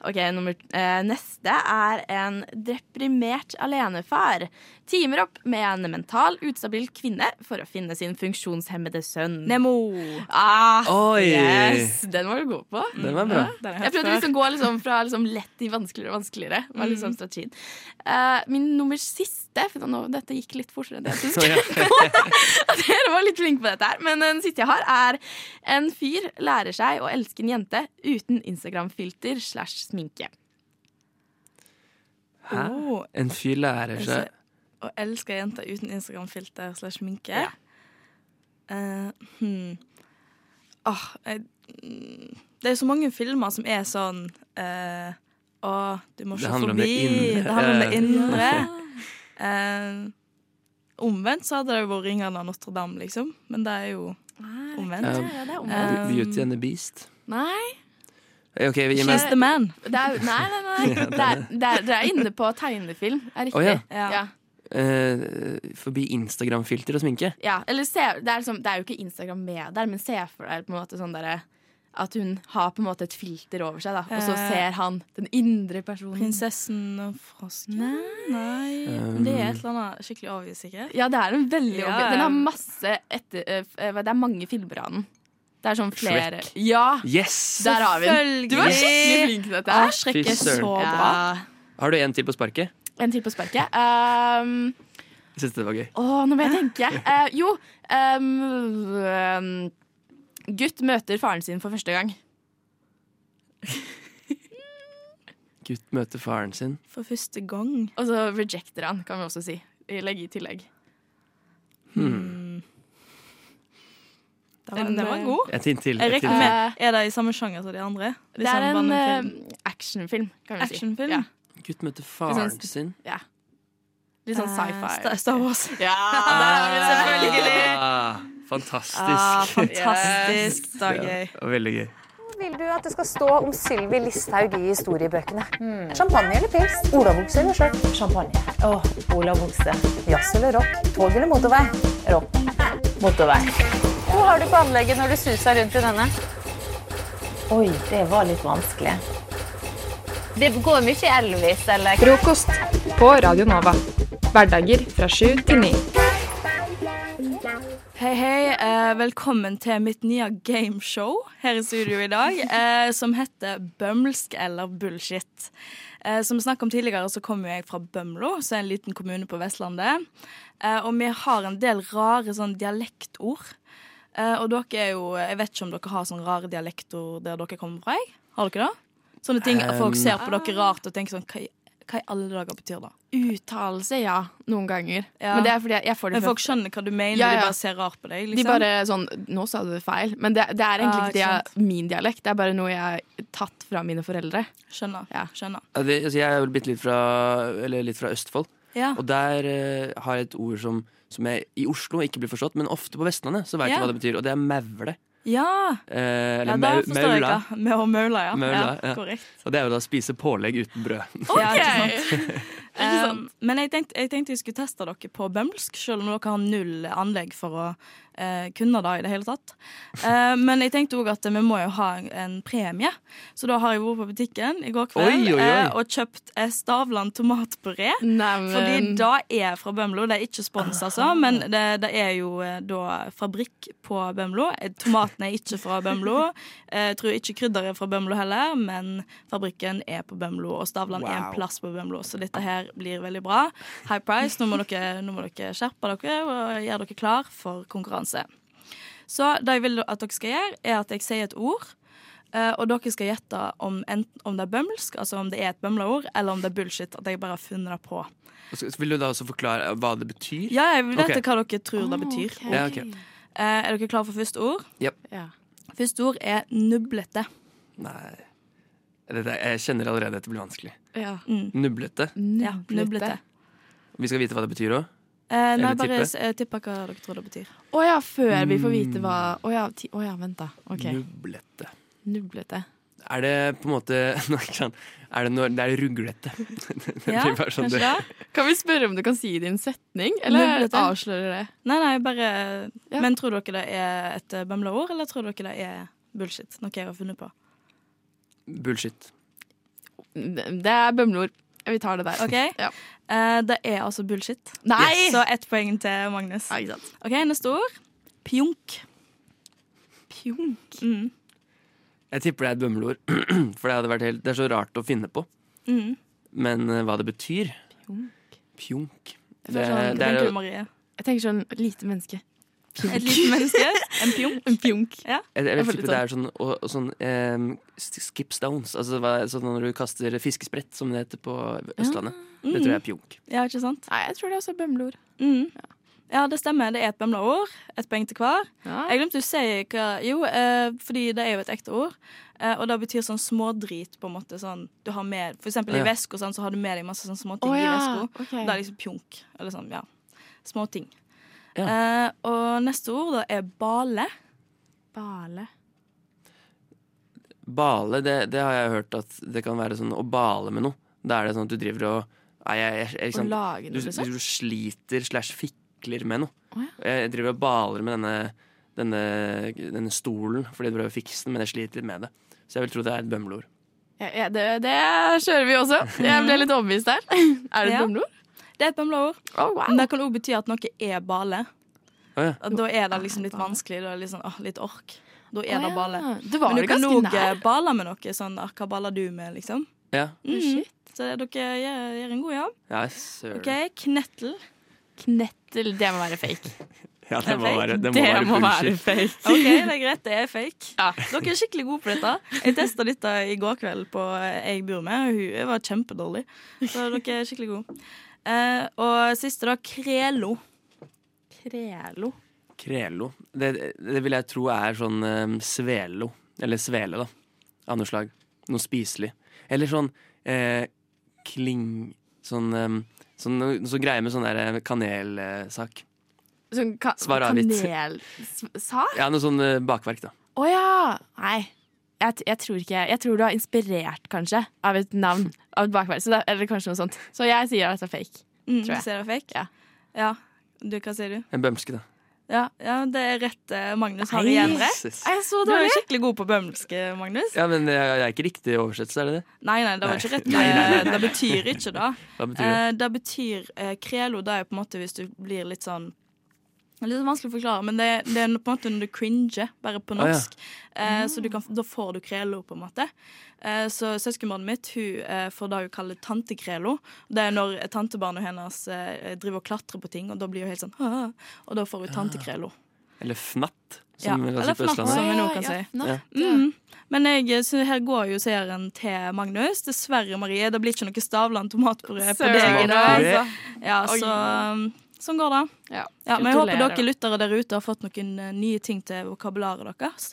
[SPEAKER 9] Ok, nummer, eh, Neste er en deprimert alenefar. Teamer opp med en mental ustabil kvinne for å finne sin funksjonshemmede sønn. Nemo! Ah,
[SPEAKER 22] Oi!
[SPEAKER 9] Yes, den var du god på.
[SPEAKER 22] Den var bra.
[SPEAKER 9] Ja,
[SPEAKER 22] Den har
[SPEAKER 9] jeg
[SPEAKER 22] jeg
[SPEAKER 9] prøvde
[SPEAKER 22] hørt
[SPEAKER 9] liksom å gå liksom fra liksom lett til vanskeligere og vanskeligere. Var liksom strategien. Eh, min nummer siste for nå, Dette gikk litt fortere enn det
[SPEAKER 22] <laughs>
[SPEAKER 9] jeg trodde. <laughs> Dere var litt flinke på dette her. Men eh, den siste jeg har, er en fyr lærer seg å elske en jente uten Instagram-filter slash sminke.
[SPEAKER 22] Hæ?
[SPEAKER 9] Oh.
[SPEAKER 10] Åh.
[SPEAKER 22] En fyr lærer seg
[SPEAKER 10] Å elske jenter uten Instagram-filter slash sminke. Eh, hmm. Åh, jeg, mm, det er så mange filmer som er sånn eh, Å, du må
[SPEAKER 22] Det
[SPEAKER 10] se
[SPEAKER 22] handler om
[SPEAKER 10] forbi.
[SPEAKER 22] det indre.
[SPEAKER 10] Det handler om det
[SPEAKER 22] Ja.
[SPEAKER 10] indre.
[SPEAKER 22] <laughs>
[SPEAKER 10] Eh, omvendt så hadde det jo vært 'Ringene av Notre-Dame', liksom. Men det er jo
[SPEAKER 9] Ah,
[SPEAKER 10] omvendt. Eh,
[SPEAKER 22] eh, Beauty and the Beast.
[SPEAKER 9] Um, Nei.
[SPEAKER 22] Eh, Ok, gi meg
[SPEAKER 9] She's the Det er, nei, nei, nei.
[SPEAKER 22] <laughs> Ja,
[SPEAKER 9] Det er, det er, dere er inne på tegnefilm. Er riktig.
[SPEAKER 22] Å, ja.
[SPEAKER 9] Ja.
[SPEAKER 22] eh, forbi Instagram-filter og sminke.
[SPEAKER 9] Ja, eller se, det, er liksom, det er jo ikke Instagram med der, men se for deg på en måte sånn derre at hun har på en måte et filter over seg, da. Og så
[SPEAKER 10] Eh,
[SPEAKER 9] ser han den indre personen.
[SPEAKER 10] Prinsessen og frosken? Nei.
[SPEAKER 22] Um,
[SPEAKER 10] Men Det er et eller annet skikkelig obvious, sikkert.
[SPEAKER 9] Ja, det er en veldig
[SPEAKER 10] Ja,
[SPEAKER 9] obvious.
[SPEAKER 10] ja.
[SPEAKER 9] Den har masse etter... eh, f- eh, det er mange filmer av den. Det er sånn flere
[SPEAKER 22] Shrek.
[SPEAKER 9] Ja!
[SPEAKER 22] Yes!
[SPEAKER 9] Der har vi den. Du var
[SPEAKER 22] Yes.
[SPEAKER 9] skikkelig flink til dette.
[SPEAKER 22] Ah, Shrek er Fy søren. så bra. Har du en til på sparket?
[SPEAKER 9] Ja. En til på sparket. Um,
[SPEAKER 22] Jeg synes det var gøy.
[SPEAKER 9] Å, nå må jeg
[SPEAKER 22] <laughs>
[SPEAKER 9] tenke. Eh, jo ehm, Gutt møter faren sin for første gang.
[SPEAKER 22] Gutt møter faren sin.
[SPEAKER 9] For første gang. Og så rejecter han, kan vi også si. Legge i tillegg.
[SPEAKER 22] Hmm.
[SPEAKER 10] Den, den var god.
[SPEAKER 22] Et hint til,
[SPEAKER 10] Jeg
[SPEAKER 22] et
[SPEAKER 10] rekker
[SPEAKER 22] hint
[SPEAKER 10] med. Er det i samme sjanger som de andre?
[SPEAKER 9] Det er en eh, actionfilm, kan vi
[SPEAKER 10] Actionfilm?
[SPEAKER 9] si. Ja.
[SPEAKER 22] Gutt møter faren
[SPEAKER 9] Litt sånn-
[SPEAKER 22] sin.
[SPEAKER 9] Ja. Litt sånn sci-fi.
[SPEAKER 10] Eh, Star- Star Wars. <laughs>
[SPEAKER 9] Ja, der er vi selvfølgelig!
[SPEAKER 22] Ah, fantastisk.
[SPEAKER 10] Ah, fantastisk. Det var gøy.
[SPEAKER 22] <laughs> Ja, veldig gøy.
[SPEAKER 1] Vil du at det skal stå om Sylvi Listhaug i historiebøkene? Champagne eller pils? Olavokse eller sjøl? Hmm. Champagne. Åh, Olavokse. Jazz eller rock? Tog eller motorvei? Rock. Motorvei. Hva har du på anlegget når du suser rundt i denne? Oi, det var litt vanskelig. Det går mye Elvis eller
[SPEAKER 23] Frokost på Radio Nova. Hverdager fra sju til ni.
[SPEAKER 9] Hei, hei. Eh, velkommen til mitt nye gameshow her i studio i dag, eh, som heter Bømlsk eller bullshit. Eh, som vi snakket om tidligere, så kommer jeg fra Bømlo, som er en liten kommune på Vestlandet. Eh, og vi har en del rare sånn dialektord. Eh, og dere er jo Jeg vet ikke om dere har sånne rare dialektord der dere kommer fra? Jeg. Har dere det? Sånne ting at folk
[SPEAKER 24] Um,
[SPEAKER 9] ser på dere rart og tenker sånn Hva i, hva i alle dager betyr det?
[SPEAKER 24] Uttalelse, ja. Noen ganger.
[SPEAKER 9] Ja.
[SPEAKER 24] Men det er fordi jeg, jeg får det
[SPEAKER 9] Men folk skjønner hva du mener,
[SPEAKER 24] Ja, ja.
[SPEAKER 9] de bare ser rart på deg. Liksom.
[SPEAKER 24] De bare sånn Nå sa du det feil. Men det, det er
[SPEAKER 9] Ja,
[SPEAKER 24] egentlig
[SPEAKER 9] ikke
[SPEAKER 24] ikke det, min dialekt. Det er bare noe jeg har tatt fra mine foreldre.
[SPEAKER 9] Skjønner. skjønner.
[SPEAKER 22] Ja, det, altså, jeg er vel bitte litt fra, eller litt fra Østfold.
[SPEAKER 9] Ja.
[SPEAKER 22] Og der eh, har jeg et ord som, som jeg i Oslo ikke blir forstått, men ofte på Vestlandet så vet
[SPEAKER 9] Ja.
[SPEAKER 22] jeg hva det betyr, og det er maule.
[SPEAKER 9] Ja!
[SPEAKER 22] Eh,
[SPEAKER 9] Ja,
[SPEAKER 22] eller
[SPEAKER 9] da
[SPEAKER 22] mau-
[SPEAKER 9] forstår jeg
[SPEAKER 22] maula.
[SPEAKER 9] ikke. Med og maula, ja.
[SPEAKER 22] Maula,
[SPEAKER 9] ja.
[SPEAKER 22] ja.
[SPEAKER 9] Korrekt.
[SPEAKER 22] Og det er jo da å spise pålegg uten brød. <laughs>
[SPEAKER 9] Ja, <laughs> ikke sant? Um, men jeg tenkte, jeg tenkte jeg skulle teste dere på bømmelsk, selv om dere har null anlegg for å eh, kunne det i det hele tatt. Eh, men jeg tenkte òg at vi må jo ha en, en premie, så da har jeg vært på butikken i går kveld
[SPEAKER 24] Oi, oi, oi.
[SPEAKER 9] eh, og kjøpt eh, Stavland tomatpuré.
[SPEAKER 24] Neimen.
[SPEAKER 9] Fordi det er fra Bømlo. Det er ikke spons, altså, men det, det er jo eh, da fabrikk på Bømlo. Eh, Tomatene er ikke fra Bømlo. Eh, Jeg tror ikke krydderet er fra Bømlo heller, men fabrikken er på Bømlo, og Stavland er sånn en
[SPEAKER 24] Wow.
[SPEAKER 9] plass på Bømlo, så dette her blir veldig bra. High price. Nå må dere, nå må dere skjerpe dere og gjøre dere klar for konkurranse. Så det jeg vil at dere skal gjøre, er at jeg sier et ord. eh, og dere skal gjette om, enten om det er bømmelsk, altså om det er et bømleord, eller om det er bullshit. At jeg bare har funnet det på.
[SPEAKER 22] Og så- så Vil du da også forklare eh, hva det betyr?
[SPEAKER 9] Ja, jeg vil vite
[SPEAKER 22] Ok.
[SPEAKER 9] hva dere tror det betyr.
[SPEAKER 22] Ja, Ah, ok.
[SPEAKER 9] Eh, er dere klare for første ord?
[SPEAKER 22] Japp.
[SPEAKER 9] Første ord er nublete.
[SPEAKER 22] Nei Dette, Jeg kjenner allerede dette blir vanskelig.
[SPEAKER 9] Ja. Mm.
[SPEAKER 22] Nublete.
[SPEAKER 9] Ja, nublete.
[SPEAKER 22] Vi skal vite hva det betyr òg.
[SPEAKER 9] Eh, nei,
[SPEAKER 22] Eller
[SPEAKER 9] bare
[SPEAKER 22] tippe.
[SPEAKER 9] s- eh, tippe hva dere tror det betyr.
[SPEAKER 24] Å ja, før vi får vite hva
[SPEAKER 22] Mm.
[SPEAKER 24] Å ja, ti, å ja vent, da. OK.
[SPEAKER 22] Nublete.
[SPEAKER 24] Nublete.
[SPEAKER 22] Er det på en måte <laughs> Nå, ikke sant. Er det, når, det er ruglete. <laughs> <laughs> Det
[SPEAKER 24] Ja,
[SPEAKER 22] blir bare sånn det-
[SPEAKER 24] Kan vi spørre om du kan si det i en setning? Eller
[SPEAKER 9] Nublete.
[SPEAKER 24] avslører det?
[SPEAKER 9] Nei, nei, bare Men tror dere det er et eh, bømleord, eller tror dere det er bullshit? Noe jeg har funnet på.
[SPEAKER 22] Bullshit.
[SPEAKER 24] Det er bømleord. Vi tar det der.
[SPEAKER 9] OK?
[SPEAKER 24] <laughs>
[SPEAKER 9] Eh, det er altså bullshit.
[SPEAKER 24] Nei!
[SPEAKER 9] Så ett poeng til Magnus. OK, neste ord. Pjunk. Pjunk? Mm.
[SPEAKER 22] Jeg tipper det er et bømmelord. <clears throat> For det hadde vært helt Det er så rart å finne på.
[SPEAKER 9] Mm.
[SPEAKER 22] Men eh, hva det betyr
[SPEAKER 24] Pjunk.
[SPEAKER 22] Pjunk.
[SPEAKER 24] Jeg får sånn-
[SPEAKER 22] det er jo-
[SPEAKER 24] Jeg tenker sånn lite menneske.
[SPEAKER 9] Et lite menneske.
[SPEAKER 24] <laughs>
[SPEAKER 9] En pjunk.
[SPEAKER 24] En pjunk.
[SPEAKER 9] Ja.
[SPEAKER 22] jeg, jeg vil
[SPEAKER 24] får litt
[SPEAKER 22] tippe det er sånn, og, og sånn em, s- skip stones. Altså hva, sånn når du kaster fiskesprett, som det heter på Østlandet. Det tror jeg er pjunk.
[SPEAKER 9] Ja, ikke sant?
[SPEAKER 24] Nei, jeg tror det er også bømleord.
[SPEAKER 9] Mm. Ja, det stemmer. Det er et bømleord. Ett poeng til hver.
[SPEAKER 24] Ja.
[SPEAKER 9] Jeg glemte å si hva Jo, eh, fordi det er jo et ekte ord. Eh, og det betyr sånn smådrit, på en måte. Sånn, du har med, for eksempel
[SPEAKER 24] Ja.
[SPEAKER 9] i veska sånn, så har du med deg masse sånn småting
[SPEAKER 24] Å,
[SPEAKER 9] i
[SPEAKER 24] ja.
[SPEAKER 9] veska.
[SPEAKER 24] Ok.
[SPEAKER 9] Det er liksom pjunk. Eller sånn, ja. Småting. Eh, og neste ord da er bale.
[SPEAKER 24] Bale.
[SPEAKER 22] Bale, det, det har jeg hørt at det kan være sånn å bale med noe. Da er det sånn at du driver og Nei, jeg, jeg, jeg,
[SPEAKER 24] Å lage noe,
[SPEAKER 22] du,
[SPEAKER 24] liksom?
[SPEAKER 22] du sliter slash fikler med noe.
[SPEAKER 24] Å,
[SPEAKER 22] Jeg driver og baler med denne, denne, denne stolen fordi jeg prøver å fikse den, men jeg sliter med det. Så jeg vil tro det er et bømleord.
[SPEAKER 24] Ja, ja, det, det kjører vi også. Jeg ble litt overbevist
[SPEAKER 9] <laughs>
[SPEAKER 24] der. Er det et
[SPEAKER 9] Ja.
[SPEAKER 24] bømleord?
[SPEAKER 9] Det er et bømleord. Men det kan òg bety at noe er bale.
[SPEAKER 22] Å, ja.
[SPEAKER 9] Og da er det liksom litt vanskelig. Da er det litt, sånn, åh, litt ork. Da er
[SPEAKER 24] Å,
[SPEAKER 9] det
[SPEAKER 24] ja.
[SPEAKER 9] bale.
[SPEAKER 24] Du var
[SPEAKER 9] Men
[SPEAKER 24] jo
[SPEAKER 9] du kan
[SPEAKER 24] ganske
[SPEAKER 9] òg
[SPEAKER 24] nær.
[SPEAKER 9] bale med noe. Sånn, ah, hva baller du med, liksom?
[SPEAKER 22] Ja.
[SPEAKER 9] Mm. Så dere gjør, gjør en god jobb.
[SPEAKER 22] Ja, søren.
[SPEAKER 9] OK, knettel.
[SPEAKER 24] Knettel. Det må være fake.
[SPEAKER 22] Ja, det må
[SPEAKER 9] fake?
[SPEAKER 22] være, det må
[SPEAKER 24] Det
[SPEAKER 22] være
[SPEAKER 24] må være
[SPEAKER 22] bullshit.
[SPEAKER 24] fake.
[SPEAKER 9] <laughs> OK, det er greit, det er fake. Dere er skikkelig gode på dette. Jeg testa dette i går kveld på eh, Jeg bor med, og hun var kjempedårlig. Så dere er skikkelig gode. Eh, og siste, da. Krelo.
[SPEAKER 24] Krelo.
[SPEAKER 22] Krelo. Det, det vil jeg tro er sånn eh, svelo. Eller svele, da. Av noe slag. Noe spiselig. Eller sånn eh, kling... Sånn, um, sånn, sånn greie med sånn der kanelsak.
[SPEAKER 24] Sånn ka
[SPEAKER 22] Svar avgitt.
[SPEAKER 24] kanelsak?
[SPEAKER 22] Ja, noe sånn eh, bakverk, da.
[SPEAKER 24] Å ja! Nei. Jeg, t- jeg tror ikke Jeg tror du har inspirert, kanskje, av et navn. Av et bakverk. Så det, eller kanskje noe sånt. Så jeg sier at det er fake.
[SPEAKER 9] Mm,
[SPEAKER 24] tror
[SPEAKER 9] du
[SPEAKER 24] jeg.
[SPEAKER 9] ser det fake? Ja. Du, hva sier du?
[SPEAKER 22] En bømske, da.
[SPEAKER 9] Ja, ja det er rett. eh, Magnus har
[SPEAKER 22] Nei.
[SPEAKER 9] igjen rett.
[SPEAKER 22] Jesus.
[SPEAKER 9] Er jeg så Du er
[SPEAKER 24] dårlig?
[SPEAKER 9] skikkelig god på bømmelske, Magnus.
[SPEAKER 22] Ja, men det er det er ikke riktig oversettelse, er det det?
[SPEAKER 9] Nei, nei, det var ikke rett.
[SPEAKER 22] Nei, nei, nei, nei.
[SPEAKER 9] Det betyr ikke det.
[SPEAKER 22] <laughs> Hva betyr det?
[SPEAKER 9] Eh, det betyr eh, Krelo, det er jo på en måte hvis du blir litt sånn Det er litt vanskelig å forklare, men det, det er på en måte når du cringer, bare på
[SPEAKER 22] Å, ja.
[SPEAKER 9] norsk. eh, så du kan, da får du krelo, på en måte. Eh, så søskenbarnet mitt hun eh, får det hun kaller tantekrelo. Det er når tantebarnet hennes eh, driver og klatrer på ting, og da blir hun helt sånn <laughs> «Åh», Og da får hun
[SPEAKER 22] Ah.
[SPEAKER 9] tantekrelo.
[SPEAKER 22] Eller fnatt,
[SPEAKER 9] Eh, Ja,
[SPEAKER 22] som vi kan
[SPEAKER 9] eller
[SPEAKER 22] si på
[SPEAKER 9] fnatt,
[SPEAKER 22] Østlandet.
[SPEAKER 9] som vi nå kan si.
[SPEAKER 22] Ja.
[SPEAKER 9] Mm. Men jeg, så her går jo seieren til Magnus. Dessverre, Marie. Det blir ikke noe Stavland tomatpuré på
[SPEAKER 24] Søren,
[SPEAKER 9] deg i dag.
[SPEAKER 24] altså.
[SPEAKER 9] Ja, så, um, sånn går det. Ja, men jeg håper
[SPEAKER 24] Gratulerer.
[SPEAKER 9] dere lyttere der ute har fått noen eh, nye ting til vokabularet deres.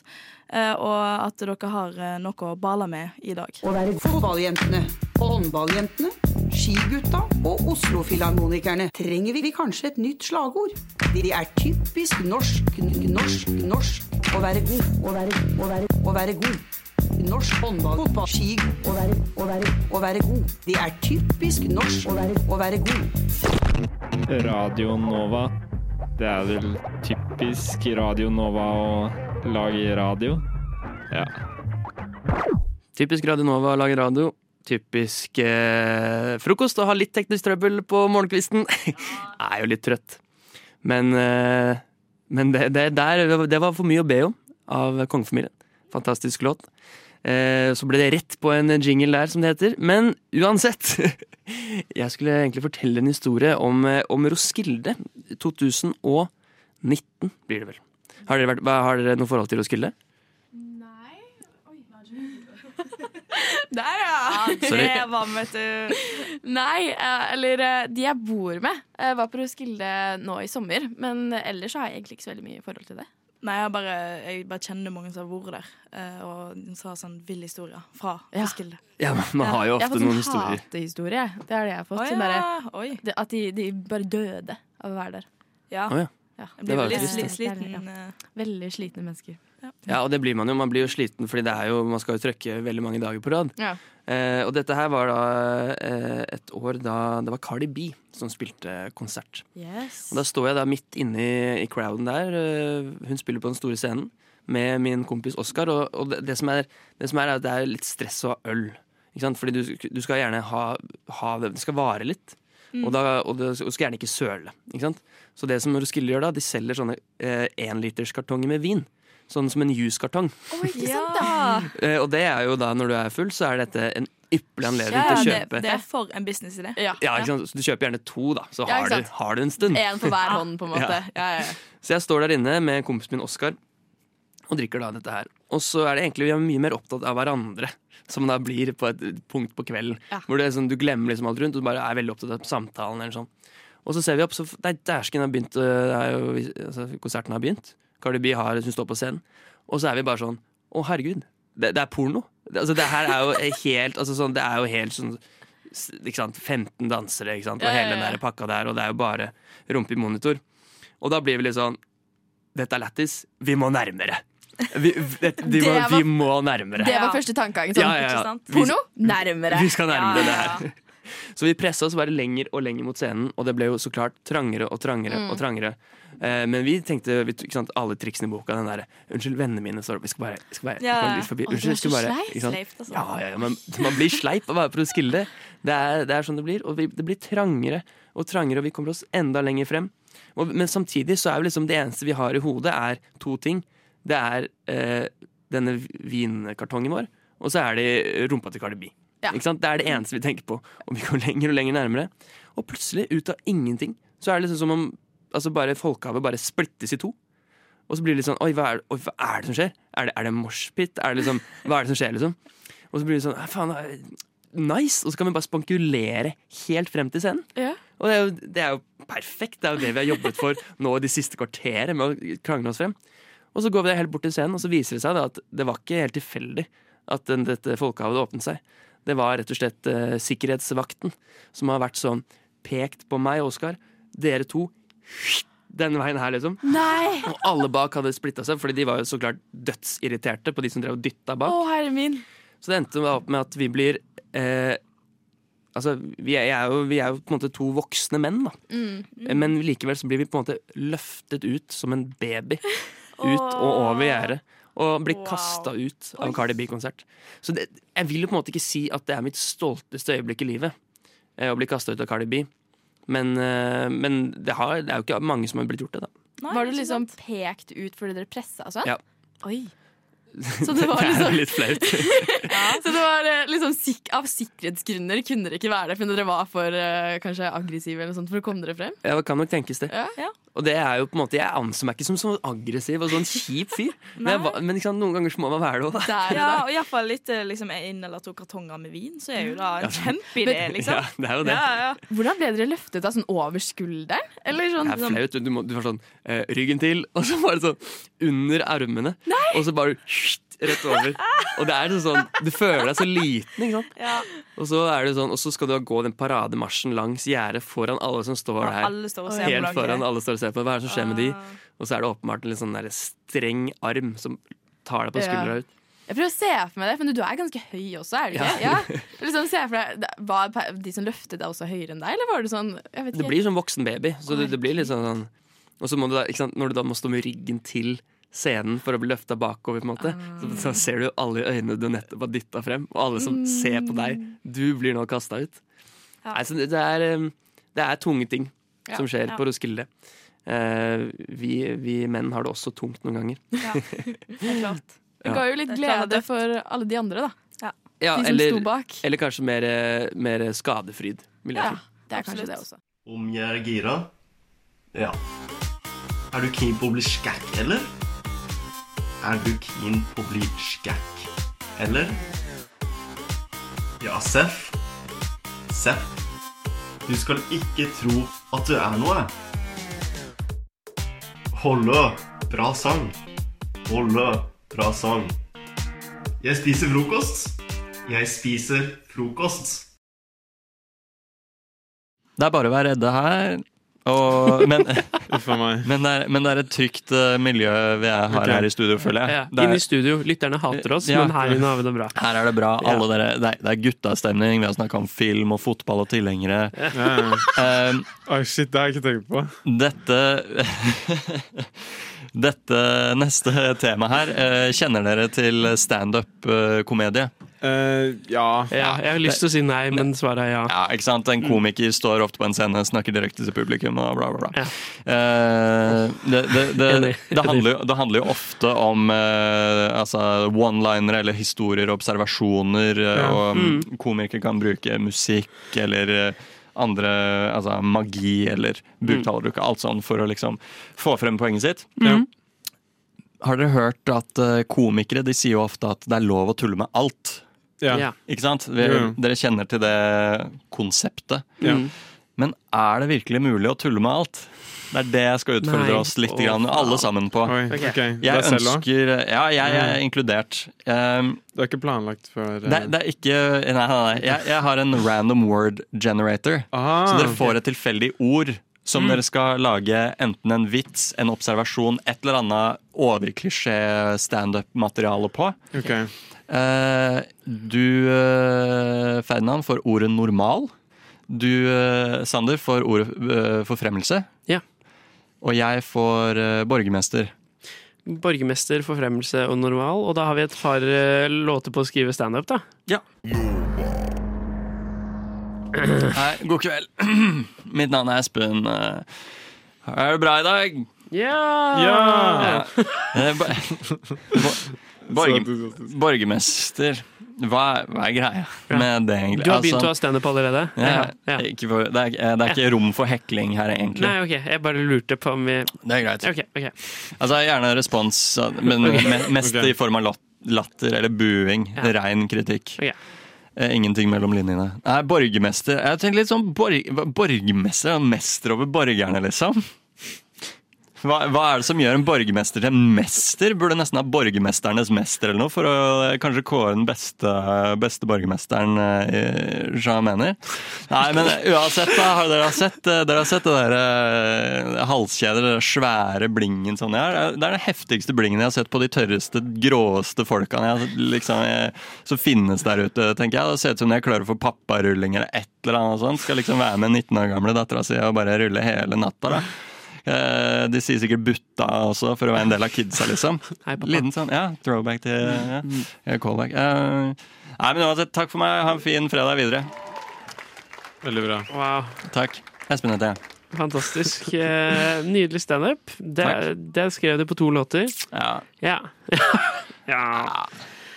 [SPEAKER 9] eh, Og at dere har eh, noe å bale med i dag.
[SPEAKER 25] Å være fotballjentene, håndballjentene, skigutta og Oslo-filharmonikerne trenger vi kanskje et nytt slagord. De er typisk norsk, n- norsk, norsk å være god. Å være, å være, å være god. Norsk håndball, fotball, ski. Å være, å være, å være god. De er typisk norsk å være, å være god.
[SPEAKER 19] Radio Nova. Det er vel typisk Radio Nova å lage radio. Ja.
[SPEAKER 22] Typisk Radio Nova å lage radio. Typisk eh, frokost å ha litt teknisk trøbbel på morgenkvisten. <laughs> Jeg er jo litt trøtt. Men, eh, men det, det, der, det var for mye å be om av kongefamilien. Fantastisk låt. Eh, så ble det rett på en jingle der, som det heter. Men uansett <laughs> Jeg skulle egentlig fortelle en historie om, eh, om Roskilde 2019, blir det vel. Har dere, vært, hva- har dere noe forhold til Roskilde?
[SPEAKER 24] Der, ja!
[SPEAKER 22] Sorry.
[SPEAKER 24] Det var med, vet du. Nei, eh, eller eh, de jeg bor med, eh, var på Roskilde nå i sommer. Men ellers så har jeg egentlig ikke så veldig mye forhold til det.
[SPEAKER 9] Nei, jeg bare, jeg bare kjenner mange som har vært der, eh, og de sa sånn vill historie fra Roskilde.
[SPEAKER 22] Ja, men <laughs> man har jo ofte noen historier.
[SPEAKER 24] sånn hatehistorie. Det er det jeg har fått.
[SPEAKER 9] Å
[SPEAKER 24] som
[SPEAKER 9] ja,
[SPEAKER 24] bare, det- at de, de bare døde av å være der.
[SPEAKER 22] Å ja. Jeg blir Det var veldig trist, det.
[SPEAKER 24] sliten.
[SPEAKER 9] eh.
[SPEAKER 24] Veldig slitne mennesker.
[SPEAKER 22] Ja, og det blir man jo. Man blir jo sliten, fordi det er jo, man skal jo trøkke veldig mange dager på rad.
[SPEAKER 24] Ja.
[SPEAKER 22] Eh, og dette her var da eh, et år da det var Cardi B som spilte konsert.
[SPEAKER 24] Yes.
[SPEAKER 22] Og da står jeg da midt inne i, i crowden der. eh, hun spiller på den store scenen med min kompis Oskar. Og, og det, det, som er, det som er, er at det er litt stress å ha øl. Ikke sant? Fordi du, du skal gjerne ha, ha det, det skal vare litt.
[SPEAKER 26] Mm.
[SPEAKER 22] Og, da, og det og skal gjerne ikke søle. Ikke sant? Så det som Roskilde gjør da, de selger sånne énliterskartonger med vin. Sånn som en juskartong.
[SPEAKER 24] Ikke sant, da?
[SPEAKER 22] Eh, og det er jo da, når du er full, så er dette en ypperlig anledning til å
[SPEAKER 9] det,
[SPEAKER 22] kjøpe.
[SPEAKER 9] det er for en businessidé.
[SPEAKER 22] Ja, ikke sant? Så du kjøper gjerne to, da. Så
[SPEAKER 9] Ja,
[SPEAKER 22] har,
[SPEAKER 9] ikke sant.
[SPEAKER 22] du, har du en stund.
[SPEAKER 9] En på hver hånd,
[SPEAKER 22] <laughs>
[SPEAKER 9] på en måte.
[SPEAKER 24] Ja, ja.
[SPEAKER 22] Så jeg står der inne med kompisen min Oskar og drikker da dette her. Og så er det egentlig vi er mye mer opptatt av hverandre, som da blir på et punkt på kvelden. Hvor det er sånn, du glemmer liksom alt rundt og du bare er veldig opptatt av samtalen. eller sånn. Og så ser vi opp, så f- nei, dæsken har begynt, øh, det er jo, altså, konserten har begynt. Cardi B har, hun står på scenen. Og så er vi bare sånn Å, herregud, det, det er porno. Det, altså, det her er jo helt altså, sånn, Det er jo helt sånn s- ikke sant, 15 dansere ikke sant, og
[SPEAKER 26] Ja, ja,
[SPEAKER 22] hele den
[SPEAKER 26] ja.
[SPEAKER 22] der pakka der, og det er jo bare rumpe i monitor. Og da blir vi litt sånn Dette er lættis, vi må nærmere. Vi, det,
[SPEAKER 26] <laughs>
[SPEAKER 22] de
[SPEAKER 24] Det
[SPEAKER 22] må,
[SPEAKER 24] var-
[SPEAKER 22] vi må nærmere.
[SPEAKER 24] Det var første tankegangen. Sånn,
[SPEAKER 22] Ja, ja, ja.
[SPEAKER 24] ikke sant?
[SPEAKER 22] Vi-
[SPEAKER 24] Porno? Nærmere.
[SPEAKER 22] Vi skal nærmere
[SPEAKER 24] Ja, ja, ja.
[SPEAKER 22] det her. Så vi pressa oss bare lenger og lenger mot scenen, og det ble jo så klart trangere og trangere.
[SPEAKER 24] Mm.
[SPEAKER 22] og trangere. Eh, men vi tenkte vi, ikke sant, alle triksene i boka. den der, Unnskyld, vennene mine står opp. Vi skal bare, vi skal bare, vi
[SPEAKER 26] Ja.
[SPEAKER 22] skal bare litt forbi.
[SPEAKER 26] Å, du
[SPEAKER 22] Unnskyld,
[SPEAKER 26] er
[SPEAKER 22] vi skal
[SPEAKER 26] så
[SPEAKER 22] bare,
[SPEAKER 26] sleip.
[SPEAKER 22] ikke sant?
[SPEAKER 26] Sleipt, altså.
[SPEAKER 22] Ja, ja, ja, man, man blir sleip av å være på Roskilde. Det er, det er sånn det blir. Og vi, det blir trangere og trangere, og vi kommer oss enda lenger frem. Og, men samtidig så er jo liksom det eneste vi har i hodet, er to ting. Det er eh, denne vinkartongen vår, og så er det rumpa til Cardi B.
[SPEAKER 26] Ja.
[SPEAKER 22] Ikke sant? Det er det eneste vi tenker på. Og vi går lenger og lenger nærmere. Og plutselig, ut av ingenting, så er det liksom som om altså bare folkehavet bare splittes i to. Og så blir det litt sånn Oi, hva er, oi, hva er det som skjer? Er det, er det moshpit? Er det liksom, hva er det som skjer, liksom? Og så blir det sånn «Nei, Faen, det er nice! Og så kan vi bare spankulere helt frem til scenen.
[SPEAKER 24] Ja.
[SPEAKER 22] Og det er, jo, det er jo perfekt. Det er jo det vi har jobbet for nå de siste kvarteret med å krangle oss frem. Og så går vi da helt bort til scenen, og så viser det seg da at det var ikke helt tilfeldig at den, dette folkehavet åpnet seg. Det var rett og slett eh, sikkerhetsvakten som har vært sånn pekt på meg og Oskar. Dere to <laughs> denne veien her, liksom.
[SPEAKER 24] Nei!
[SPEAKER 22] Og alle bak hadde splitta seg, fordi de var jo så klart dødsirriterte på de som drev og dytta
[SPEAKER 24] Å,
[SPEAKER 22] bak.
[SPEAKER 24] herre min.
[SPEAKER 22] Så det endte opp med at vi blir eh, Altså, vi er, jeg er jo, vi er jo på en måte to voksne menn, da.
[SPEAKER 24] Mm.
[SPEAKER 22] Men likevel så blir vi på en måte løftet ut som en baby. Ut
[SPEAKER 26] Åh.
[SPEAKER 22] og over gjerdet. Og blir kasta ut av en Cardi B-konsert. Så det, jeg vil jo på en måte ikke si at det er mitt stolteste øyeblikk i livet. eh, Å bli kasta ut av Cardi B. Men, eh, men det, har, det er jo ikke mange som har blitt gjort det, da.
[SPEAKER 24] Nei, var du liksom pekt ut fordi dere pressa og sånn?
[SPEAKER 9] <laughs>
[SPEAKER 22] Ja.
[SPEAKER 24] Oi. Så
[SPEAKER 22] <laughs>
[SPEAKER 24] det var liksom
[SPEAKER 22] litt flaut. <laughs>
[SPEAKER 24] Så det var eh, liksom sik av sikkerhetsgrunner kunne dere ikke være der, fordi dere var for eh, kanskje aggressive eller noe sånt for å komme dere frem?
[SPEAKER 22] Ja, det kan nok tenkes det. <laughs> Og det er jo på en måte, Jeg anså meg ikke som sånn aggressiv og sånn kjip fyr. men jeg var, men ikke sant, noen ganger så må man være det òg.
[SPEAKER 9] ja, og iallfall litt eh, liksom, en eller to kartonger med vin, så er jo da
[SPEAKER 22] Ja.
[SPEAKER 9] en kjempeidé, liksom.
[SPEAKER 22] <laughs> Ja, det er jo det.
[SPEAKER 24] Hvordan ble dere løftet da, sånn over skulderen? Eller sånn,
[SPEAKER 22] Det er flaut. Du, må, du var sånn eh, ryggen til, <laughs> og så bare sånn under armene. Og så bare skjt, rett over. Og det er sånn, sånn Du føler deg så liten, ikke sant.
[SPEAKER 9] Ja.
[SPEAKER 22] Og så er det sånn, og så skal du da gå den parademarsjen langs gjerdet foran alle som står der.
[SPEAKER 9] alle står og ser på
[SPEAKER 22] Helt
[SPEAKER 9] laget. Ah.
[SPEAKER 22] foran alle står og ser på. Hva er det som skjer med de? Og så er det åpenbart en litt sånn der streng arm som tar deg på skuldra
[SPEAKER 24] Ja.
[SPEAKER 22] ut.
[SPEAKER 24] Jeg prøver å se for meg det, for du er ganske høy også, er du ikke? Ja.
[SPEAKER 22] Ja.
[SPEAKER 24] Liksom, se for deg, da- var pe- de som løftet deg også høyere enn deg, eller var det sånn jeg vet
[SPEAKER 22] Det
[SPEAKER 24] ikke.
[SPEAKER 22] blir som voksen baby. Så det, det blir litt sånn sånn Og så må du da, ikke sant, når du da må stå med ryggen til scenen for å bli løfta bakover, på en måte, så,
[SPEAKER 24] Ah.
[SPEAKER 22] så ser du alle i øynene du nettopp har dytta frem, og alle som ser på deg.
[SPEAKER 24] Mm.
[SPEAKER 22] Du blir nå kasta ut.
[SPEAKER 9] Ja.
[SPEAKER 22] Nei, så det, det, er, um, det er tunge ting
[SPEAKER 9] Ja.
[SPEAKER 22] som skjer
[SPEAKER 9] Ja.
[SPEAKER 22] på Roskilde. Eh, vi, vi menn har det også tungt noen ganger.
[SPEAKER 24] Det er klart. Det
[SPEAKER 22] <laughs> Ja.
[SPEAKER 24] ga jo litt
[SPEAKER 9] Det er sånn klart
[SPEAKER 24] glede for alle de andre, da.
[SPEAKER 22] Ja,
[SPEAKER 24] de som
[SPEAKER 22] eller,
[SPEAKER 24] sto bak.
[SPEAKER 22] eller kanskje mer, eh, mer skadefryd, vil jeg
[SPEAKER 24] Ja,
[SPEAKER 22] tro.
[SPEAKER 24] det er kanskje det også.
[SPEAKER 2] Om jeg er gira? Ja. Er du keen på å bli skækk, eller? Er du keen på å bli skækk, eller? Ja, Seff. Seff. Du skal ikke tro at du er noe. Hollø. Bra sang. Hollø. Bra sang. Jeg spiser frokost. Jeg spiser frokost.
[SPEAKER 26] Det er bare å være redde her. Og,
[SPEAKER 8] <laughs>
[SPEAKER 26] men, men, det er, men det er et trygt eh, miljø vi er, har
[SPEAKER 8] Ok.
[SPEAKER 26] her i studio, føler jeg.
[SPEAKER 8] Ja,
[SPEAKER 26] Det er-
[SPEAKER 8] Inn i studio. Lytterne hater oss,
[SPEAKER 26] Ja.
[SPEAKER 8] men her inne har vi det bra.
[SPEAKER 26] Her er det bra.
[SPEAKER 8] Ja.
[SPEAKER 26] Alle dere, det, er, det er guttastemning. Vi har snakka om film og fotball og tilhengere.
[SPEAKER 17] Ja,
[SPEAKER 26] Um,
[SPEAKER 17] shit, det har jeg ikke tenkt på.
[SPEAKER 26] Dette <laughs> Dette neste temaet her eh, Kjenner dere til standup-komedie?
[SPEAKER 17] Eh, ja.
[SPEAKER 8] Jeg har lyst til å si nei, men svaret er ja.
[SPEAKER 26] Ja, ikke sant? En komiker står ofte på en scene, snakker direkte til publikum og bla, bla, bla. Eh, det, det, det, det, handler jo, det handler jo ofte om eh, altså one-linere eller historier og observasjoner. eh,
[SPEAKER 17] Ja.
[SPEAKER 26] Og mm,
[SPEAKER 17] Mm.
[SPEAKER 26] komikere kan bruke musikk eller eh, andre altså magi eller
[SPEAKER 17] Mm.
[SPEAKER 26] buktalerbruk, alt sånn for å liksom få frem poenget sitt.
[SPEAKER 22] Mm.
[SPEAKER 26] Har dere hørt at eh, komikere de sier jo ofte at det er lov å tulle med alt?
[SPEAKER 17] Ja. Ja.
[SPEAKER 26] Ikke sant? Vi,
[SPEAKER 17] Jo, jo.
[SPEAKER 26] Dere kjenner til det konseptet.
[SPEAKER 17] Ja.
[SPEAKER 26] Men er det virkelig mulig å tulle med alt? Det er det jeg skal utfordre
[SPEAKER 17] Nei.
[SPEAKER 26] oss litt,
[SPEAKER 17] Å,
[SPEAKER 26] grann, alle
[SPEAKER 17] faen.
[SPEAKER 26] sammen på.
[SPEAKER 17] Oi, ok. Deg
[SPEAKER 26] Jeg
[SPEAKER 17] selv også?
[SPEAKER 26] ønsker Ja, jeg er
[SPEAKER 17] Mm.
[SPEAKER 26] inkludert. Ehm,
[SPEAKER 17] Du har ikke planlagt for eh,
[SPEAKER 26] Det, det er ikke Nei, nei, nei. Jeg, jeg har en random word generator. så dere får et tilfeldig ord som
[SPEAKER 17] Mm.
[SPEAKER 26] dere skal lage enten en vits, en observasjon, et eller annet overklisjé-standup-materiale på.
[SPEAKER 17] Ok.
[SPEAKER 26] Eh, du, eh, Ferdinand, får ordet 'normal'. Du, eh, Sander, får ordet eh, 'forfremmelse'.
[SPEAKER 8] Ja.
[SPEAKER 26] Og jeg får eh, 'borgermester'. <clears throat>
[SPEAKER 8] Borgermester, forfremmelse og normal. Og da har vi et par eh, låter på å skrive standup, da.
[SPEAKER 26] Ja. Hei, god kveld. Mitt navn er Espen. Eh, Er det bra i dag?
[SPEAKER 8] Ja!
[SPEAKER 26] Eh, bo- bo- Borger, borgermester, hva er, hva er greia med det, egentlig?
[SPEAKER 8] Du har begynt
[SPEAKER 26] Altså,
[SPEAKER 8] å ha standup allerede?
[SPEAKER 26] ja, Ikke for, det, er, eh, det er ikke rom for hekling her, egentlig.
[SPEAKER 8] Nei, ok. Jeg bare lurte på om vi
[SPEAKER 26] Det er greit.
[SPEAKER 8] Ok, ok.
[SPEAKER 26] Altså, gjerne respons, men
[SPEAKER 8] Ok.
[SPEAKER 26] me- mest
[SPEAKER 8] Ok.
[SPEAKER 26] i form av lat- latter eller buing.
[SPEAKER 8] Ja.
[SPEAKER 26] Rein kritikk. Eh, Ingenting mellom linjene. Nei, borgermester. Jeg tenkte litt sånn borg, hva- borgermester, han er mester over borgerne, liksom. Hva, hva er det som gjør en borgermester til en mester? Burde nesten ha borgermesternes mester eller noe, for å eh, kanskje kåre den beste, beste borgermesteren, eh, i- som jeg mener. Nei, men uansett, da, har dere, har sett, eh, dere har sett det der eh, halskjedet, det der svære blingen sånn jeg har. Det er den heftigste blingen jeg har sett på de tørreste, gråeste folkene jeg, har- liksom, jeg, som finnes der ute, tenker jeg. Det ser ut som de er klare for papparulling eller et eller annet sånt. Skal liksom være med 19 år gamle dattera si og bare rulle hele natta, da. Eh, De sier sikkert 'butta' også, for å være en del av kidsa, liksom. Liten sånn, ja, throwback til ja, ja, callback. Eh, Nei, men uansett, takk for meg. Ha en fin fredag videre.
[SPEAKER 17] Veldig bra.
[SPEAKER 8] Wow.
[SPEAKER 26] Takk. Espen heter jeg.
[SPEAKER 8] Fantastisk. Eh, Nydelig standup. Det, det skrev du på to låter.
[SPEAKER 26] Ja.
[SPEAKER 8] Ja. <laughs> ja.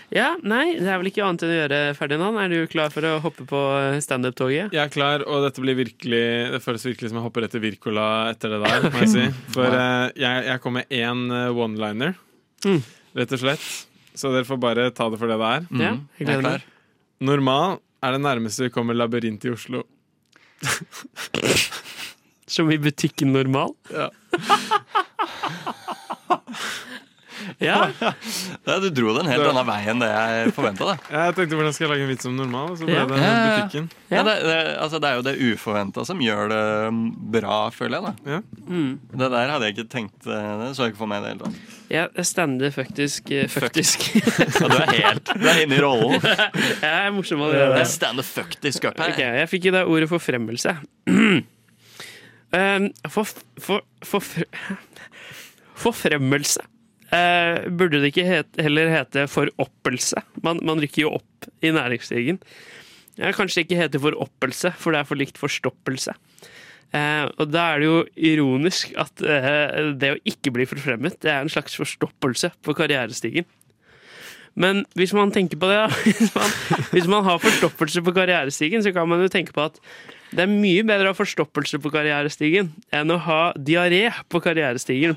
[SPEAKER 8] Ja, Nei, det er vel ikke annet enn å gjøre, Ferdinand. Er du klar for å hoppe på standup-toget?
[SPEAKER 17] Jeg er klar, og dette blir virkelig Det føles virkelig som jeg hopper etter Wirkola etter det der, må jeg
[SPEAKER 26] <laughs>
[SPEAKER 17] si. For eh, jeg, jeg kom med én eh, one-liner,
[SPEAKER 8] Mm.
[SPEAKER 17] rett og slett. Så dere får bare ta det for det det er.
[SPEAKER 8] Ja, Mm. jeg gleder Jeg er meg. klar.
[SPEAKER 17] Normal er det nærmeste vi kommer labyrint i Oslo.
[SPEAKER 8] Som i butikken Normal?
[SPEAKER 17] Ja.
[SPEAKER 8] Ja.
[SPEAKER 26] <laughs> Ja, du dro det en helt annen vei enn det jeg forventa.
[SPEAKER 17] Jeg tenkte hvordan skal jeg lage en vits om normal, og så ble
[SPEAKER 26] Ja.
[SPEAKER 17] det
[SPEAKER 26] Ja, ja.
[SPEAKER 17] butikken.
[SPEAKER 26] <laughs> Ja, det, det, altså, det er jo det uforventa som gjør det mm, bra, føler jeg. da
[SPEAKER 8] Mm.
[SPEAKER 26] Det der hadde jeg ikke tenkt eh, Det så jeg ikke for meg i det hele tatt.
[SPEAKER 8] Jeg jeg stander faktisk eh, Faktisk.
[SPEAKER 26] <laughs> Ja, du er helt Du er inne i
[SPEAKER 8] <laughs>
[SPEAKER 26] rollen.
[SPEAKER 8] Jeg er morsom allerede.
[SPEAKER 26] Jeg stander fucktisk up her.
[SPEAKER 8] Ok, jeg fikk i det ordet <clears throat> forfremmelse. um, for, for, forfre- <laughs> forfremmelse. Eh, burde det ikke het, heller hete foroppelse? Man, man rykker jo opp i næringsstigen. Ja, kanskje det ikke heter foroppelse, for det er for likt forstoppelse. Eh, og da er det jo ironisk at eh, det å ikke bli forfremmet, det er en slags forstoppelse på karrierestigen. Men hvis man tenker på det, da, <laughs> hvis man, hvis man har forstoppelse på karrierestigen, så kan man jo tenke på at det er mye bedre å ha forstoppelse på karrierestigen enn å ha diaré på karrierestigen.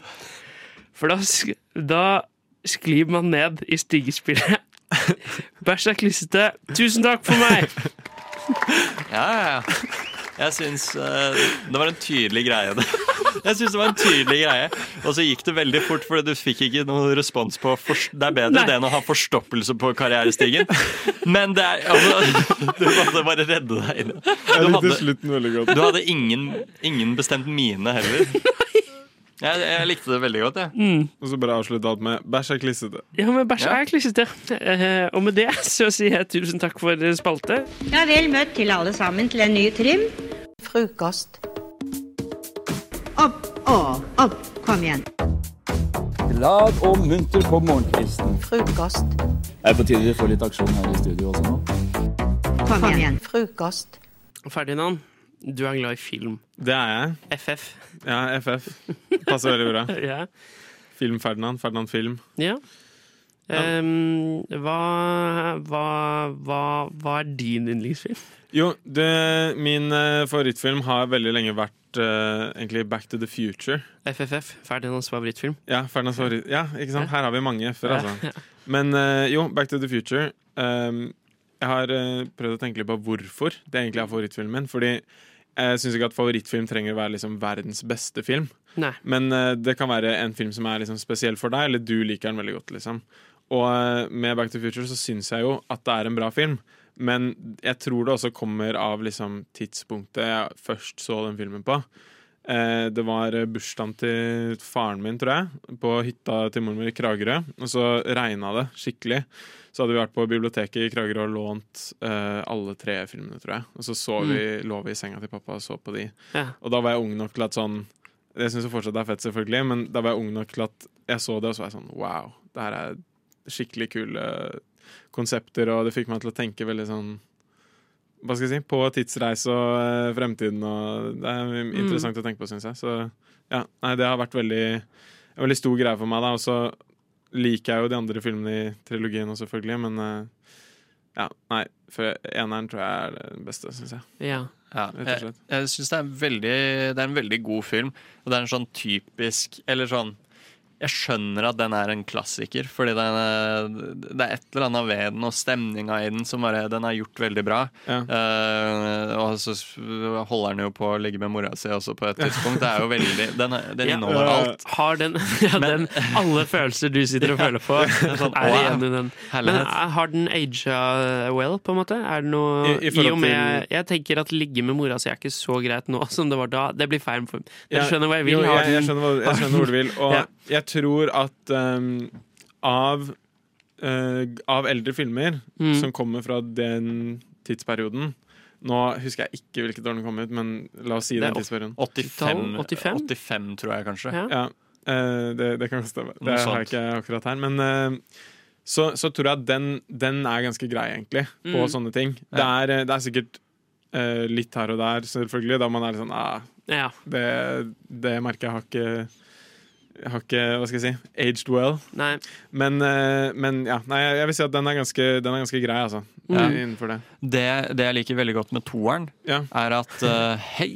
[SPEAKER 8] For da, sk- da sklir man ned i stigespillet. <laughs> Bæsj er klissete. Tusen takk for meg!
[SPEAKER 26] Ja, ja, ja. Jeg syns eh, det var en tydelig greie. <laughs> Det. Jeg synes det var en tydelig greie Og så gikk det veldig fort, for du fikk ikke noen respons på fors- Det er bedre
[SPEAKER 8] Nei.
[SPEAKER 26] det enn å ha forstoppelse på karrierestigen. Men det er altså, <laughs> Du måtte bare redde deg inn. Du
[SPEAKER 17] Jeg likte
[SPEAKER 26] hadde,
[SPEAKER 17] slutten veldig godt.
[SPEAKER 26] du hadde ingen, ingen bestemt mine heller. Jeg, jeg likte det veldig godt, jeg.
[SPEAKER 17] Og så bare avslutte alt med 'bæsj er klissete'.
[SPEAKER 8] Ja, men bæsj er klissete. Eh, Og med det så sier jeg tusen takk for spalte.
[SPEAKER 1] Ja, vel møtt til alle sammen til en ny trim. Frokost. Opp og opp, kom igjen.
[SPEAKER 3] Glad og munter på morgenkvisten.
[SPEAKER 1] Frokost,
[SPEAKER 3] Er på tide vi får litt aksjon her i studio også nå?
[SPEAKER 1] kom igjen. Frokost.
[SPEAKER 8] Ferdinand, du er glad i film.
[SPEAKER 17] Det er jeg.
[SPEAKER 8] FF.
[SPEAKER 17] Ja, FF. Passer veldig bra.
[SPEAKER 8] Ja.
[SPEAKER 17] Film-Ferdinand. Ferdinand Film.
[SPEAKER 8] Ja. Ehm, hva, hva, hva, hva er din yndlingsfilm?
[SPEAKER 17] Jo, det, min eh, favorittfilm har veldig lenge vært eh, egentlig Back to the Future.
[SPEAKER 8] FFF. Ferdinands favorittfilm.
[SPEAKER 17] Ja, Ferdinands favoritt. Ja, ikke sant? Her har vi mange
[SPEAKER 8] Ja,
[SPEAKER 17] F-er, altså.
[SPEAKER 8] <laughs> ja.
[SPEAKER 17] Men eh, jo, Back to the Future. Ehm, jeg har eh, prøvd å tenke litt på hvorfor det egentlig er favorittfilmen min. Fordi jeg syns ikke at favorittfilm trenger å være liksom verdens beste film.
[SPEAKER 8] Nei.
[SPEAKER 17] Men eh, det kan være en film som er liksom spesiell for deg, eller du liker den veldig godt. liksom. Og eh, med Back to the Future så syns jeg jo at det er en bra film. Men jeg tror det også kommer av liksom, tidspunktet jeg først så den filmen på. Eh, det var eh, bursdagen til faren min, tror jeg, på hytta til mormor i Kragerø. Og så regna det skikkelig. Så hadde vi vært på biblioteket i Kragerø og lånt eh, alle tre filmene, tror jeg. Og så, så vi, lå vi i senga til pappa og så på de.
[SPEAKER 8] Ja.
[SPEAKER 17] Og da var jeg ung nok til at sånn Jeg syns fortsatt det er fett, selvfølgelig, men da var jeg ung nok til at jeg så det, og så var jeg sånn wow, det her er skikkelig kule konsepter, og det fikk meg til å tenke veldig sånn hva skal jeg si, på tidsreise og eh, fremtiden. Og det er interessant å tenke på, syns jeg. Så ja, nei, det har vært veldig, en veldig stor greie for meg. da, Og så liker jeg jo de andre filmene i trilogien også, selvfølgelig, men eh, ja, nei, for eneren tror jeg er den beste, syns jeg.
[SPEAKER 8] Ja. eh,
[SPEAKER 17] Rett og
[SPEAKER 26] Jeg,
[SPEAKER 17] slett.
[SPEAKER 26] jeg syns det, er en veldig- det er en veldig god film. Og det er en sånn typisk Eller sånn Jeg skjønner at den er en klassiker, fordi den er, det er et eller annet ved den og stemninga i den som bare Den er gjort veldig bra. Eh, og så s- holder den jo på å ligge med mora si også på et tidspunkt. Det er jo veldig Den, er- den
[SPEAKER 8] Ja.
[SPEAKER 26] inneholder alt.
[SPEAKER 8] Har den, <laughs> ja, den
[SPEAKER 26] <laughs>
[SPEAKER 8] alle følelser du sitter og
[SPEAKER 26] Ja.
[SPEAKER 8] føler på,
[SPEAKER 26] <laughs> Det er sånn,
[SPEAKER 8] er
[SPEAKER 26] wow. ah,
[SPEAKER 8] igjen i den. Men
[SPEAKER 26] Herlighet.
[SPEAKER 8] er- har den aga well, på en måte? Er det noe
[SPEAKER 17] I- i
[SPEAKER 8] I,
[SPEAKER 17] forhold
[SPEAKER 8] og med,
[SPEAKER 17] til-
[SPEAKER 8] Jeg tenker at ligge med mora si er ikke så greit nå <laughs> som det var da. Det blir feil form. Dere
[SPEAKER 17] Ja,
[SPEAKER 8] skjønner hva jeg vil?
[SPEAKER 17] Jo,
[SPEAKER 8] Har
[SPEAKER 17] jeg, jeg,
[SPEAKER 8] den-
[SPEAKER 17] skjønner hva,
[SPEAKER 8] har
[SPEAKER 17] jeg skjønner hvor du
[SPEAKER 8] den- <laughs>
[SPEAKER 17] vil. Og
[SPEAKER 8] Ja.
[SPEAKER 17] jeg tror at ehm, av, eh, av eldre filmer
[SPEAKER 8] Mm.
[SPEAKER 17] som kommer fra den tidsperioden Nå husker jeg ikke hvilket år den kom ut, men la oss si
[SPEAKER 26] Det er
[SPEAKER 17] den tidsperioden.
[SPEAKER 26] 85, 85, tror jeg kanskje.
[SPEAKER 17] Ja, eh, det, det kan stemme.
[SPEAKER 26] Noe
[SPEAKER 17] Det har jeg
[SPEAKER 26] sånt.
[SPEAKER 17] ikke akkurat her. Men eh, så, så tror jeg at den, den er ganske grei, egentlig, på
[SPEAKER 26] Mm.
[SPEAKER 17] sånne ting. Det
[SPEAKER 26] Ja.
[SPEAKER 17] er, eh, det er sikkert eh, litt her og der, selvfølgelig, da man er litt sånn ah, Det, det merket jeg har ikke jeg har ikke, hva skal jeg si, aged well. Men, eh, men ja, nei, jeg vil si at den er ganske, den er ganske grei, altså.
[SPEAKER 26] Ja.
[SPEAKER 17] Innenfor det.
[SPEAKER 26] Det, det jeg liker veldig godt med toeren, er at eh, Hei!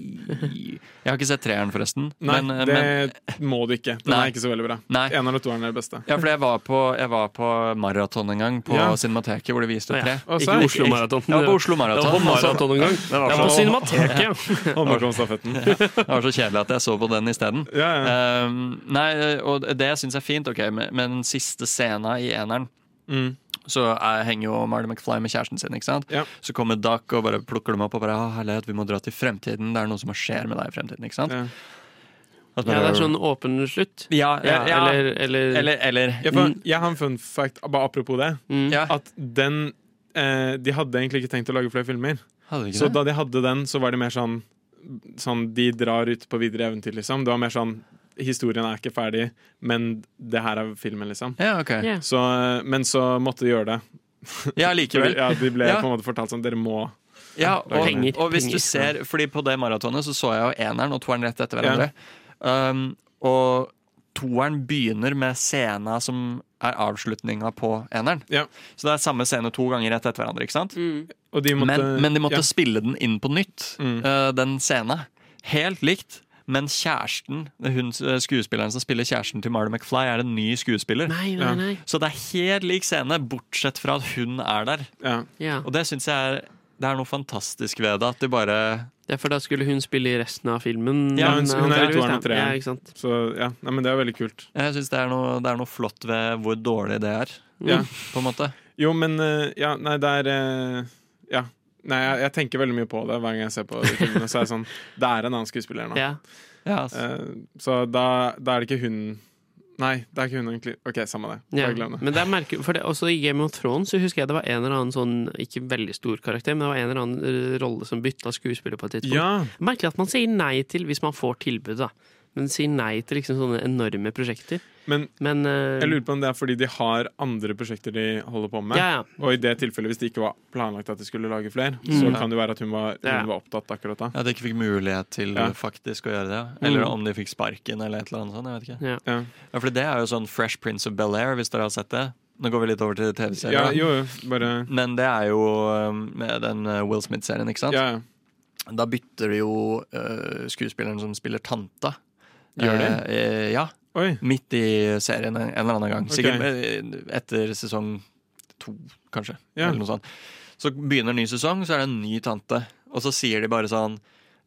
[SPEAKER 26] Jeg har ikke sett treeren, forresten.
[SPEAKER 17] Nei,
[SPEAKER 26] men, eh,
[SPEAKER 17] det
[SPEAKER 26] men-
[SPEAKER 17] må du ikke. Den
[SPEAKER 26] Nei.
[SPEAKER 17] er ikke så veldig bra.
[SPEAKER 26] Nei.
[SPEAKER 17] En av de to er den beste.
[SPEAKER 26] Ja, for jeg var på, jeg var på maraton en gang, på
[SPEAKER 17] Ja.
[SPEAKER 26] Cinemateket, hvor de viste
[SPEAKER 17] Å, ja.
[SPEAKER 26] tre.
[SPEAKER 17] Og så er det-
[SPEAKER 26] Ja, på Oslo Maraton.
[SPEAKER 17] Det var på maraton en gang.
[SPEAKER 26] Ja,
[SPEAKER 17] Det var på Cinemateket, <laughs> ja.
[SPEAKER 26] <laughs> Det sånn. var-
[SPEAKER 17] Håndballkonstafetten.
[SPEAKER 26] Ja. Det var så kjedelig at jeg så på den isteden. Um, nei, og det syns jeg er fint, ok, men men den siste scena i eneren
[SPEAKER 17] Mm.
[SPEAKER 26] så er, henger jo Marty McFly med kjæresten sin. ikke sant? Så kommer Duck og bare plukker dem opp og bare «Å, herlighet, vi må dra til fremtiden. Det er noe som skjer med deg i fremtiden. ikke sant? At
[SPEAKER 8] Ja, det
[SPEAKER 26] bare-
[SPEAKER 8] er sånn åpen slutt.
[SPEAKER 26] Ja, ja, ja.
[SPEAKER 8] Eller, eller,
[SPEAKER 26] Eller- eller- Mm.
[SPEAKER 17] Ja, for jeg har en fun fact bare apropos det. At den eh, De hadde egentlig ikke tenkt å lage flere filmer.
[SPEAKER 26] Hadde de ikke
[SPEAKER 17] Så
[SPEAKER 26] det?
[SPEAKER 17] da de hadde den, så var det mer sånn Sånn de drar ut på videre eventyr, liksom. Det var mer sånn Historien er ikke ferdig, men det her er filmen, liksom.
[SPEAKER 26] Ja, ok. Ja.
[SPEAKER 17] Så, eh, men så måtte de gjøre det.
[SPEAKER 26] Ja, likevel.
[SPEAKER 17] <laughs> Fordi, ja, de ble
[SPEAKER 26] Ja.
[SPEAKER 17] på en måte fortalt sånn Dere må
[SPEAKER 26] Ja, og,
[SPEAKER 17] Penger,
[SPEAKER 26] og hvis
[SPEAKER 17] penger.
[SPEAKER 26] du ser Fordi på det maratonet så så jeg jo eneren og toeren rett etter
[SPEAKER 17] Ja.
[SPEAKER 26] hverandre. Um, og toeren begynner med scena som er avslutninga på eneren. Så det er samme scene to ganger rett etter hverandre. ikke sant?
[SPEAKER 17] Og de måtte-
[SPEAKER 26] men, men de måtte
[SPEAKER 17] ja.
[SPEAKER 26] spille den inn på nytt,
[SPEAKER 17] Mm.
[SPEAKER 26] uh, den scena. Helt likt. Men kjæresten, hun, uh, skuespilleren som spiller kjæresten til Marty McFly, er en ny skuespiller.
[SPEAKER 8] Nei, nei,
[SPEAKER 26] Ja.
[SPEAKER 8] nei.
[SPEAKER 26] Så det er helt lik scene, bortsett fra at hun er der.
[SPEAKER 8] Ja.
[SPEAKER 26] Og det syns jeg er, det er noe fantastisk ved det. At de bare
[SPEAKER 8] Det er for da skulle hun spille i resten av filmen.
[SPEAKER 17] Ja, hun,
[SPEAKER 8] Men, eh,
[SPEAKER 17] hun er i
[SPEAKER 8] antageligvis,
[SPEAKER 17] toeren og
[SPEAKER 8] da. Ja, ikke
[SPEAKER 17] treeren. Så ja, Nei, men det er veldig kult.
[SPEAKER 26] Jeg syns det, er noe- det er noe flott ved hvor dårlig det er.
[SPEAKER 17] Ja.
[SPEAKER 26] Mm. På en måte.
[SPEAKER 17] Jo, men eh, Ja, nei, det er eh, Ja. Nei, jeg, jeg tenker veldig mye på det hver gang jeg ser på de filmene. Så er jeg sånn <laughs> Det er en annen skuespiller nå.
[SPEAKER 8] Ja.
[SPEAKER 26] Ja, ass.
[SPEAKER 17] Eh, så da, da er det ikke hun Nei, det er ikke hun egentlig. OK, samme det.
[SPEAKER 8] Ja,
[SPEAKER 17] Bare glem det.
[SPEAKER 8] men det er merke, for det, også i Game of Thrones så husker jeg det var en eller annen sånn, ikke veldig stor karakter, men det var en eller annen eh, rolle som bytta skuespiller på et tidspunkt.
[SPEAKER 17] Ja.
[SPEAKER 8] Merkelig at man sier nei til, hvis man får tilbud, da. Men sier nei til liksom sånne enorme prosjekter.
[SPEAKER 17] Men,
[SPEAKER 8] eh,
[SPEAKER 17] jeg lurer på om det er fordi de har andre prosjekter de holder på med.
[SPEAKER 8] Ja, ja.
[SPEAKER 17] Og i det tilfellet, hvis det ikke var planlagt at de skulle lage flere,
[SPEAKER 26] Mm.
[SPEAKER 17] så
[SPEAKER 26] Ja.
[SPEAKER 17] kan det jo være at hun var, hun
[SPEAKER 26] Ja.
[SPEAKER 17] var opptatt akkurat da.
[SPEAKER 26] At de ikke fikk mulighet til
[SPEAKER 17] Ja.
[SPEAKER 26] faktisk å gjøre det. ja. Eller
[SPEAKER 17] Mm.
[SPEAKER 26] om de fikk sparken eller et eller annet sånt. Jeg vet ikke.
[SPEAKER 8] Ja.
[SPEAKER 17] Ja.
[SPEAKER 26] for det er jo sånn Fresh Prince of Bel-Air, hvis dere har sett det. Nå går vi litt over til TV-serier.
[SPEAKER 17] Ja,
[SPEAKER 26] da.
[SPEAKER 17] jo, jo, bare
[SPEAKER 26] Men det er jo um, med den uh, Will Smith-serien, ikke sant? Da bytter de jo uh, skuespilleren som spiller tanta.
[SPEAKER 17] Gjør de?
[SPEAKER 26] Eh, eh, ja. Midt i serien en en eller annen gang.
[SPEAKER 17] Ok.
[SPEAKER 26] Sikkert eh, etter sesong to, kanskje.
[SPEAKER 17] Ja.
[SPEAKER 26] Eller noe sånt. Så begynner en ny sesong, så er det en ny tante. Og så sier de bare sånn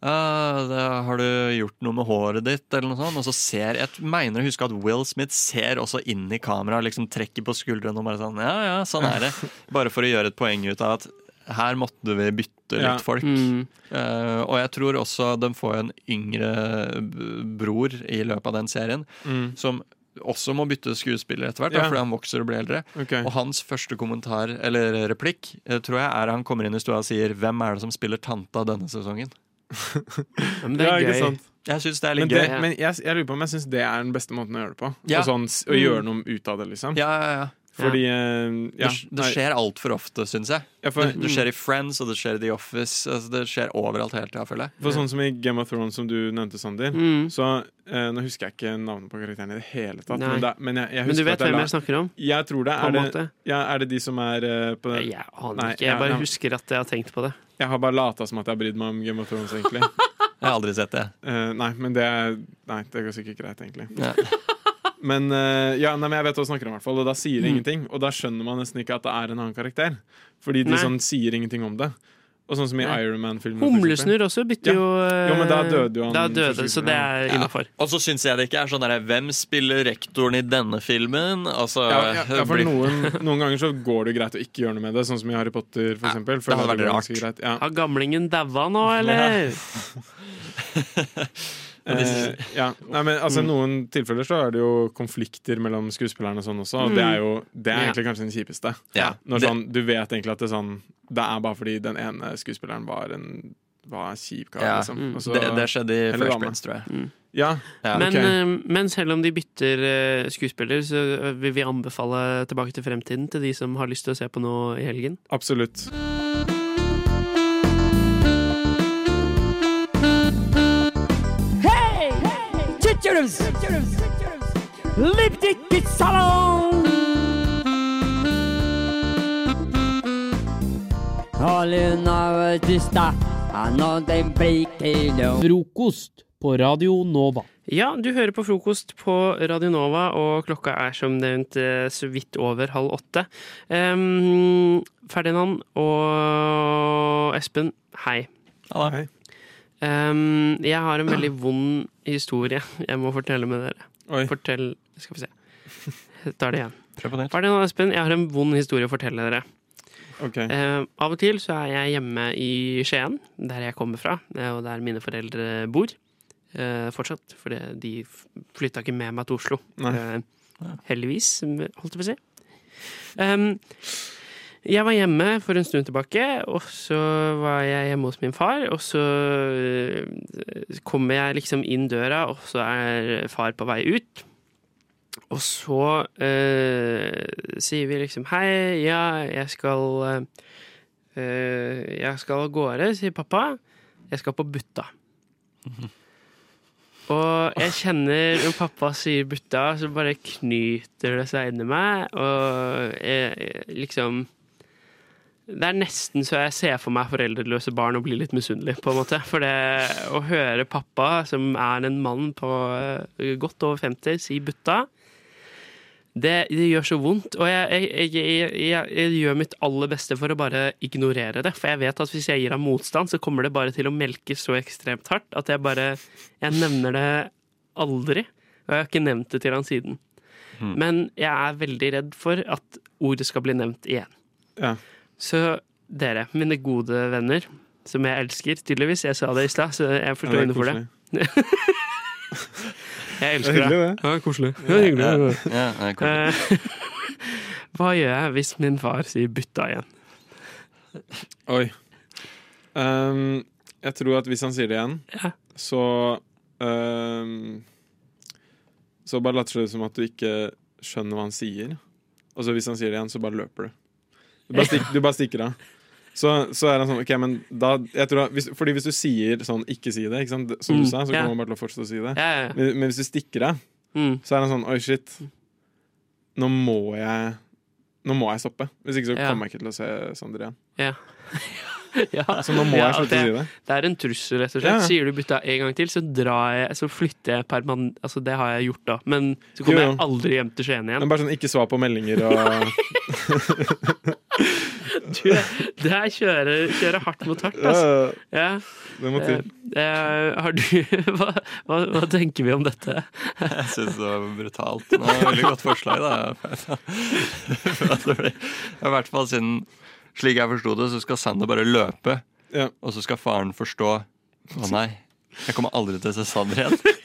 [SPEAKER 26] «Ah, da har du gjort noe med håret ditt, eller noe sånt? Og så ser Jeg mener å huske at Will Smith ser også inn i kameraet, liksom trekker på skuldrene og bare sånn Ja, ja, sånn er det. Bare for å gjøre et poeng ut av at her måtte vi bytte litt
[SPEAKER 17] Ja.
[SPEAKER 26] folk.
[SPEAKER 8] Mm.
[SPEAKER 26] Eh, og jeg tror også de får en yngre b- bror i løpet av den serien,
[SPEAKER 17] Mm.
[SPEAKER 26] som også må bytte skuespiller etter hvert, da,
[SPEAKER 17] Ja.
[SPEAKER 26] fordi han vokser og blir eldre.
[SPEAKER 17] Ok.
[SPEAKER 26] Og hans første kommentar, eller replikk, eh, tror jeg er han kommer inn i stua og sier 'Hvem er det som spiller tanta denne sesongen?'
[SPEAKER 8] men det er
[SPEAKER 17] ikke
[SPEAKER 8] gøy.
[SPEAKER 17] sant?
[SPEAKER 26] Jeg syns det er
[SPEAKER 17] men
[SPEAKER 26] litt
[SPEAKER 17] det,
[SPEAKER 26] gøy.
[SPEAKER 17] Men jeg, jeg lurer på om jeg syns det er den beste måten å gjøre det på.
[SPEAKER 26] Ja. Mm.
[SPEAKER 17] Og sånn, s- å
[SPEAKER 8] Mm.
[SPEAKER 17] gjøre noe ut av det, liksom.
[SPEAKER 26] Ja, ja, ja.
[SPEAKER 17] Fordi
[SPEAKER 26] Ja.
[SPEAKER 17] eh, ja,
[SPEAKER 26] Det, det skjer altfor ofte, syns jeg.
[SPEAKER 17] Ja, for-
[SPEAKER 26] det, det skjer i Friends og det skjer i The Office. Altså, det skjer overalt hele tida, føler jeg.
[SPEAKER 17] For sånn som i Game of Thrones, som du nevnte, Sander
[SPEAKER 26] Mm.
[SPEAKER 17] Så eh, Nå husker jeg ikke navnet på karakteren i det hele tatt.
[SPEAKER 8] Nei.
[SPEAKER 17] Men, det, men, jeg, jeg
[SPEAKER 8] Men du
[SPEAKER 17] husker
[SPEAKER 8] vet
[SPEAKER 17] at jeg
[SPEAKER 8] hvem
[SPEAKER 17] la-
[SPEAKER 8] jeg snakker om?
[SPEAKER 17] Jeg tror det.
[SPEAKER 8] På en
[SPEAKER 17] Er det,
[SPEAKER 8] måte.
[SPEAKER 17] ja, er det de som er eh, på den Jeg
[SPEAKER 8] aner ikke. Jeg bare husker at jeg har tenkt på det.
[SPEAKER 17] Jeg har bare lata som at jeg har brydd meg om Game of Thrones,
[SPEAKER 26] <laughs>
[SPEAKER 17] egentlig. jeg
[SPEAKER 26] har aldri sett det.
[SPEAKER 17] Eh, nei, men det, er- nei, det går sikkert greit, egentlig.
[SPEAKER 26] Ja.
[SPEAKER 17] <laughs> Men, eh, ja, nei, men jeg vet hva du snakker om, i hvert fall, og da sier det
[SPEAKER 26] Mm.
[SPEAKER 17] ingenting. Og da skjønner man nesten ikke at det er en annen karakter. Fordi de
[SPEAKER 8] Nei.
[SPEAKER 17] sånn sier ingenting om det. Og sånn som i
[SPEAKER 8] Nei.
[SPEAKER 17] Iron Man-filmen. for
[SPEAKER 8] Humlesnurr
[SPEAKER 17] eksempel.
[SPEAKER 8] også
[SPEAKER 17] Ja.
[SPEAKER 8] bytter jo eh,
[SPEAKER 17] Jo, men da døde jo han.
[SPEAKER 8] Da døde,
[SPEAKER 17] første
[SPEAKER 8] så det er
[SPEAKER 17] skuespilleren.
[SPEAKER 8] innafor.
[SPEAKER 26] Og så syns jeg det ikke er sånn derre 'Hvem spiller rektoren i denne filmen?' Altså,
[SPEAKER 17] Ja, ja, ja, for
[SPEAKER 26] blir-
[SPEAKER 17] noen, noen ganger så går det greit å ikke gjøre noe med det, sånn som i Harry Potter, for eksempel. For
[SPEAKER 26] det hadde
[SPEAKER 17] da
[SPEAKER 26] vært
[SPEAKER 17] går
[SPEAKER 26] rart.
[SPEAKER 17] ganske Greit. Ja.
[SPEAKER 8] Har gamlingen daua nå, eller?
[SPEAKER 26] <laughs> Men
[SPEAKER 17] Eh,
[SPEAKER 26] det-
[SPEAKER 17] ja. Nei, men altså,
[SPEAKER 26] Mm.
[SPEAKER 17] noen tilfeller så er det jo konflikter mellom skuespillerne og sånn også, og det er jo det er
[SPEAKER 26] Mm. Ja.
[SPEAKER 17] egentlig kanskje den kjipeste.
[SPEAKER 26] Ja.
[SPEAKER 17] Når
[SPEAKER 26] Det-
[SPEAKER 17] sånn, du vet egentlig at det er sånn Det er bare fordi den ene skuespilleren var en var en kjip kar,
[SPEAKER 26] Ja.
[SPEAKER 17] liksom.
[SPEAKER 26] Mm.
[SPEAKER 17] Og så-
[SPEAKER 26] Det- det skjedde i
[SPEAKER 17] eller
[SPEAKER 26] Fresh
[SPEAKER 17] dame.
[SPEAKER 26] Prince, tror jeg. Mm.
[SPEAKER 17] Ja.
[SPEAKER 8] Men,
[SPEAKER 17] ok.
[SPEAKER 8] eh, men selv om de bytter eh, skuespiller, så eh, vil vi anbefale Tilbake til fremtiden til de som har lyst til å se på noe i helgen.
[SPEAKER 17] Absolutt.
[SPEAKER 27] Curls! Lipdikkesalong!
[SPEAKER 1] Frokost på Radio Nova.
[SPEAKER 8] Ja, du hører på frokost på Radio Nova, og klokka er som nevnt eh, så vidt over halv åtte. Em, Ferdinand og Espen, hei.
[SPEAKER 17] Hei.
[SPEAKER 8] Em, jeg har en veldig vond historie jeg må fortelle med dere. Fortell Skal vi se. Jeg tar det igjen. Ferdinand og Espen, jeg har en vond historie å fortelle dere. Eh, av og til så er jeg hjemme i Skien, der jeg kommer fra, eh, og der mine foreldre bor. eh, fortsatt, for det- de f- flytta ikke med meg til Oslo.
[SPEAKER 17] Nei.
[SPEAKER 8] Eh, heldigvis, m- holdt jeg på å si. Um, jeg var hjemme for en stund tilbake, og så var jeg hjemme hos min far. Og så eh, kommer jeg liksom inn døra, og så er far på vei ut. Og så eh, sier vi liksom Hei, ja, jeg skal eh, eh, Jeg skal av gårde, sier pappa. Jeg skal på Butta. Og jeg kjenner når pappa sier Butta, så bare knyter det seg inni meg. Og jeg, jeg liksom det er nesten så jeg ser for meg foreldreløse barn og blir litt misunnelig. på en måte. For det å høre pappa, som er en mann på eh, godt over 50, si butta, det, det gjør så vondt. Og jeg, jeg, jeg, jeg, jeg gjør mitt aller beste for å bare ignorere det. For jeg vet at hvis jeg gir ham motstand, så kommer det bare til å melkes så ekstremt hardt at jeg bare Jeg nevner det aldri. Og jeg har ikke nevnt det til han siden.
[SPEAKER 17] Hmm.
[SPEAKER 8] Men jeg er veldig redd for at ordet skal bli nevnt igjen.
[SPEAKER 17] Ja.
[SPEAKER 8] Så dere, mine gode venner, som jeg elsker tydeligvis Jeg sa det i stad, så jeg forstår
[SPEAKER 17] Ja, det er
[SPEAKER 8] henne for det. <laughs> jeg elsker
[SPEAKER 17] Det er hyggelig,
[SPEAKER 8] deg.
[SPEAKER 17] det.
[SPEAKER 8] Ja, koselig.
[SPEAKER 17] Ja,
[SPEAKER 8] Ja, hyggelig.
[SPEAKER 17] ja. Ja, det er
[SPEAKER 8] Eh, <laughs> Hva gjør jeg hvis min far sier 'bytta' igjen?
[SPEAKER 17] Oi. Ehm, jeg tror at hvis han sier det igjen, så ehm, Så bare later det som at du ikke skjønner hva han sier. Og så hvis han sier det igjen, så bare løper du. Du bare, stikk, du bare stikker av. Så, så er han sånn OK, men da jeg tror at hvis, Fordi hvis du sier sånn 'ikke si det', ikke sant? som du
[SPEAKER 8] Mm,
[SPEAKER 17] sa, så
[SPEAKER 8] ja.
[SPEAKER 17] kommer han bare til å fortsette å si det.
[SPEAKER 8] Ja, Mm. ja, ja.
[SPEAKER 17] Men, men hvis du stikker av, så er han sånn 'oi, shit'. Nå må jeg Nå må jeg stoppe. Hvis ikke så
[SPEAKER 8] Ja.
[SPEAKER 17] kommer jeg ikke til å se Sander igjen.
[SPEAKER 8] Ja. <laughs> ja.
[SPEAKER 17] Så nå må jeg
[SPEAKER 8] at
[SPEAKER 17] slutte å si det.
[SPEAKER 8] Det er en trussel, rett og slett.
[SPEAKER 17] Ja.
[SPEAKER 8] Sier du 'bytta' en gang til, så, drar jeg, så flytter jeg permanent Altså, det har jeg gjort, da. Men så kommer
[SPEAKER 17] Jo, jo.
[SPEAKER 8] jeg aldri hjem til Skien igjen.
[SPEAKER 17] Men bare sånn, ikke svar på meldinger og
[SPEAKER 8] <laughs> Du, det her kjører, kjører hardt mot hardt, altså. Ja.
[SPEAKER 17] Det må til.
[SPEAKER 8] Eh, eh, har du <laughs> hva, hva, hva tenker vi om dette?
[SPEAKER 26] Jeg syns det var brutalt. Det var et veldig godt
[SPEAKER 8] <laughs>
[SPEAKER 26] forslag, da. <laughs> Eh. For at det blir- I hvert fall siden, slik jeg forsto det, så skal Sander bare løpe.
[SPEAKER 17] Ja.
[SPEAKER 26] Og så skal faren forstå Å nei, jeg kommer aldri til å se Sander igjen.
[SPEAKER 8] <laughs>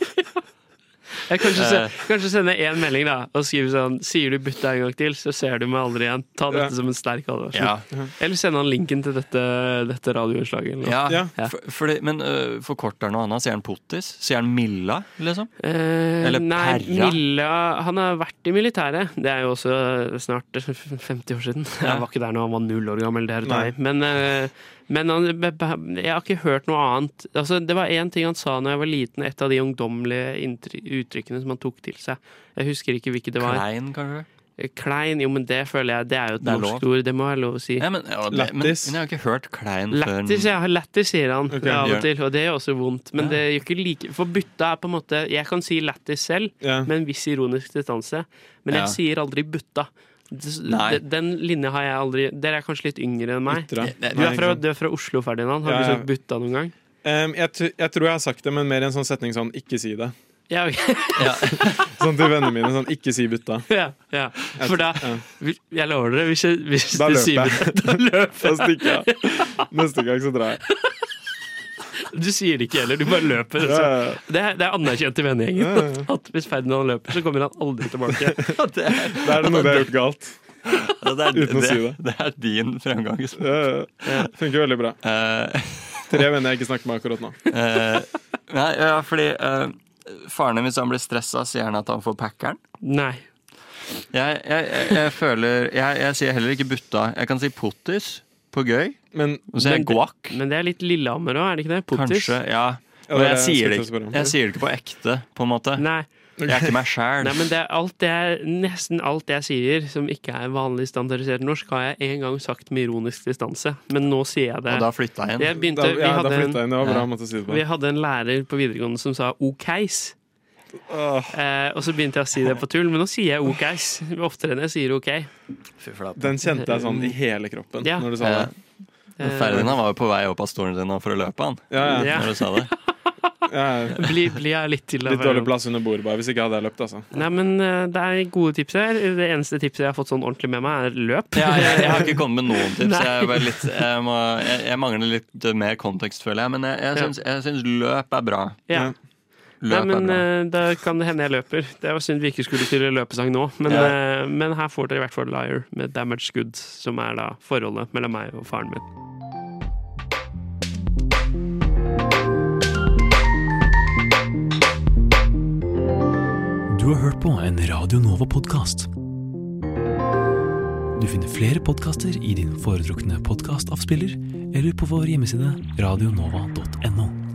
[SPEAKER 8] Jeg kanskje, se,
[SPEAKER 26] Eh.
[SPEAKER 8] kanskje sende én melding da og skrive sånn Sier du 'bytta' en gang til, så ser du meg aldri igjen. Ta dette
[SPEAKER 26] Ja.
[SPEAKER 8] som en sterk advarsel.
[SPEAKER 26] Ja.
[SPEAKER 8] Eller sende han linken til dette, dette radioinnslaget. eller noe.
[SPEAKER 26] Eh, Ja, For, fordi- men øh, forkorter han noe annet? Sier han pottis? Sier han Milla, liksom?
[SPEAKER 8] Eh,
[SPEAKER 26] Eller
[SPEAKER 8] nei,
[SPEAKER 26] Perra?
[SPEAKER 8] Milla Han har vært i militæret. Det er jo også snart 50 år siden.
[SPEAKER 26] Ja.
[SPEAKER 8] Jeg var ikke der når han var null år gammel. Det er et
[SPEAKER 26] Nei.
[SPEAKER 8] nei. Men, eh, men han, jeg har ikke hørt noe annet. Altså, det var én ting han sa når jeg var liten, et av de ungdommelige inntry- uttrykkene som han tok til seg. Jeg husker ikke hvilket det var.
[SPEAKER 26] Klein, kanskje?
[SPEAKER 8] Eh, Klein, jo, men det føler jeg Det er jo et
[SPEAKER 26] Det er
[SPEAKER 8] norsk
[SPEAKER 26] lov.
[SPEAKER 8] ord, det må være lov å si.
[SPEAKER 26] Ja, men, ja, det, men, men jeg har ikke hørt Klein før
[SPEAKER 8] Lættis, ja. Lættis, sier han
[SPEAKER 26] Ok.
[SPEAKER 8] av
[SPEAKER 26] Ja.
[SPEAKER 8] og til. Og det gjør også vondt. Men det gjør ikke like For bytta er på en måte Jeg kan si lættis selv,
[SPEAKER 26] Ja.
[SPEAKER 8] med en viss ironisk distanse. Men
[SPEAKER 26] Ja.
[SPEAKER 8] jeg sier aldri butta. Det-
[SPEAKER 26] Nei.
[SPEAKER 8] det- Den linja har jeg aldri Dere er kanskje litt yngre enn meg. <laughs> Du
[SPEAKER 17] Ytre.
[SPEAKER 8] er
[SPEAKER 17] Nei, ikke
[SPEAKER 8] fra,
[SPEAKER 17] sant.
[SPEAKER 8] du er fra Oslo, Ferdinand. Har
[SPEAKER 17] Ja,
[SPEAKER 8] du
[SPEAKER 17] ja.
[SPEAKER 8] sagt butta noen gang?
[SPEAKER 17] Em, jeg, tr- jeg tror jeg har sagt det, men mer i en sånn setning sånn 'ikke si det'.
[SPEAKER 8] Ja,
[SPEAKER 17] <laughs> Sånn til vennene mine. Sånn 'ikke si butta'.
[SPEAKER 8] <laughs> ja, ja. For
[SPEAKER 17] <laughs>
[SPEAKER 8] da Jeg lover dere, hvis, jeg, hvis
[SPEAKER 17] Da
[SPEAKER 8] du
[SPEAKER 17] løper
[SPEAKER 8] sier
[SPEAKER 17] jeg. <laughs>
[SPEAKER 8] butta, da løper
[SPEAKER 17] Da stikker jeg. Neste gang så drar jeg.
[SPEAKER 8] Du sier det ikke heller, du bare løper.
[SPEAKER 17] Ja, ja, ja.
[SPEAKER 8] Så. Det, er- det er anerkjent i
[SPEAKER 17] Ja, ja,
[SPEAKER 8] vennegjengen at hvis Ferdinand løper, så kommer han aldri tilbake. det er,
[SPEAKER 17] Da er det noe jeg har gjort galt.
[SPEAKER 26] Ja, det er,
[SPEAKER 17] Uten å
[SPEAKER 26] det,
[SPEAKER 17] si det.
[SPEAKER 26] Det er din fremgang. Espen.
[SPEAKER 17] Funker veldig bra. Tre venner jeg ikke snakker med akkurat nå.
[SPEAKER 26] Eh, nei, ja, fordi eh, faren din, hvis han blir stressa, sier han at han får packeren.
[SPEAKER 8] Nei.
[SPEAKER 26] Jeg, jeg, jeg, jeg føler jeg, jeg sier heller ikke butta. Jeg kan si pottis på gøy.
[SPEAKER 8] Men,
[SPEAKER 26] Og så sier jeg guakk.
[SPEAKER 8] Men det er litt Lillehammer òg, er det ikke det? Pottis.
[SPEAKER 26] Kanskje, ja.
[SPEAKER 3] Ja,
[SPEAKER 26] Og
[SPEAKER 3] det er det
[SPEAKER 26] jeg
[SPEAKER 3] jeg
[SPEAKER 26] sier, det,
[SPEAKER 3] skulle spørre
[SPEAKER 26] ikke-
[SPEAKER 3] om.
[SPEAKER 26] jeg sier det ikke på ekte, på en måte.
[SPEAKER 8] Nei.
[SPEAKER 26] Jeg er ikke meg sjæl.
[SPEAKER 8] Nei, men det er alt det er, nesten alt jeg sier som ikke er vanlig standardisert norsk, har jeg en gang sagt med ironisk distanse. Men nå sier jeg det.
[SPEAKER 26] Og da flytta jeg inn.
[SPEAKER 8] Jeg begynte,
[SPEAKER 26] Da-
[SPEAKER 8] vi
[SPEAKER 26] ja, da
[SPEAKER 8] hadde
[SPEAKER 26] flytta jeg inn. Det var bra
[SPEAKER 8] Ja.
[SPEAKER 26] måte å si det på.
[SPEAKER 8] Vi hadde en lærer på videregående som sa okeis. Eh, og så begynte jeg å si det på tull, men nå sier jeg okeis oftere enn jeg sier ok.
[SPEAKER 3] Den kjente jeg sånn i hele kroppen
[SPEAKER 8] Ja.
[SPEAKER 3] når du sa
[SPEAKER 26] Ja.
[SPEAKER 3] det.
[SPEAKER 8] Eh,
[SPEAKER 26] Men Ferdinand var jo på vei opp av stolen din nå for å løpe, han.
[SPEAKER 3] Ja, ja.
[SPEAKER 26] Når du sa det.
[SPEAKER 8] Bli, bli jeg litt til. da,
[SPEAKER 3] Litt
[SPEAKER 8] for-
[SPEAKER 3] dårlig plass under bordet, bare. Hvis ikke hadde jeg løpt, altså.
[SPEAKER 8] Nei, men eh, det er gode tips her. Det eneste tipset jeg har fått sånn ordentlig med meg, er løp.
[SPEAKER 26] Ja, jeg, jeg har ikke kommet med noen tips.
[SPEAKER 8] Nei.
[SPEAKER 26] Jeg, er bare litt, jeg, må, jeg, jeg mangler litt mer kontekst, føler jeg. Men jeg, jeg,
[SPEAKER 8] Ja.
[SPEAKER 26] syns, jeg syns løp er bra.
[SPEAKER 8] Ja.
[SPEAKER 26] Løp
[SPEAKER 8] Nei,
[SPEAKER 26] er
[SPEAKER 8] men
[SPEAKER 26] bra.
[SPEAKER 8] eh, Da kan det hende jeg løper. Det var synd vi ikke skulle til løpesang nå, men,
[SPEAKER 26] Ja.
[SPEAKER 8] eh, men her får dere i hvert fall Liar med Damaged Goods, som er da forholdet mellom meg og faren min.
[SPEAKER 12] Du har hørt på en Radio Nova-podkast. Du finner flere podkaster i din foretrukne podkastavspiller eller på vår hjemmeside radionova.no.